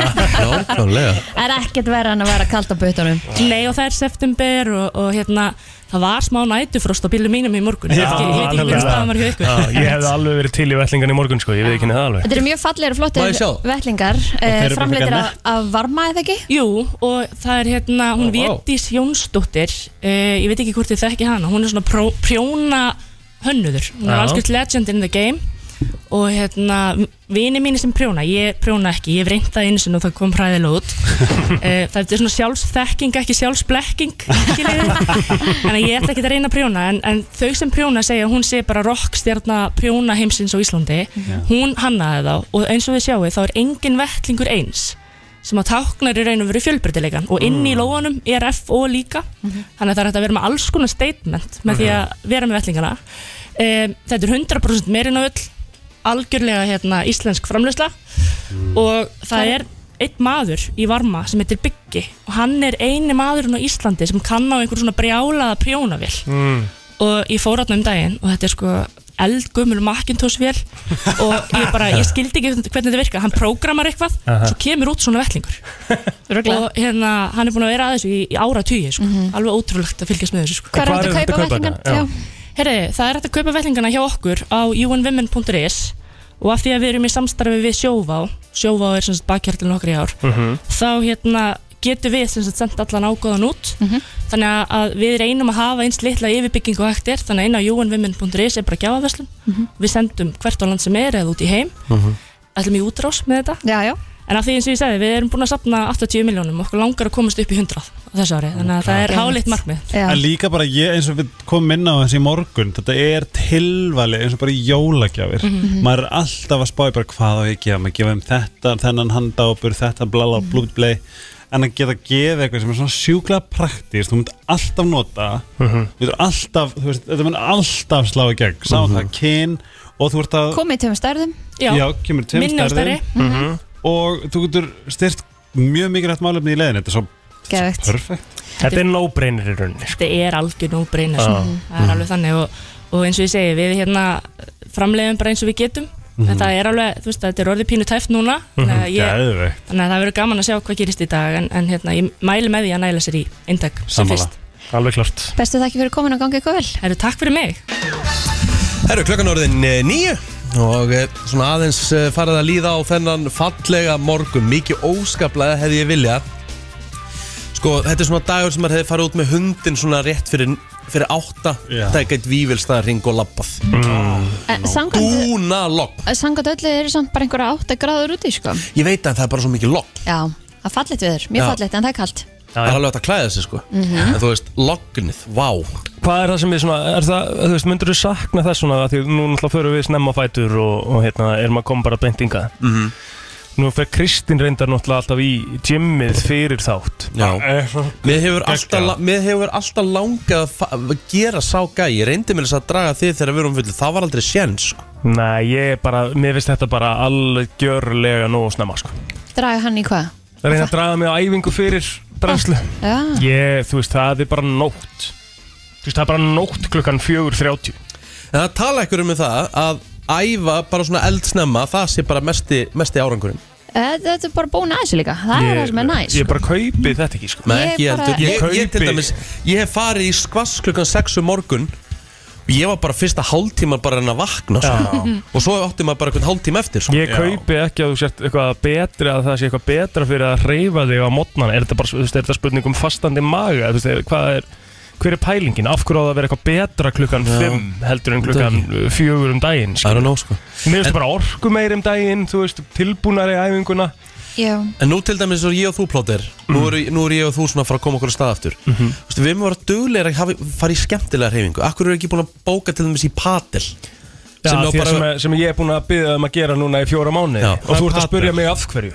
A: Nákvæmlega
C: Það er ekkert verið en að vera kalt á bautunum
M: Nei og það er september og, og hérna það var smá nætufrost á bílum mínum í morgun Ég veit ekki- ég veit ekki hvernig staðan var hjá ykkur
D: Já, Ég hefði alveg verið til í vellingan í morgun sko, ég veit ekki henni það alveg
C: Þetta eru mjög fallegir og
D: Má ég
C: flottir
D: sjá?
C: vettlingar
D: þeir
C: eh,
D: eru bara
C: Framleitir
D: frekar
C: af, af varma eða ekki?
M: Jú, og það er hérna, hún oh, Vétís Jónsdóttir uh, ég veit ekki hvort þið þekki hana hún er svona pró, prjóna hönnuður hún er
L: Já.
M: algjört legend in the game og hérna, vini mínu sem prjóna ég prjóna ekki, ég hef reynt það einu sinni og það kom hræðilega út uh, það er svona sjálfsþekking, ekki sjálfsblekking en ég ætla ekki að reyna að prjóna en, en þau sem prjóna segja að hún sé bara rockstjarna prjóna heimsins á Íslandi hún hannaði þá og eins og við sjáum þá er engin vettlingur eins sem að táknar í raun og veru fjölbreytilegan og inn í E lóanum er FO líka þannig að það er hægt að vera með alls konar statement með því að vera með vettlingana um, þetta er 100% meirinn á öll algjörlega hérna, íslensk framlösla og það er einn maður í varma sem heitir Byggi og hann er eini maðurinn á Íslandi sem kann á einhver svona brjálaða prjónavél og ég fór átna um daginn og þetta er sko eldgumul Macintosh vél og ég bara, ég skildi ekki hvernig þetta virka hann prógramar eitthvað,
L: Aha.
M: svo kemur út svona vellingur og hérna hann er búin að vera að þessu í, í ára tugi sko. alveg ótrúlegt að fylgjast með þessu sko.
C: Mhm. Hvar er Hvar hægt að er hægt að kaupa kaupa vellingar? þetta? Já.
M: Herri, það er hægt að kaupa vellingarna hjá okkur á unwomen.is og af því að við erum í samstarfi við Sjóvá Sjóvá er sem sagt bakhjartilin okkar í ár þá hérna getum við sem sagt sendt allan ágóðan út
C: Mhm.
M: þannig að- að við reynum að hafa eins litla yfirbyggingu og hægt er þannig að inn á jóanvimmin.is er bara gjáfaverslun
C: Mhm.
M: við sendum hvert á land sem er eða út í heim
D: Mhm.
M: ætlum í útrás með þetta
C: já, já.
M: en af því eins og ég segi við erum búin að sapna 80 miljónum okkur langar að komast upp í 100 á þessu ári þannig að það er hálitt markmið
C: Eh.
G: En líka bara ég, eins og við komum inn á þessi í morgun Þetta er tilvalið eins og bara í jólagjafir
M: Mhm.
G: Maður er alltaf að spáði bara hvað á ég að gefa Maður gefa um þetta, þennan handápur, þetta blala,
C: Mhm.
G: mm. blúblei En að geta gefið eitthvað sem er svona sjúklega praktíst Þú mynd alltaf nota
D: Mhm.
G: Þú myndir alltaf, þú veist, þetta mynd alltaf slá í gegn Sá
D: Mhm.
G: það kyn og þú ert að
C: Komið til með stærðum
G: kemur tveim
C: Minni og
G: stærðum.
C: stærri. Mhm.
G: Og þú getur styrt mjög mikilvægt málefni í leiðin Þetta er svo
C: Geðvegt.
G: perfekt
D: Þetta er no-brainer í rauninni
M: þetta er algjör no-brainer
D: Já.
M: sko. það er
D: Mhm.
M: alveg þannig og, og eins og ég segi við hérna framleiðum bara eins og við getum en
G: Mhm.
M: það er alveg, þú veist, þetta er orðið pínu tæft núna þannig
D: Mhm.
M: að ég
G: Geðveikt.
M: Þannig að það verður gaman að sjá hvað gerist í dag en, en hérna, ég mæli með því að næla sér í intak sem
D: Sammála.
M: fyrst.
D: Alveg klart
C: Bestu þakki fyrir komin og gangi ykkur vel
M: Herru, takk fyrir mig
A: Herru, klokkan orðin eh, nýju og eh, svona aðeins eh, farið að líða á þennan fallega morgun mikið óskaplega hefði ég vilja sko, þetta er svona dagur sem maður hefði farið út með hundin svona rétt fyrir, fyrir átta
G: Já.
A: það er gætt vívilstaðar hring og labbað mm.
C: En Eh, samkvæmt,
A: Dúna logg
C: Eh, samkvæmt öllu eru samt bara einhverja 8 gráður úti sko.
A: Ég veit að það er bara svo mikið logg
C: Já, það er fallit við þér,
A: Já.
C: mjög fallit en það er kalt
A: Það er alveg hægt að klæða sig sko
C: Mhm.
A: En þú veist, lognið, vá
D: Hvað er það sem við svona, er það, þú veist, myndur þú sakna þess svona af Því að nú náttúrulega förum við snemma á fætur og, og hérna, erum að koma bara beintinga mm -hmm. Nú fer Kristín reyndar náttúrulega alltaf í gymmið fyrir þátt
A: Mér hefur alltaf, la- mér hefur alltaf langað að fa- að gera sá gæi Ég reyndi mér þess að draga þið þegar við erum fullu Það var aldrei sjens sko.
D: Nei, ég er bara, mér finnst þetta bara algjörlega nógu snemma sko
C: Draga hann í hvað?
D: Það reyna að draga mig á æfingu fyrir drenslu
M: Ah.
C: Já,
D: Ég, þú veist, það er bara nótt Þú veist, það er bara nótt klukkan 4.30
A: En það tala ekkur um það að æfa bara svona eldsnemma Það sé bara mesti, mesti árangurinn
C: Eh, þetta er bara búin aðeins líka Það er það sem er næs sko.
D: Ég bara kaupi þetta ekki sko
A: Nei, ekki
C: Ég bara-
A: heldur
D: Ég
A: Ég, ég, til
D: kaupi-
A: dæmis, ég hef farið í skvass klukkan 6 um morgun og Ég var bara fyrsta hálftíma bara en að vakna sko.
D: Já.
A: Og svo átti maður bara einhvern hálftíma eftir sko.
D: Ég kaupi ekki að þú sért eitthvað betra að það sé eitthvað betra fyrir að reyfa þig á mótnan er þetta bara, þú veist, er þetta spurning um fastandi maga þú veist, hvað er, hver er pælingin af hverju á það að vera eitthvað betra klukkan
A: Já.
D: 5 heldur en klukkan
A: Þetta
D: 4 um daginn
A: I don't know, sko.
D: Mér finnst bara orku meir um daginn þú veist, tilbúnari æfinguna Mm.
C: Já.
A: En nú til dæmis er ég og þú plóter nú, eru, nú eru ég og þú svona að fara að koma okkur að stað aftur
D: Mhm.
A: mm -hmm. Vistu, Við erum að vera duglegir að hafa- fara í skemmtilega hreyfingu Akkur eru ekki búin að bóka til dæmis í patel
D: Já,
A: á
D: sem, bara... sem, sem ég er búin að byggja um að gera núna í fjóra mánuði
A: Já.
D: og þú ert að spurja mig af hverju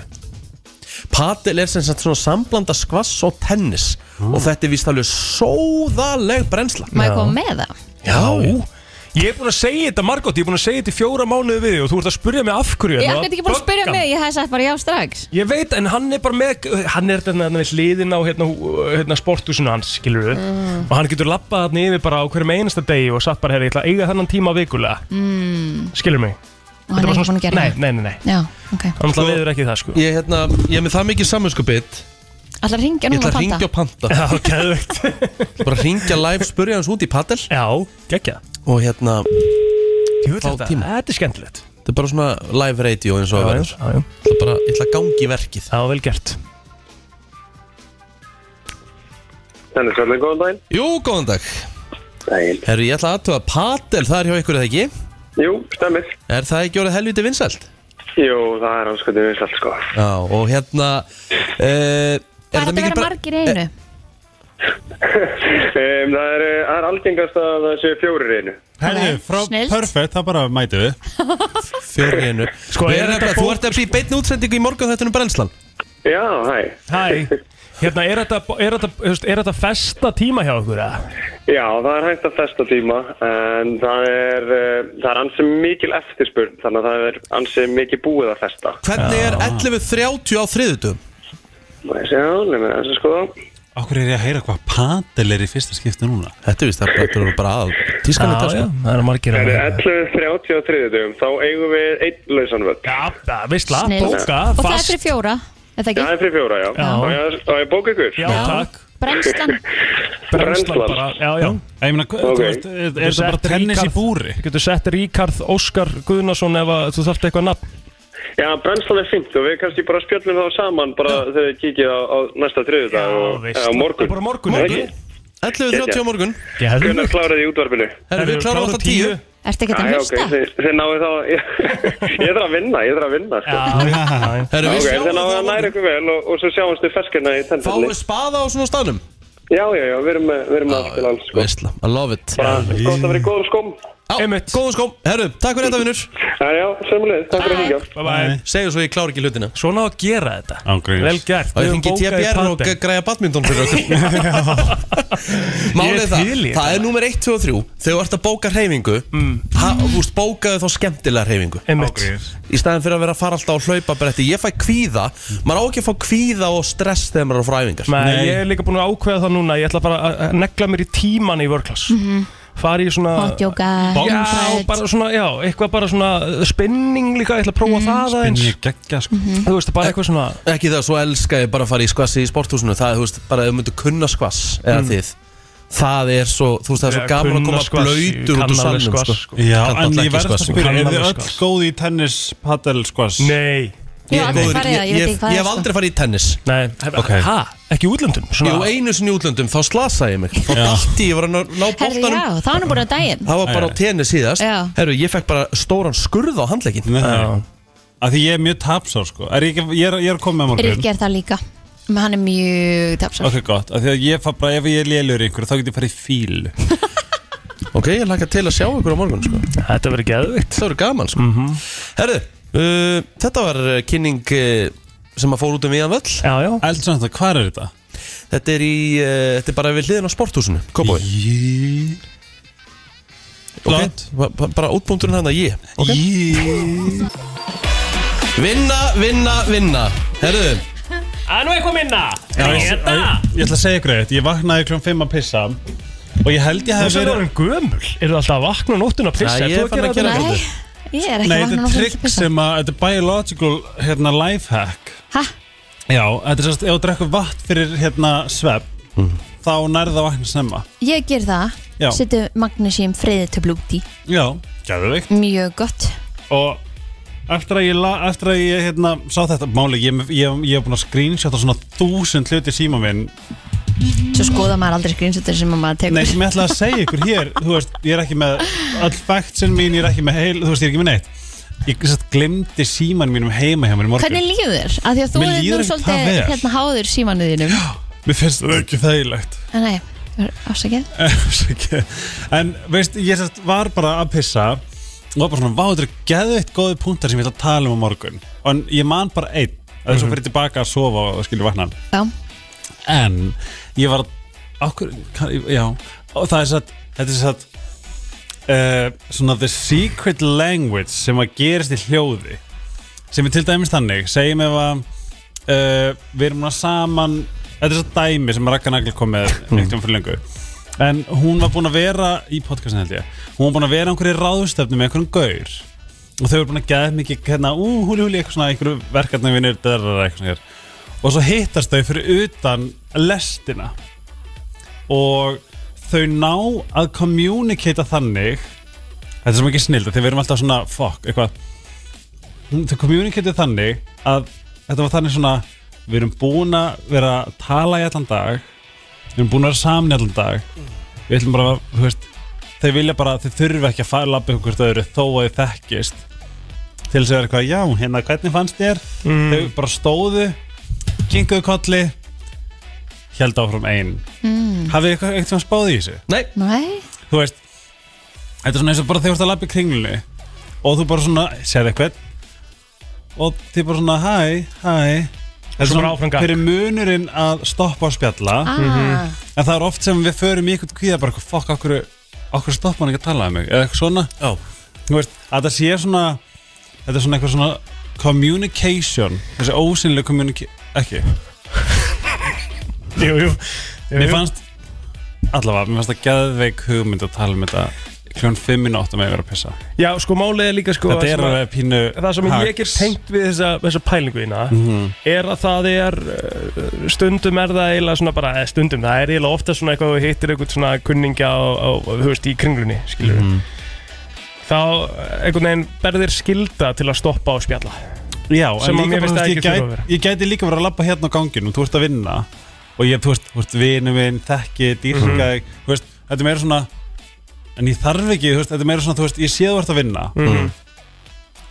A: Padel er sem sagt svona samblanda skvass og tennis
D: Mm.
A: og þetta er vist alveg sóðaleg brennsla
C: Má ég koma með það?
A: Já,
D: Ég er búin að segja þetta Margot, ég er búin að segja þetta í fjóra mánuði við þig og þú ert að spurja mig af hverju
C: Ég
D: hérna,
C: hef ekki búin að spyrja
D: böggan.
C: mig, ég hef sagt bara já strax
D: Ég veit, en hann er bara með, hann er þarna þarna við hliðin á hérna, hú- hérna sporthúsinu hans, skilur við
C: Mm.
D: Og hann getur labbað hann yfir bara á hverjum einasta degi og satt bara, herri, ég ætla að eiga þennan tíma vikulega
C: mm.
D: Skilur mig
C: Og hann er ekki búin að gera
D: Nei,
C: það
D: nei, nei, nei
C: Já, ok
D: Hann sko, leður ekki það, sko
A: Ég, hérna, ég er með það mikið samvinskupið
C: Alltaf ringja
A: Ég
C: núna
A: ætla
C: að
A: að
C: panta
A: ringja og panta Já,
D: geðvegt
A: Bara ringja live, spurja hans út í padel
D: Já, geggja
A: Og hérna
D: Jú,
A: fá
D: þetta-
A: tíma.
D: þetta er skemmtilegt
A: Þetta er bara svona live radio eins og
D: Já,
A: það verður
D: já, já.
A: Ég ætla bara, ég ætla að gangi í verkið
D: Já, vel gert
H: Þannig svolítið góðan daginn
A: Jú, góðan dag
H: Daginn
A: Herru, ég ætla að aðtöfa padel, það er hjá ykkur eða ekki?
H: Jú, stemmir
A: Er það ekki orðið helviti vinsælt?
H: Jú, það er áskatið vinsalt sko
A: Já, og hérna uh,
C: Það er hægt að vera margir í einu
H: um, Það er, eh, það er algengast að það séu fjórir í einu
B: Herðu, frá
C: snillt.
B: perfect, það bara mætu við
A: Fjóri einu sko, er þetta, Þú ert að bli beitni útsendingu í morgun þetta er um brennslan
H: Já, hæ
D: Hæ Hérna, er þetta, er þetta, þú veist, er þetta festa tíma hjá okkur, eða?
H: Já, það er hægt að festa tíma en það er, uh, það er ansi mikil eftirspurn þannig að það er ansi mikið búið að festa
A: Hvernig er 11.30 á þriðutum?
H: Má ég sjá, nefnir þessu sko
B: Okkur er ég að heyra hvað padel er í fyrsta skipti núna
A: Þetta er vist að þetta er bara aðal tískan
D: þetta, sko. það eru margir
H: Það er 11.33 dögum, þá eigum við einn lausan völd
D: Já, það,
B: Eh,
D: veistla,
C: Snillt. Og það er fyrir fjóra Er það
H: Já, það
C: ekki?
H: er fyrir fjóra, já.
C: Já.
H: Má ég, má ég bóka ykkur?
D: Já, takk.
C: Brennslan
D: Brennslan bara, já, já
B: Ég meina, þú
H: Ok.
B: veist, er er þetta bara tennis í búri?
D: Þú getur sett Ríkarð Óskar Guðnason ef að þú þarft eitthvað nafn
H: Já, brennslan er fint og við kannski bara spjöllum þá saman bara þegar við kíkið á, á næsta þriðudag og
D: veist.
H: eða á morgun.
D: Bara morgun,
H: Nei,
D: ekki?
H: ekki?
A: 11.30 á morgun
H: Hvernig kláraði þið í útvarpinu?
A: Herru, við klárum 8.10
H: Já,
C: Ertu ekkert að
H: já, ok,
C: hlusta?
H: þið, þið náðu þá, ég, ég þarf að vinna, ég þarf að vinna, sko.
A: Herru,
H: ok,
A: við sjáum
H: þið
A: það á
H: náðu að
A: morgun
H: næra ykkur vel og, og svo sjáumst við ferskina í
A: Fáum
H: tennfjöldi.
A: við spaða á svona staðnum?
H: Já, já, já, við erum með, við erum með allt til alls, sko.
A: Veistla, I love it
H: Bara, gott að vera í góðum skóm.
A: Já, góðan skóm Herru, takk fyrir þetta vinnur
H: Já, já, sömulegð, takk fyrir að hingja.
D: Bye bye
A: Segðu svo ég klára ekki hlutina
D: Svona á að gera þetta
B: Ángríns
D: Vel gert,
A: Og ég fengi TBR og
D: padel.
A: græja badminton fyrir okkur Málið
D: Ég
A: er það,
D: til í
A: það er númer 1, 2 og 3 Þegar þú ert að bóka hreyfingu ha, Þú veist, bókaðu þá skemmtilega hreyfingu
D: Mm. Einmitt.
A: Í staðin fyrir að vera að fara alltaf á hlaupabretti Ég fæ kvíða, maður á ekki að fá kvíða og stress þegar maður er á fræfingar
D: Nei, ég er líka búin að ákveða það núna Ég ætla bara að- að negla mér í tíman í vörklass mm -hmm. Fari í svona
C: Hotjóka
D: Já, bara svona, já, eitthvað bara svona uh, Spinning líka, ég ætla að prófa það aðeins
B: Spinning geggja, sko
D: Þú veist,
A: Eh,
D: bara eitthvað svona
A: Ekki það, svo elska ég bara að fara í skvassi í sporthúsinu Það er, þú veist, bara ef þú myndir kunna skvass Eða
D: Mm.
A: þið Það er svo, þú veist, það er svo
D: Já,
A: gaman að
D: kunna
A: koma
D: skvass,
A: blöytur út
D: kann
A: úr
D: alveg
A: salnum
D: skvass,
A: sko.
D: sko.
B: Já,
A: Kann
B: en
A: náttúrulega
B: ég verðist
A: ekki
B: að
A: skvass, sko.
B: spyrja, er þið
D: Kannalveg
B: öll
D: skvass.
B: góð í tennis, padel, skvass?
D: Nei
C: Ég hef aldrei
A: góður-
C: farið í það, ég veit ekki hvað
A: Ég
C: það
A: hef
C: er sko
A: aldrei farið í tennis
D: Nei, ha, ekki í útlöndum
A: Jú, einu sinni í útlöndum, þá slasaði ég mig Þá dætti ég var að ná ná
C: Herðu, já,
A: boltanum
C: það var nú bara daginn
A: Það var bara á tenni síðast
C: Já.
A: Herru, ég fekk bara stóran skurð á handlegin
B: Nei Af því ég er mjög tapsár, sko Er ég, ekki- ég, er, ég er að koma með morgun
C: Ríkki er það líka Men hann er mjög tapsar
B: Ok, gott, af því að ég fara bara, ef ég er lélur ykkur, þá get ég farið í fíl
A: Ok, ég laka til að sjá ykkur á morgun sko.
D: Þetta verður Mhm. geðvikt
A: Það voru gaman sko. Herru, uh, þetta var uh, kynning uh, sem að fór út um viðan völl
D: Já, já
B: Eldsand, hvað er þetta?
A: Þetta er, í, uh, þetta er bara við hliðin á sporthúsinu Kópói
B: Jí
A: Ok, ba- ba- bara útbúndurinn hann að ég okay. Vinna, vinna, vinna Herru,
D: Það er nú eitthvað minna Þetta
B: Ég ætla að segja ykkur eitt, ég vaknaði kljóðum 5 að pissa Og ég held ég
D: Það
B: hef
D: er
B: verið
D: orðin gömul Eru alltaf að vakna á nóttun að pissa
A: Nei, ég er farin að gera
C: Nei, ég er ekki
B: Nei, þetta
C: vakna
B: er trikk
C: náttúrulega
B: sem að, þetta er biological, hérna, lifehack
C: Hæ?
B: Já, þetta er sérst, ef þú drekkur vatn fyrir, hérna, svepp
A: Mm.
B: Þá nærða að vakna snemma
C: Ég ger það
B: Já.
C: Settu magnesíum freyðitöflu út í
B: Já, gæðu veikt
C: Mjög gott
B: og eftir að ég, la, eftir að ég hérna, sá þetta máli, ég, ég, ég hef búin að screenshotta svona þúsund hluti í síma minn
C: Svo skoða maður aldrei skrýnsutur sem að maður tekur
B: Nei, sem ég ætla að segja ykkur hér þú veist, ég er ekki með all factsin mín ég er ekki með heil, þú veist, ég er ekki með neitt ég satt, glemdi síman mínum heima hjá mér í morgun
C: Hvernig líður þér? Af því að þú
B: Mér
C: er
B: líður
C: nú
B: ekki það
C: svolítið
B: vel.
C: hérna háður símanu þínum
B: Mér finnst það ekki þægilegt
C: En Nei, afsakið
B: Afsakið. En veist, ég sérst var bara að pissa og var bara svona, vá, þetta eru geðveitt góði punktar sem ég ætla að tala um á morgun en ég man bara einn Það er svo fyrir tilbaka að sofa og skilur vakna
C: Já.
B: En ég var okkur, Já, og það er satt Þetta er satt uh, Svona the secret language sem að gerist í hljóði sem er til dæmis þannig segjum ef að uh, við erum núna saman þetta er svo dæmi sem Ragga Nagli kom með neitt um fyrir lengu en hún var búin að vera í podcastin held ég hún var búin að vera á einhverju ráðstöfni með einhverjum gaur og þau voru búin að geða mikið hérna ú húli húli eitthvað svona einhverju verkefni vinnir derrar eitthvað svona hér og svo hittast þau fyrir utan lestina og þau ná að kommunikata þannig þetta er sem ekki snild þegar við erum alltaf svona fuck eitthvað Hún- þau kommunikatið þannig að þetta var þannig svona við erum búin að vera að tala í allan dag við erum búin að vera saman í allan dag við ætlum bara að, þú veist þau vilja bara, þau þurfi ekki að fara labbið okkur stöður þó að þau þekkist til þess að vera eitthvað, já, hérna, hvernig fannst þér
D: Mm.
B: þau bara stóðu kinkuðu kolli held áfram ein
C: Mm.
B: hafið eitthvað eitthvað spáð í þessu?
A: Nei
C: Nei
B: þú veist þetta er svona eins og bara þegar þú ert að labba í kringlunni og þú bara svona, séð eitthvað og þið bara svona, hæ, hæ þetta
D: Svo bara áfram gakk.
B: fyrir munurinn að stoppa og spjalla
D: Ah. Mhm.
B: en það er oft sem við förum í eitthvað kvíða bara, eitthvað, fuck, okkur, okkur stoppa hann ekki að tala um mig eða eitthvað svona
A: Já.
B: þú veist, að það sé svona þetta er svona eitthvað svona communication, þessi ósynlega communication ekki
D: Jú, jú, jú.
B: Mér fannst allavega, mér fannst það geðveik hugmynd að tala um þetta kljóðan 5 minúti með að vera að pissa
D: Já, sko málið er líka sko
B: Þetta er
D: sem að-
B: alveg pínu
D: Það sem ég er tengt við þessa, þessa pælingu þína
B: Mhm.
D: er að það er uh, stundum er það eiginlega svona bara eh, stundum, það er eiginlega ofta svona eitthvað og hittir eitthvað svona kunningja og, og, og þú veist í kringlunni, skilur
B: Mhm.
D: þá eh, einhvern veginn berðir skilda til að stoppa og spjalla
B: Já,
D: sem
B: en
D: að
B: líka
D: mér
B: bara,
D: finnst
B: þú
D: það
B: veist, ég,
D: ekki þurfa að
B: gæt,
D: vera
B: ég gæti líka verið að labba hérna á ganginum, þú ert að vinna og ég, þú veist, þú veist, vinu minn, þekki, dýrka
D: Mhm.
B: þig, þú veist, þetta er meira svona en ég þarf ekki, þú veist, þetta er meira svona þú veist, ég sé þú ert að vinna
D: Mhm.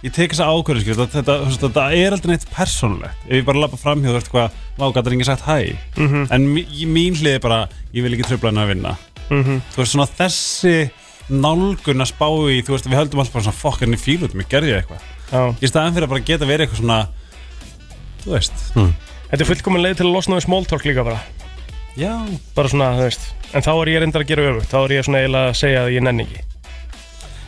B: ég tek þessa ákvörðu, skil, þetta, þetta, þú veist, þetta er aldrei neitt persónlegt, ef ég bara labba framhjóð, þú veist, hvað, vá, gæti enginn sagt hæ
D: Mhm.
B: en mí- í mín hlið er bara ég vil ekki tröfla henni að vinna
D: Mhm.
B: þú veist, svona þessi nálgun að spá í, þú veist, við höldum alltaf bara svona fokk henni fílut, mér gerði ég eitthvað
D: Já.
B: í staðan fyrir að bara geta verið eitthvað svona þú veist
A: Hmm.
D: Þetta er fullkomin leið til að losna við smóltork líka bara
B: Já
D: Bara svona, þú veist En þá er ég reyndar að gera öfugt, þá er ég svona eiginlega að segja að ég nenni ekki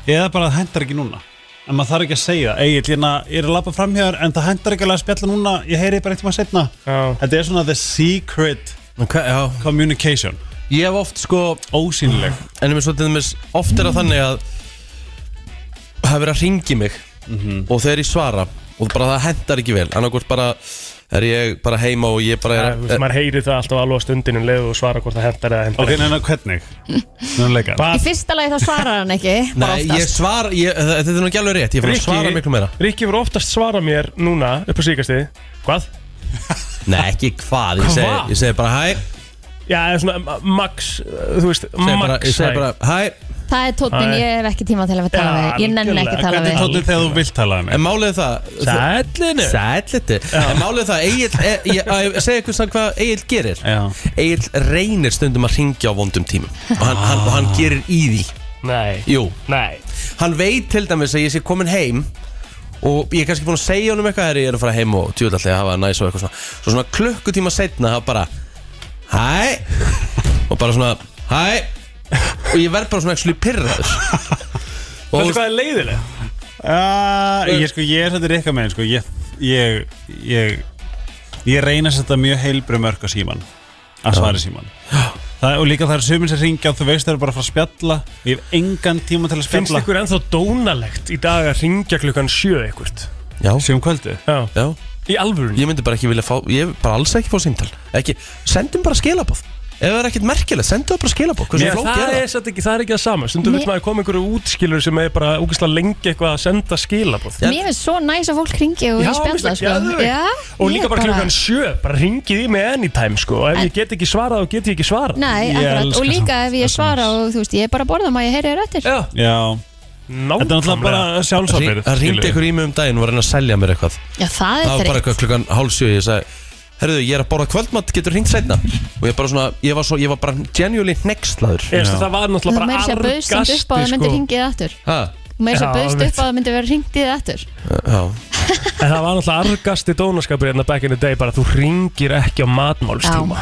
B: eða bara það hendar ekki núna en maður þarf ekki að segja, eigin, hérna, ég er að lappa fram hér en það hendar ekki alveg að spjalla núna ég heyri bara eitthvað setna
D: Já.
B: þetta er svona the secret
A: okay,
B: communication
A: Ég hef oft sko
B: Ósýnileg
A: En ég með svolítið með Oft er það þannig að Það hefur verið að ringi mig
B: Mhm.
A: Og þegar ég svara Og bara það hendar ekki vel Annarkvort bara Er ég bara heima og ég bara
D: Það,
A: er
D: þú veist, maður heyri það alltaf alveg á stundinu um leið og svara hvort það hendar eða hendar
B: Ok, neina, hvernig? Núleika
C: Í fyrsta lagi þá svarar hann ekki bara
A: Nei, ég
C: oftast.
A: svara ég, þa- Þetta er nú ekki alveg rétt Ég fyrir að svara miklu meira
D: Rikki voru oftast svara mér núna upp á síkastið Hvað?
A: Nei, ekki hvað Ég segi,
D: Hvað?
A: ég segi bara hæ
D: Já, eða svona ma- max, uh, þú veist,
A: segi bara,
D: max
A: Ég segi bara hæ
C: Það er tóttin,
A: Æ.
C: ég hef ekki tíma til að tala við Ég nenni ekki að tala við
B: þegar þú vilt tala um
A: En málið er það Sællinu Sællinu En málið er það Egil, e, ég, að ég segja ykkur samt hvað Egil gerir Egil reynir stundum að ringja á vondum tímum Og hann, hann, og hann gerir í því
D: Nei
A: Jú
D: Nei
A: Hann veit til dæmis að ég sé komin heim Og ég er kannski búin að segja honum eitthvað Þegar ég er að fara heim og tjóðall að hafa það næs og eitthvað svona Svo svona klukkutíma setna Það bara Hæ Og bara svona Hæ Og ég verð bara svona ekki pyrraður
D: Veistu hvað er leiðileg?
B: Uh, ég sko, ég er þetta reyka með sko. ég, ég, ég, ég reyna að setja mjög heilbrið mörg á síman að svara síman það, og líka það er sömur sem ringja og þú veist það eru bara að fara að spjalla ég hef engan tíma til að
D: Finnst
B: spjalla
D: ykkur ennþá dónalegt í dag að ringja klukkan sjö eitthvað?
A: Já
B: Sjöum kvöldu
D: Já.
A: Já
D: Í alvörunni
A: Ég myndi bara ekki vilja fá Ég vil bara alls ekki fá símtal Ekki Sendum bara skilabóð Ef það er ekkert merkilegt Sendu það bara skilabóð Hversu
D: Mér,
A: flókið
D: það,
A: er
D: er satt ekki, það er ekki það sama Stundum vil
C: Mér-
D: maður koma einhverju útskilur sem er bara úkislega lengi eitthvað að senda skilabóð
C: Mér finnst svo næs að fólk ringi og
D: Já,
C: ég
D: mér
C: spjalla
D: finnst það
C: sko.
D: geðveikt.
C: Já,
D: Og
C: ég
D: líka bara klukkan sjö, bara ringið í mig anytime sko Og ef ég get ekki svarað, þá get ég ekki svarað
C: Nei, akkurat, og líka ef ég svara og þú veist, ég er bara að borða maður, ég heyri þér eftir
D: Já,
B: Já
D: Þetta
B: er náttúrulega bara
A: Hring-
B: sjálfsábyrð
A: Það ringdi ykkur í mig um daginn og var að reyna að selja mér eitthvað
C: Já, það
A: Það
C: er
A: var bara
C: þreytt
A: eitthvað klukkan hálsjö Ég sagði Herðu, ég er að borða kvöldmatt, getur hringt setna Og ég bara svona, ég var, svo, ég var bara genuinely nextlaður
D: Ég veist að það var
C: Þú
D: náttúrulega
C: meiri
D: bara sko.
C: sér að bauðst samt upp á að það myndi ringið eftir
A: Ha?
C: Þú meiri sér
A: Já,
C: að bauðst
A: einmitt.
C: upp á að það myndi vera ringið eftir
A: Já
D: En það var náttúrulega argasti dónaskapur hérna back in the day bara þú ringir ekki á matmálstíma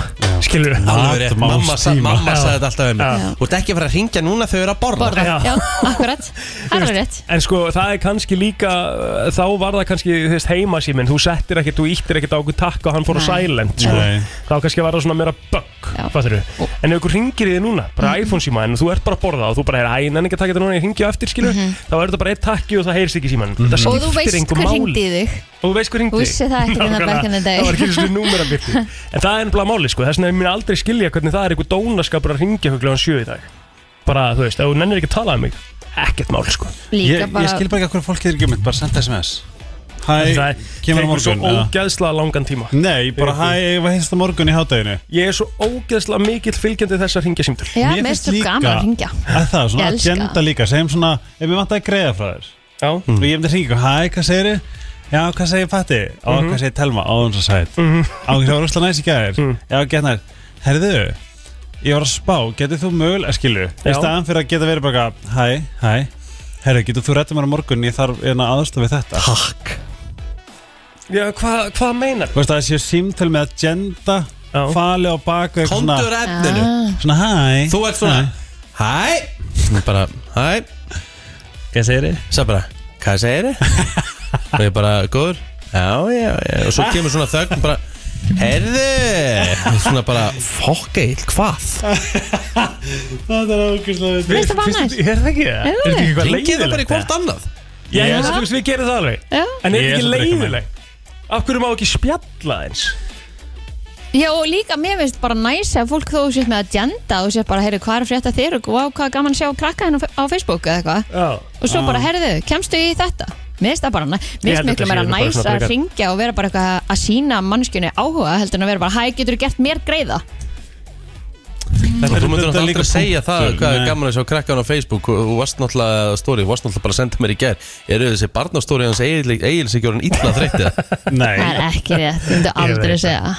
D: Skilur við
A: Alveg rétt, mamma, sa, mamma sagði þetta alltaf við mig Þú ert ekki að fara að ringja núna þau eru að borða,
C: borða. Já, akkurat, alveg rétt
D: En sko það er kannski líka uh, þá var það kannski þú veist, heimasíminn þú settir ekkert, þú íttir ekkert á okkur takk og hann fór á
N: Nei.
D: silent sko.
N: Nei.
D: þá kannski var það svona meira bug fattur við, en ef ykkur ringir í þig núna bara
C: Mhm.
D: iPhone síma en þú ert bara að borða og þú bara er æ, nenni ekki að taka þetta núna, ég ringi á eftir skilur þá er þetta bara eitt takki og það heyrst ekki síman mm
C: Mhm. Og þú veist hver hringdi í þig
D: og þú veist hvað ringdi
C: Þú vissi það ekkert hérna back in the day.
D: það var ekki svona númera byrti en það er ennbla máli sko, þess vegna ég mér aldrei skilja hvernig það er einhver dónaskapur að ringja hvernig hann sjö í dag bara þú veist, ef þú nennir ekki að tala um mig ekkert máli sko
C: Líka
B: ég, ég skil bara ekki hvað fólk er ekki mynd, bara senda sms Hæ, kemur á
D: tekur svo
B: morgun eða?
D: ógeðslega langan tíma
B: Nei, bara hæ, ég var hinsta morgun í hátæginu
D: ég er svo ógeðslega mikill fylgjandi þess að ringja símtöl
C: Já, mér finnst þú gaman að ringja
B: að það, svona
C: Ég elska
B: agenda líka, segjum svona ef ég vantaði að greiða frá þér
D: já.
B: og ég myndi að hringa, hæ, hvað segir þið? Já, hvað segir Patti? Á,
D: Mhm.
B: hvað segir Telma? Á, hún svo sætt
D: Mhm.
B: Á, hún svo rúsla næs í gæðir Já, getnar, herðu Ég var að spá, getur þú mögulega, skilu Í
D: Já.
B: staðan fyrir að geta verið bara eitthvað, Hæ, hæ, herðu, getur þú réttum mér á morgun Ég þarf eina aðstofa við þetta Takk
D: Já, hvað hva meinar?
B: Þú veist að það séu símtöl með agenda Fali á baku
A: Komdu úr efninu. Ah.
B: Svona hæ
A: Þú ert svona, Hæ Bara, hæ Hvað segir þið? Sæt bara, hvað segir þið? Og ég bara, góður Já, já, já Og svo kemur svona þögn bara Herðu Svona bara, fokk eitt, hvað?
B: Það er ákvæmstlega
C: Mér finnst það bara næs.
D: Er það ekki það?
C: Er það
D: Er þetta ekki eitthvað
A: Hringið
D: leiðilegt?
A: það bara í hvort annað.
D: Já,
A: Já.
D: já, þú veist, við gerum það alveg
C: Já.
D: En er
B: Ég
D: þetta
B: er
D: ekki
B: samt ekki með.
D: leiðilegt? Af hverju má ekki spjalla eins?
C: Já, og líka mér finnst bara næs að fólk þó sétt með agenda og sétt bara, heyrðu, hvað er frétt að þér og wow, hvað er gaman að sjá krakka henn á Facebook eða eitthvað og svo bara, heyrðu, kemstu í þetta Mér finnst það bara, næ- mér
E: Ég
C: finnst
E: held
C: miklu
E: þetta
C: meira
E: sé nú bara
C: næs
E: svona
C: að
E: frekar-
C: ringja og vera bara eitthvað að sína mannskjunni áhuga heldur en að vera bara, hæ, getur þú gert mér greiða?
A: Og Þú myndur
B: þetta er
A: náttúrulega
B: líka
A: aldrei segja það
B: punktur,
A: hvað er
B: nei.
A: gaman að sjá krakkan á Facebook og þú varst náttúrulega stóri, þú varst náttúrulega bara að senda mér í gær eru þessi barnastóri hans eigils ekki orðin illa þreytti
B: Nei
C: Það er ekki rétt, þú myndu
A: Ég
C: aldrei
A: veit
C: segja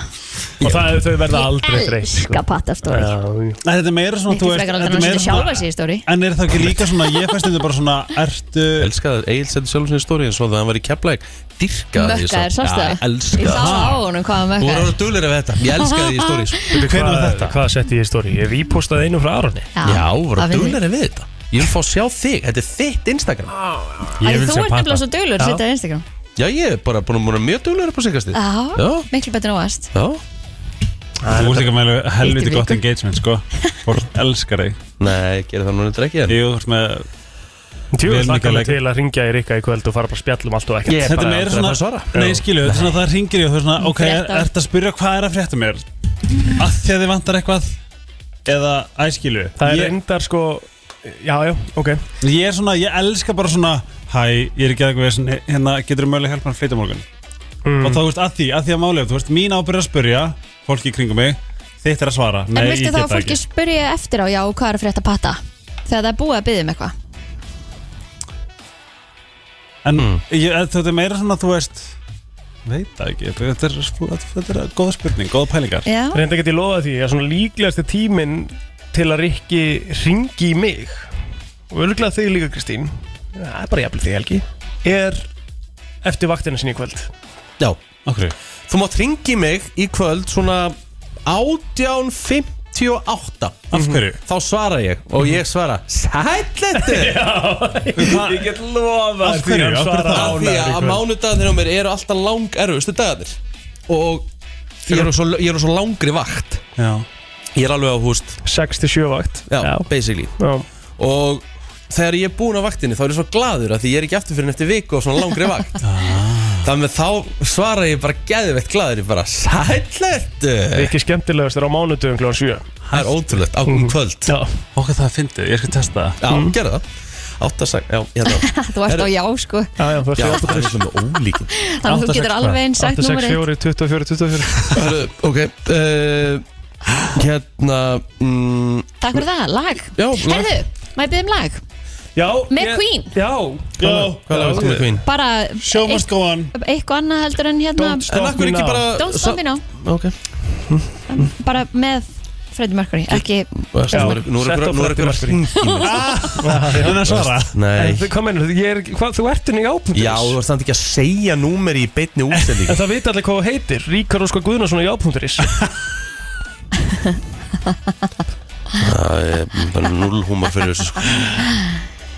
D: Og það er þau verða
C: Ég elska pattafstóri
B: Nei, þetta er meira svona,
C: Miklu frekar aldrei en að setja sjálfa sig í stóri
B: En er það ekki líka svona, ég fæst þetta bara svona Ertu
A: Elskaði Egil setja sjálfum sinni stóri eins og það hann var í keflæk Dyrkaði því
C: Mökkaður,
A: Já,
C: sástu það?
A: elskaði
C: Ég sá það á
A: það
C: honum hvað hann
A: Þú voru
C: mökkaður
A: orðið duglir af þetta Ég elskaði því í stóris
D: Veitu, hvað- Hvað setti ég í stóri? Ég rýpostaði einu frá Aronni
A: Já, voru
C: það
A: duglir af þetta Ég vil fá að sjá þig, þetta er þitt Instagram
C: Æ, Þú ert nefnilega svo dölur, setja á Instagram
A: Já, ég er bara búin að vera mjög duglir upp á sigastið
C: Já, miklu betur en óvast
A: Já
B: Þú ert ekki með alveg
C: Hitt
B: helviti
C: í
B: gott
C: viku.
B: engagement sko Fólk elskar þig
A: Nei, gerir það núna ekki
B: Jú, þú ert með
D: Tjóðis
B: vel
D: lakka
B: mikið að
D: mig
B: leika.
D: til að ringja í Rikka í kvöld og fara bara að spjallum allt og ekkert
B: Þetta er meira svona Nei, skilu, þetta er svona það ringir ég og þú er svona Ok, er,
D: Frétta.
B: ertu að spyrja hvað er að frétta mér? Að því að þið vantar eitthvað Eða, æ, skilu
D: Það er
B: ég,
D: reyndar sko Já, já, ok
B: ég er svona, ég elska bara svona Hæ, ég er ekki að eitthvað veginn Hérna, getur þú mögulega hjálpa mér að flytja á morgun?
D: Mm.
B: Og þá, þú veist, að því, að því að máli Þú veist, mín ábyrgð er að spyrja Fólki í kringum mig Þitt er að svara
C: En
B: Nei,
C: viltu
B: ég get
C: þá að
B: það
C: fólki
B: ekki.
C: spyrja eftir á já, hvað er að frétta patta? Þegar það er búið að byggja um eitthvað
B: En
A: Hmm.
B: ég, þetta er meira svona, þú veist Veit það ekki, þetta er,
G: sko,
B: þetta er góð spurning, góð pælingar
C: Já.
D: Reynda get ég lofað því að svona líklegasti tíminn til að Rikki ringi í mig og örgulega þig líka Kristín það er bara jafnvel þig Helgi er eftir vaktina sinni í kvöld
A: Já,
B: okkur
A: Þú mátt ringi mig í kvöld svona 18.58
B: Af hverju?
A: Þá svara ég og ég svara Sælletu
D: Ég get
A: Af hverju?
D: lofað hann
A: Af hverju
D: svarar
A: það? Því
D: ánægður í
A: að
D: kvöld.
A: mánudagarnir á mér eru alltaf lang erfustu dagarnir Og ég er á svo, ég er á svo langri vakt
B: Já.
A: Ég er alveg á húst
D: 6-7 vakt
A: Já, basically
D: Já.
A: Og þegar ég er búinn á vaktinni þá er ég svo gladur af Því ég er ekki aftur fyrir en eftir viku og svona langri vakt Þannig að þá svara ég bara geðveitt gladur Ég bara sælletu
D: Rikki skemmtilegast er á mánudöfum kl. 7
A: Það er ótrúlegt, á um kvöld
D: Mhm. Já. Mhm.
B: Okkar það fyndið, ég skal testa
A: það Já, mm. gerðu það Átt að sagja, já, ég held að
C: Þú ert á já, sko
D: Já, já, það
A: Já, það er svona með ólíkin
C: Þannig að þú getur alveg eins sagt númer 1
D: 24, 24
A: Hörru, ok uh, Hérna mm,
C: Takk fyrir það, lag
A: Já, lag.
C: Herðu, maður byggja um lag
D: Já
C: Með Queen.
D: Já
A: Já, hvað er það með Queen?
C: Bara
B: Show must go on
C: Eitthvað annað heldur en hérna
A: Don't stop En af hverju me ekki now. bara-
C: Don't stop me now
A: Ok
C: Bara með Freddie Mercury, ekki
A: Veist,
D: Já,
A: nú eru- nú eru
D: sett
A: ykkur-
D: á
A: nú eru ykkur að
D: Freddie
A: hringja
D: Mercury.
A: í mig,
D: Ah,
A: sko.
D: ég er að svara.
A: Nei.
D: En þú- Hvað mennur, þú ert henni í ápunktur
A: Já, þú varst þannig ekki að segja númer í beinni
D: En
A: útsendingu
D: það veit allir hvað þú heitir Ríkar Óskar Guðnarsson á já.is
A: Það er bara null húmor fyrir þessu sko.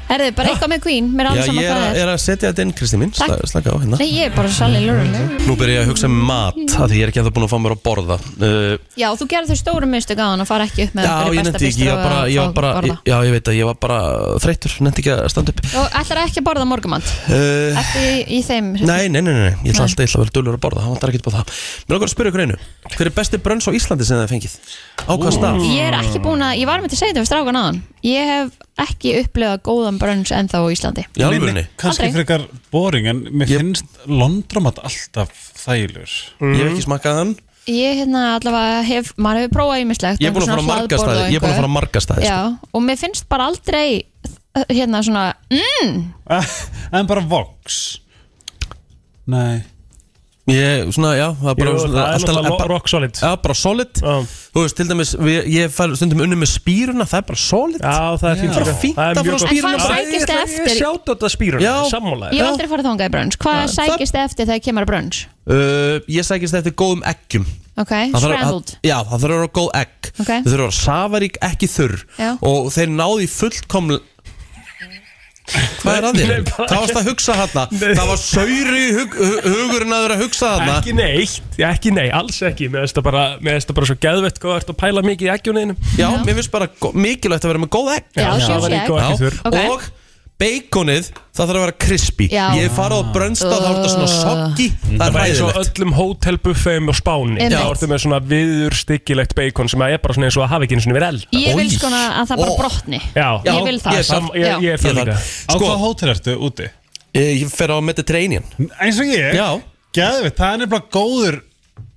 C: Er þið bara eitthvað með Queen, mér er
A: Já,
C: alveg
A: ég
C: saman
A: er, að-
C: hvað það er
A: er að setja þetta inn, Kristi mín
C: Takk.
A: Sla- Slaka á hérna
C: Nei, ég er bara sannlega lörður
A: Nú byrja ég að hugsa um mat af Því ég er ekki að það búin að fá mér að borða uh,
C: Já, þú gerði þau stóru mistök á hann og fara ekki upp með
A: Já,
C: okkur í
A: ég
C: besta
A: nefndi ekki, ég
C: bistró
A: var bara,
C: að
A: ég
C: fá
A: var bara
C: borða. Eh,
A: Já, ég veit að ég var bara þreytur Nefndi ekki að standa upp
C: Og ætlar ekki að borða morgumand
A: uh,
C: Ertu í, í þeim
A: Nei, nei, nei, nei, nei, ég ætla
C: Nei.
A: alltaf, ég ætla að vera dölur að borða, það vantar ekki upp á það. Mér langar að spyrja ykkur einu, hver er besti brönns á Íslandi sem þið hafið fengið? Á hvað stað?
C: Ég er ekki búin að, ég var með til að segja þetta við strákan aðan Ég hef ekki upplifað góðan brönns ennþá á Íslandi
A: Í alvörunni?
G: Kanski
C: Aldrei.
G: frekar boring en mér finnst londramat alltaf þægilegur Hmm.
A: Ég hef ekki smakkað hann
C: Ég hérna allavega hef, maður hefur prófað ímislegt
A: Ég er búin að fara á
C: einhver svona
A: marga
C: hlaðborð og
A: staði Ég er búin að fara á marga staði sko.
C: Já, og mér finnst bara aldrei uh, hérna svona mm,
G: En bara vox Nei
A: Ég, svona, já, það er bara
G: Jú,
A: svona,
G: það er náttúrulega
A: bara-
G: rock solid.
A: Já, bara solid Þú veist, til dæmis, við, ég fær stundum unni með spýruna Það er bara solid Já,
D: það er fínt
A: Bara
D: líka.
A: fínt
D: Það er
A: að
D: mjög
A: fara á
D: gott.
A: spýruna
C: En hvað sækist þið eftir?
D: Sjátt á þetta spýruna,
A: Já.
D: sammálaðir
C: Ég hef aldrei farið þangað í brönns Hvað
A: Já, það-
C: sækist þið eftir þegar kemur að brönns?
A: Uh, Ég sækist eftir góðum eggjum
C: Ok,
A: Það þarf að-
C: scrambled
A: að- Já, það þurfa að vera góð egg
C: Ok.
A: Það þurfa að vera safarík, ekki þurr
C: Já.
A: Og þeir náði fullkoml Hvað er að þér? Hvað varst að hugsa hérna? Það var sauri hug, hug, hugurinn að vera að hugsa hérna
D: Ekki neitt, já, ekki nei, alls ekki Mér finnst það bara, mér finnst það bara svo geðvett Hvað ert að pæla mikið í eggjunniðinu
A: Já, mér finnst bara gó- mikilvægt að vera með góð egg
D: Já, Já, sjálfsagt. safarík og ekki
A: Já,
D: þurr. Ok.
A: Og baconið, það þarf að vera crispy
C: Já.
A: Ég hef farið á brönnstað, það er þetta svona soggi Það er
D: var eins og
A: hæðilegt
D: öllum hótelbuffeum og spáni
C: Einmitt.
D: Þá ertu með svona viður styggilegt bacon sem er bara svona eins og að hafa ekki eins og verið eld
C: Ég vil sko að það bara brotni
D: Já.
C: Ég vil það Já.
D: ég er það líka.
G: Á hvaða hótel ertu úti?
A: Sko. Eh, Ég fer á Mediterranean
G: Eins og ég?
A: Já
G: Gæðvitt, það er nefnilega góður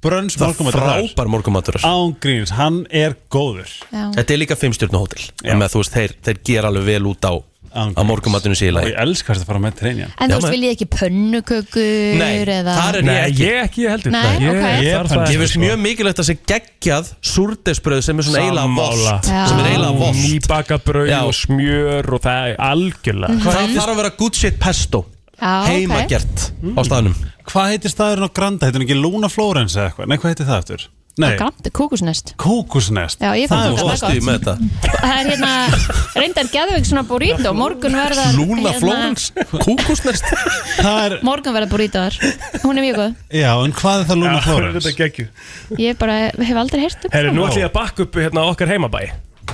G: brönns
A: Það er
G: morgumatur þar.
A: frábær morgumatur
B: Ah.
G: Án gríns, hann er góður
C: Já.
A: Þetta er líka fimmstjörnu hótel með, þú veist, þeir, þeir gera alveg vel út á á morgumatinu síla
G: Og ég elskast að fara með treinjan
C: En þú veist, vil ég ekki pönnukökur
A: Nei,
C: eða...
A: þar er ég ekki Ég ekki heldur
C: Nei, Ég- ok. ég
A: Ég,
C: þarf það
A: finnst
D: ekki, sko.
A: mjög mikilvægt að sé geggjað súrdesbröð sem er svona eiginlega
D: Sammála.
A: volt sem er eiginlega volt
D: Nýbakað brauð og smjör og það er algjörlega
C: Mhm.
A: Það þarf að vera good shit pesto
C: Já,
A: Heimagert á staðnum
G: Hvað heitir staðurinn á Granda? Heitir hann ekki Luna Florence eða eitthvað? Nei, hvað heitir það eftir? Nei,
C: Grandi kúkusnest
G: Kókusnest
C: Já, ég
G: Það
C: fann
G: er
C: þetta, það er
G: óstuð
C: gott.
G: með þetta
C: Það er hérna, reyndar geðveik svona burrito Morgun verða hérna-
G: Luna Florence,
A: kúkusnest
G: Það er,
C: Morgun verða burritoðar Hún er mjög góð
G: já, en hvað er það Luna Florence?
D: Þetta geggju
C: Ég bara hef aldrei heyrt um
D: Herru, nú
C: það.
D: ætlum ég að bakka upp hérna á okkar heimabæ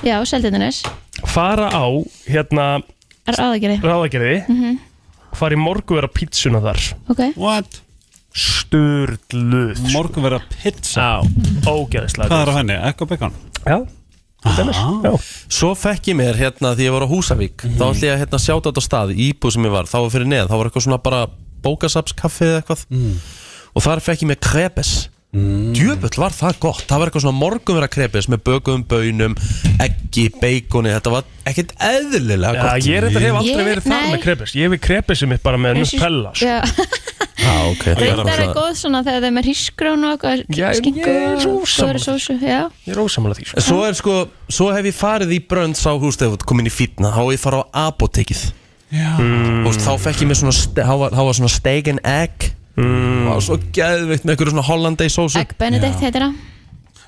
C: Já, seldinnes
D: Fara á, hérna,
C: Ráðagerði
D: ráðagerði
C: Mhm.
D: Fara í morguverða pítsuna þar
C: Ok
G: What?
D: Sturluð
G: Morgunverða pizza
D: Já, ógeðislega
G: Hvað er á
B: eh?
G: henni? Ekko bacon?
D: Já
A: Svo fekk ég mér hérna því ég var á Húsavík
G: Mhm.
A: Þá ætla ég að hérna, sjáta þetta á stað í íbúð sem ég var Þá var fyrir neðan, þá var eitthvað svona bara bókasapskaffi eða eitthvað
G: Mhm.
A: Og þar fekk ég mér krepes mm. Djöfull var það gott Það var eitthvað svona morgunvera krepes Með bökuðum bönum, eggi, beikoni Þetta var ekkert eðlilega
D: Já,
A: gott
D: ég reyndar hef aldrei
C: Ég-
D: verið þar
C: nei.
D: með krepes Ég hef krepisum mitt bara með nutella sko.
C: Já,
A: Já, Ah, ok
D: Ég er
C: reyndar er
D: náttúrulega-
C: góð svona þegar þeim er hísgrón og
D: Já,
C: eitthvað
D: ég-
C: Skingu
D: ég er svo
C: og
D: sammála.
C: góður sósu Já,
D: Ég er ósamlega því sko.
A: Svo er sko, svo hef ég farið í brönds á hústefut Komin í fítna, þá hef ég farið á apotekið mm. Þá fekk ég mér svona ste- Þá var, þá var svona steak and egg mm. Og svo geðveikt með einhverju svona hollandaise sósu
C: Egg Benedict heitir það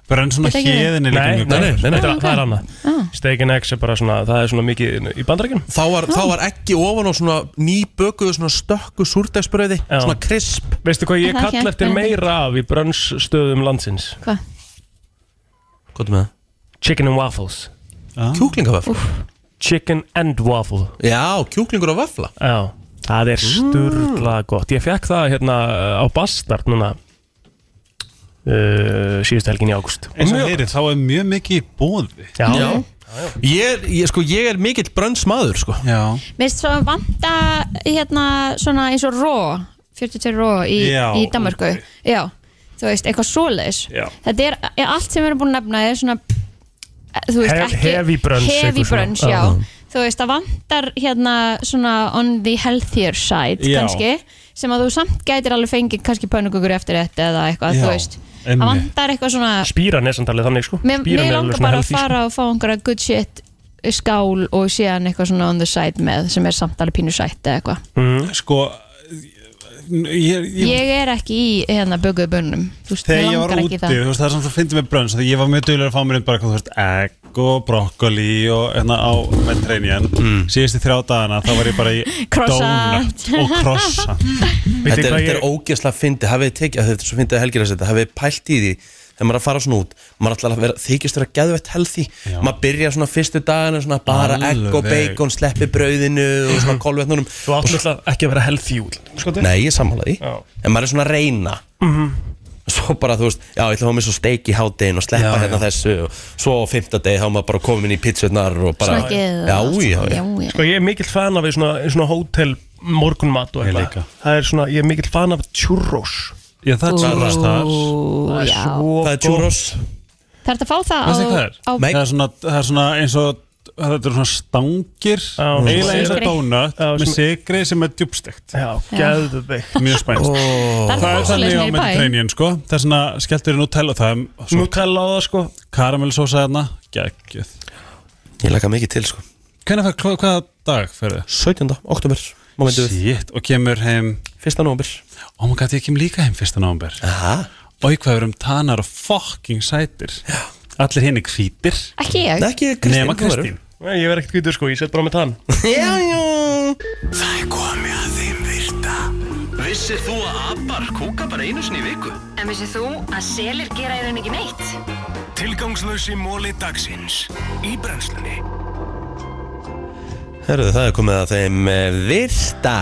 G: Brenn svona
C: Þetta ekki verið?
G: héðin er líka
D: Nei,
G: mjög
D: nei, nei,
G: góð.
D: nei, nei,
C: Ah,
D: það
C: ok.
D: er annað
C: Ah.
D: Steak and eggs er bara svona, það er svona mikið í bandarækjum
A: þá var, þá var ekki ofan á svona nýbökuðu svona stökku súrdegsbröði svona krisp
D: Veistu hvað ég
C: Er það ekki
D: kall eftir
C: Egg Benedict?
D: meira af í brönnstöðum landsins?
C: Hvað?
A: Hvað er með það?
D: Chicken and waffles
A: kjúklingavöfla
D: Chicken and waffle
A: já, kjúklingur og Mm. vöfla
D: Já, það er sturla gott Ég fekk það hérna á Bastard núna uh, síðustu helgin í águst
G: Eins og heyrið, þá er mjög mikið í bóði
D: Já,
A: já. Ég, er- ég, sko, ég er mikill brönnsmaður sko.
G: Já.
C: Mér finnst svo vanta hérna svona eins og ró 42 ró í,
A: Já,
C: í Danmarku Já, þú veist, eitthvað svoleiðis
D: Já.
C: Þetta er, er allt sem við erum búin að nefna er svona eh, þú veist,
D: Hef-
C: ekki,
D: heavy brunch,
C: heavy
D: eitthvað svona.
C: brunch já.
D: Já.
C: Þú veist, það vantar hérna svona on the healthier side
G: Já.
C: kannski, sem að þú samt gætir alveg fengið kannski pönnugugur eftir þetta eða eitthvað,
G: Já.
C: þú veist það vantar eitthvað svona
D: Spýran er samtalið þannig sko
C: Hérna- mér,
D: Spýran
C: mér
D: er alveg
C: langar
D: svona
C: bara að
D: healthy, sko.
C: fara og fá einhverja good shit skál og síðan eitthvað svona on the side með sem er samt alveg pínu sætt eða eitthvað
B: mm. Sko ég, ég,
C: ég er ekki í hérna böguðu bönnum þú veist,
B: Þegar
C: mér
B: ég var
C: langar
B: úti,
C: ekki í það
B: þú veist, það er samt að fyndi með brönns Þegar ég var mjög dölur að fá mér inn bara eitthvað, þú veist, egg og brokkoli og hérna á mentreinjan mm. Síðustu þrjá dagana, þá var ég bara í donut og krossa
A: Þetta er, þetta er ógeðslega fyndi, hafið þið tekið, að þetta er svo fyndið að helgir að setja, hafið þið pælt í því þegar maður er að fara svona út, maður er alltaf að vera, þykist vera geðvett healthy, maður byrja svona fyrstu dagana svona bara
D: Alveg.
A: egg og bacon, sleppi brauðinu og svona kolvetnunum.
D: Þú átt náttúrulega ekki að vera healthy út sko,
A: Nei, ég sammála því, en maður er svona að reyna.
D: Mhm.
A: Svo bara, þú veist, já, ég ætla að fá mér svo steik í hátdein og sleppa
D: Já,
A: hérna þessu og svo á fymta degi þá er maður bara komin í pizzurnar og bara...
D: Snakkið
A: Já,
D: og allt
A: já, já.
D: Sko ég er mikill fan af í svona, í svona hótel morgunmat og
A: líka.
D: eitthvað Það er svona, ég er mikill fan af churros
B: Já, það er Ú, churros þar.
D: Það er
C: já.
D: svo
B: Það er churros.
C: Það er að fá það á,
B: Veistu hvað
C: á
B: það er? Það er svona, það er svona eins og Þetta eru svona stangir
D: svona
B: Eiginlega eins og
D: sykri.
B: donut
D: Já,
B: Með
D: sem-
B: sigri sem er djúbstekt Já,
D: geðveikt.
B: Mjög spænst
D: Það er
B: Það er
D: fólk
B: þannig á
D: svoleiðis niður í bæ.
B: mentreinjan, sko Það er svona, skelltur í Nutella Það er hérna. svo
D: Nutella á það, sko
B: Karamelsósa þarna, geggjöð
A: Ég laka mikið til, sko
B: Hvernig fær, hvað, hvaða dag fyrir þið?
A: 17. oktober momentum við.
B: Shit, og kemur heim
A: 1. november
B: Oh my god, ég kem líka heim 1. november
A: Aha.
B: Og hvað erum tanar og fucking sætir Allir hinn er hvítir
C: Ekki ég. Nei,
A: ekki
B: Nema Kristín
D: Nei, ég verð ekkert hvítur sko, ég set bara með tann
A: Já, já
E: Það er komið að þeim virta Vissir þú að abar kúka bara einu sinni í viku?
L: En vissið þú að selir gera í raun ekki neitt?
E: Tilgangslösi móli dagsins Í brennslunni
A: Herðu, það er komið að þeim eh, virta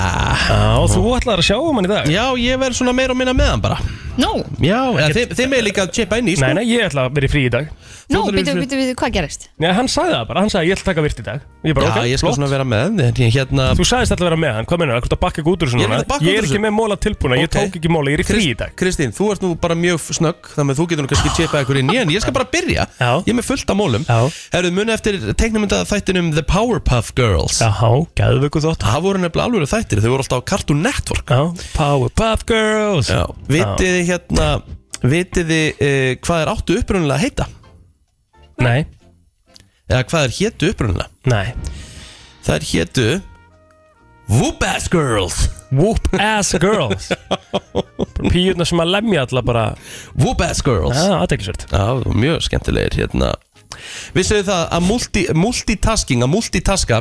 A: Já,
D: þú ætlar að sjá um hann í dag
A: Já, ég verð svona meira og minna með hann bara
C: Nú,
A: Já, eða þið, þið með líka að chipa inn í sko
D: Nei, nei, ég ætla að vera í frí í dag
C: nú,
D: Þú ætlar að vera í
C: býtu,
D: frí-
C: býtu, býtu, hvað gerist?
D: Nei, hann sagði það bara, hann sagði ég ætla að taka virt í dag Ég bara,
A: Já,
D: ok,
A: ég skal
D: flott.
A: svona vera með en ég- hérna
D: Þú sagðist alltaf að vera með hann, hvað mennur, akkur að bakka ekki út úr þessu
A: Ég er
D: núna?
A: ekkert að bakka út
D: Ég
A: úr
D: er ekki
A: þessu.
D: með móla tilbúna, ég
A: Ok.
D: tók ekki móla, ég er í frí í dag
A: Kristín, þú ert nú bara mjög snögg þannig að þú getur nú kannski chipað ykkur inn í en ég skal bara byrja Já. ég er með fullt af mólum Herðu, muni eftir teiknumynda þættinum The Powerpuff Girls
D: Jaha, gæðu ykkur þótt
A: Það voru nefnilega alveg þættir, þau voru alltaf á Cartoon Network
D: Já, Powerpuff Girls
A: Já, vitið þið hérna vitið þið uh, hvað er áttu upprunulega að heita?
D: Nei
A: Eða hvað er hétu upprunulega?
D: Nei
A: Það er hétu Whoop Ass Girls
D: Whoop Ass Girls Píurna sem að lemja alltaf bara
A: Whoop Ass Girls
D: Já, aðteglisvert
A: Já, mjög skemmtilegir hérna Vissuðu það að multi, multitasking að multitaska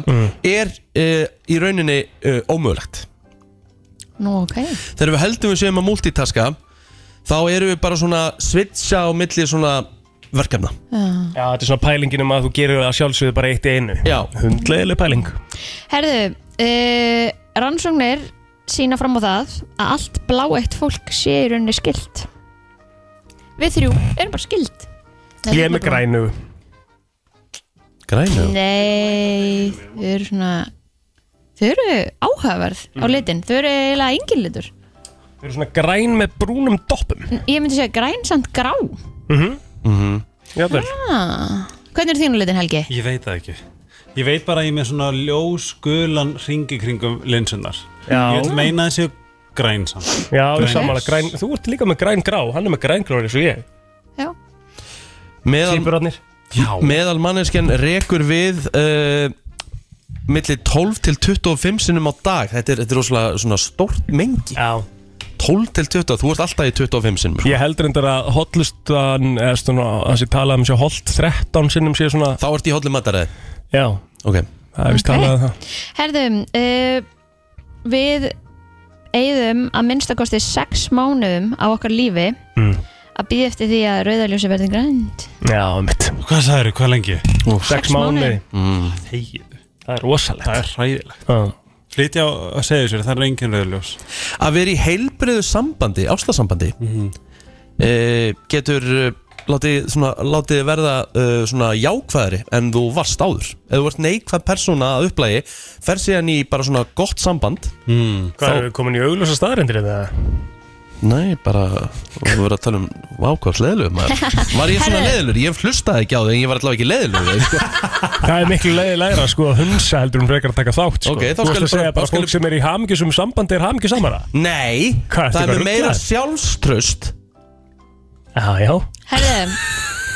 A: er uh, í rauninni uh, ómögulegt
C: Nú, ok
A: Þegar við heldum við séum að multitaska þá erum við bara svona switcha á milli svona verkefna
C: Já.
D: Já, þetta er svona pælingin um að þú gerir það sjálfsögðu bara eitt í einu
A: Já
D: Hundleiðileg pæling
C: Herðu, uh, rannsóknir sína fram á það að allt bláeitt fólk sé í rauninni skilt Við þrjú erum bara skilt Nei,
D: Ég er með
C: bara-
D: grænu
A: Grænu?
C: Nei, þau eru svona Þau eru áhugaverð
D: Mm.
C: á litin Þau eru eiginlega engin litur
D: Þau eru svona græn með brúnum doppum
C: N- Ég myndi segja græn samt grá
D: Mhm
A: Mhm
D: Jafnvel
C: ah, Hvernig er þínu litin Helgi?
G: Ég veit það ekki Ég veit bara að ég er með svona ljósgulan ringi kringum linsunar
D: Já.
G: Ég vil meina þessi græn samt
D: Já,
G: Græn.
D: samanlega græn Þú ert líka með græn grá, hann er með græn grá eins og ég
A: meðal, meðal manneskjan rekur við uh, milli 12 til 25 sinnum á dag þetta er, þetta er rosalega svona stort mengi
D: Já.
A: 12 til 20, þú ert alltaf í 25 sinnum
D: Ég heldur endur að hotlustan eða svona, að sé talað um sé holt 13 sinnum sé svona
A: Þá ert í hotlu mataræði
D: Já
A: Ok
D: Það er vist
C: Ok.
D: talað um það
C: Herðu, uh, við eigðum að minnstakosti sex mánuðum á okkar lífi
G: Mm.
C: að býða eftir því að rauðaljósi verði grænt
D: Já, mitt
G: Hvað sagður, hvað lengi?
D: Sex Sex mánuði.
A: Mm.
G: Þegiðu.
D: Það er rosalegt
G: Það er hræðilegt
D: ah.
G: Flytja á- að segja sér, það er engin rauðljós
A: að vera í heilbreyðu sambandi, ástasambandi mm
D: Mhm.
A: getur uh, látið, svona, látið verða uh, svona jákvæðari en þú varst áður ef þú ert neikvæð persóna að upplægi fer síðan í bara svona gott samband
G: mm.
D: Hmm, Hvað erum við komin í augljósa staðarindir eða?
A: Nei, bara, þú verður að tala um vákvæðs leðlum Var ég svona
D: Herðu.
A: leðlur? Ég hlustaði ekki á þig en ég var allavega ekki leðlur sko.
D: Það er miklu leiðilegra sko að hunsa heldur um frekar að taka þátt sko.
A: Ok, þá
D: Þú
A: skal
D: ætla að
A: bara-
D: segja
A: þá
D: bara
A: skal-
D: fólk sem er í hamgjusum sambandi er hamgjusamara
A: Nei,
D: Hvað, ertu
A: það er
D: bara
A: með meira
D: ruglaður?
A: sjálfströst
D: Já, já
C: Herðu,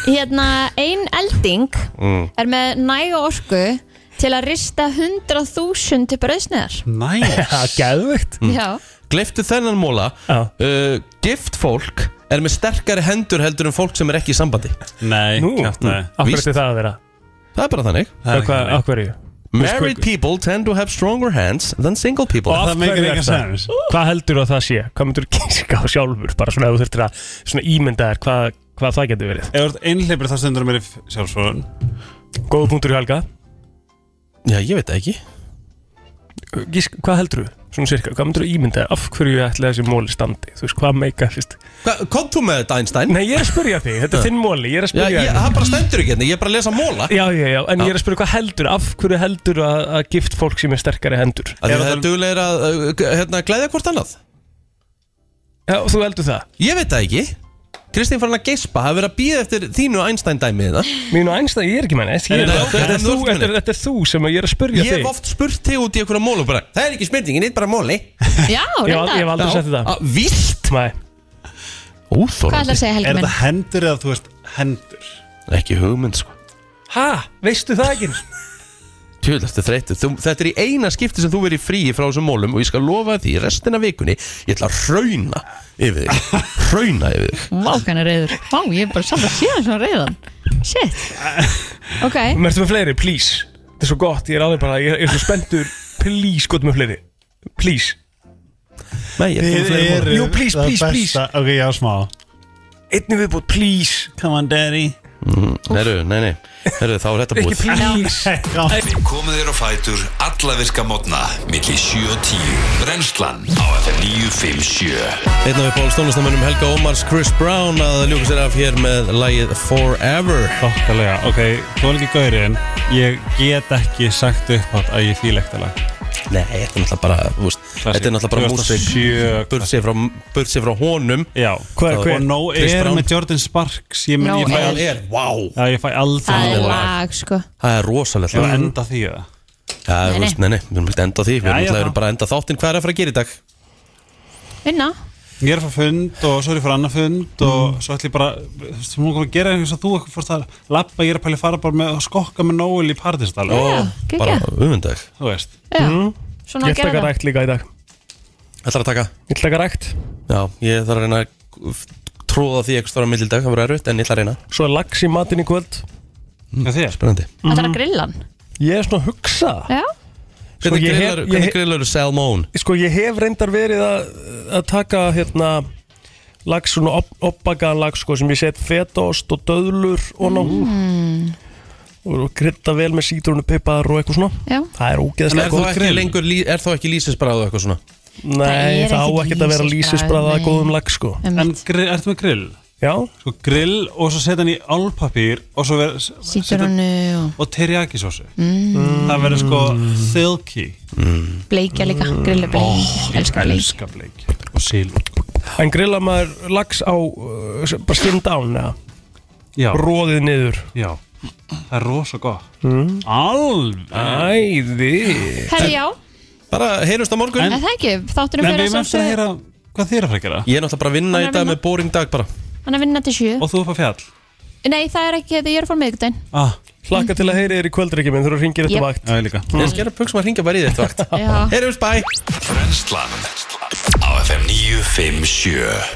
C: hérna ein elding
D: Mm.
C: er með næga orku til að rista 100.000 bröðsneðar
A: Næs
D: Gæðvegt
C: Já.
A: Gleiftu þennan móla uh, Gift fólk er með sterkari hendur heldur en fólk sem er ekki í sambandi
B: Nei,
A: Nú,
D: mm.
B: kjaftaði.
A: af hverju ætti
D: það að vera?
A: Það er bara þannig
D: Það er ekki Hvað- þannig. af hverju?
A: Married people tend to have stronger hands than single people
D: Og af hverju er það? Hvað heldur að það sé? Hvað myndur kíska á sjálfur? Bara svona ef þú þurftir að svona ímynda þér hvað, hvað það getur verið
B: Ef þú ert einhleipur þá stendur mér sjálfsvöðun
D: Góð punktur í helga
A: Já, ég veit það ekki
D: Gísk, hvað heldur þú? Svona cirka, hvað myndur þú ímynda þér? Af hverju ætla þessi móli standi? Þú veist, hvað meika, fyrst
A: Kom þú með þetta, Einstein?
D: Nei, ég er að spyrja þig, þetta
A: Já.
D: er þinn móli, ég er að
A: Já,
D: spyrja
A: ég,
D: þig.
A: það bara stendur ekki hérna, ég er bara að lesa móla
D: Já, já, já, en ég er að spyrja hvað heldur, af hverju heldur að, að gift fólk sem er sterkari hendur?
A: Að því það er duglegir að uh, hérna, glæðja hvort annað
D: Já, þú heldur það
A: Ég veit það ekki Kristín farin að geispa, hafa verið að býða eftir þínu Einstein dæmi það
D: Mínu Einstein, ég er ekki menn
A: Nei, nei,
D: Þetta
A: þetta
D: er
A: er
D: þú-
A: þú ert
D: þetta er- þetta er þú sem ég er að spurja
A: Ég
D: þig
A: hef oft spurt þig út í einhverja móla og bara, það er ekki spurningin, þetta er bara móli
C: Já,
D: Ég hef al- ég hef aldrei
A: Já.
D: sett þetta
A: Á, Víst
D: Nei
A: Óþorandi
C: Hvað ætlar að segja, Helgi
B: Er
C: minn?
B: þetta hendur eða þú veist hendur?
A: Ekki hugmynd sko
D: Ha, veistu það ekki?
A: Tjöld eftir þreytu, þú, þetta er í eina skipti sem þú verið frí frá þessum mólum og ég skal lofa því restina af vikunni, ég ætla að hrauna yfir þig, hrauna yfir þig
C: Vákan er reyður Vá, ég er bara samt að sé það svona reyðan Shit Ok
D: Mertu með fleiri, please Þetta er svo gott, ég er alveg bara, ég er- ég er svo spenntur Please, gott með fleiri Please
A: Nei,
D: ég er ekki með fleiri mál. Jú, please, please,
B: Ok, já, smá
D: Einni viðbútt, please
B: Come on, daddy
A: Herru, nei, nei, herru, þá er þetta búið
E: Við komum þér á fætur allavirka mótna millir 7 og 10 Brennslan á FM 957
A: Einn af uppáhalds tónlistamönnum Helga Ómars Chris Brown að ljúka sér af hér með lagið Forever
B: Þokkalega, ok, þú er ekki gaurið en ég get ekki sagt upp átt að ég fíla ekkert lag
A: Nei, þetta er náttúrulega bara, þú veist, þetta er náttúrulega bara músik Burt sér frá, burt sér frá honum
B: Já,
A: hver,
B: Og No Air með Jordan Sparks ég, mun-
C: No
B: ég fæ
C: Air.
B: al-
C: Air,
A: wow
B: Já, ég fæ aldrei
C: Það er
B: No Air.
C: lag, sko
A: Það er rosalegt
B: Ég var
A: lag.
B: að enda því eða
A: Já,
C: Nei,
A: þú veist, nei, nei, við erum ekki að enda á því Við erum
B: Jæja,
A: náttúrulega
B: þá.
A: erum bara að enda þáttinn Hvað er að fara að gera í dag?
C: Vinna
B: Ég er frá fund og svo er ég frá annar fund og svo ætlum ég bara, þú veist, þú múið að gera eins og þú eitthvað fórst að lappa, ég er að pæli að fara bara með að skokka með Nóel í Pardistal
A: Ó,
C: geggjað.
A: bara ufundag
B: Þú veist
C: Já, svona að
D: Mhm. Ég ætla að
C: gera
D: taka
C: það
D: rækt líka í dag
A: Ætlar að taka?
D: Ég ætla að taka rækt
A: Já, ég þarf að reyna að tróða því eitthvað stóra millildag, það verður erfitt, en ég ætla að reyna
D: Svo er lags í matinn í kvöld Mhm.
B: Hvað þér?
A: Spennandi
C: Það er að grilla hann
D: Ég er svona að hugsa
C: Já
D: Sko,
A: Hvernig
D: ég hef-
A: grillar,
D: ég
A: hvernig
D: hef-
A: grillar salmón?
D: Sko ég hef reyndar verið að, að taka hérna lags, svona op, oppakaðan lags sko, sem ég set fetaost og döðlur og ná
C: mm.
D: og krydda vel með sítrunu, pipar og eitthvað svona
C: Já.
D: Það er
A: En
D: ógeðslega
A: er þá ekki lengur, lí- er þá ekki lýsinsbræðu eitthvað svona?
D: Nei,
C: er
D: það á
C: ekkert
D: ekkert að vera
C: lýsisbragð,
D: lýsisbræða
C: nei.
D: að góðum lags sko
B: En grill, ertu með grill?
D: Já
B: Sko grill og svo setja hann í álpapír og svo verður
C: Sítrunu uh, og
B: og teriyaki sósu
C: Mm.
B: Það verður sko silky mm.
C: bleikja líka Grilla bleikja, elskar bleikja
B: Elskar bleik og síl
D: En grilla maður lags á uh, s- bara skin down eða
B: Já.
D: Róðið niður
B: Já, það er rosa gott
D: mm.
B: Alveg
D: Æði
C: Herri, já,
A: Bara heyrumst á morgun
C: en það ekki Þáttunum fyrir að sjálfsögðu
B: hvað þér að fara að gera
A: Ég er náttúrulega bara að vinna
C: Hann er
A: í dag
C: að vinna.
A: með boring dag bara
C: Hann er að vinna til sjö
B: Og þú upp á fjall
C: Nei, það er ekki, þetta ég er að fara miðgudaginn
B: ah.
D: Hlakka til að heyri þér í kvöldryggjum en þú eru að ringja
C: Yep.
D: þetta vakt Mm.
B: Já, ég líka
A: Ég skal gera buksum að ringja bara í þetta vakt
C: Já.
A: Heyrumst, bæ
E: Brennslan á FM 957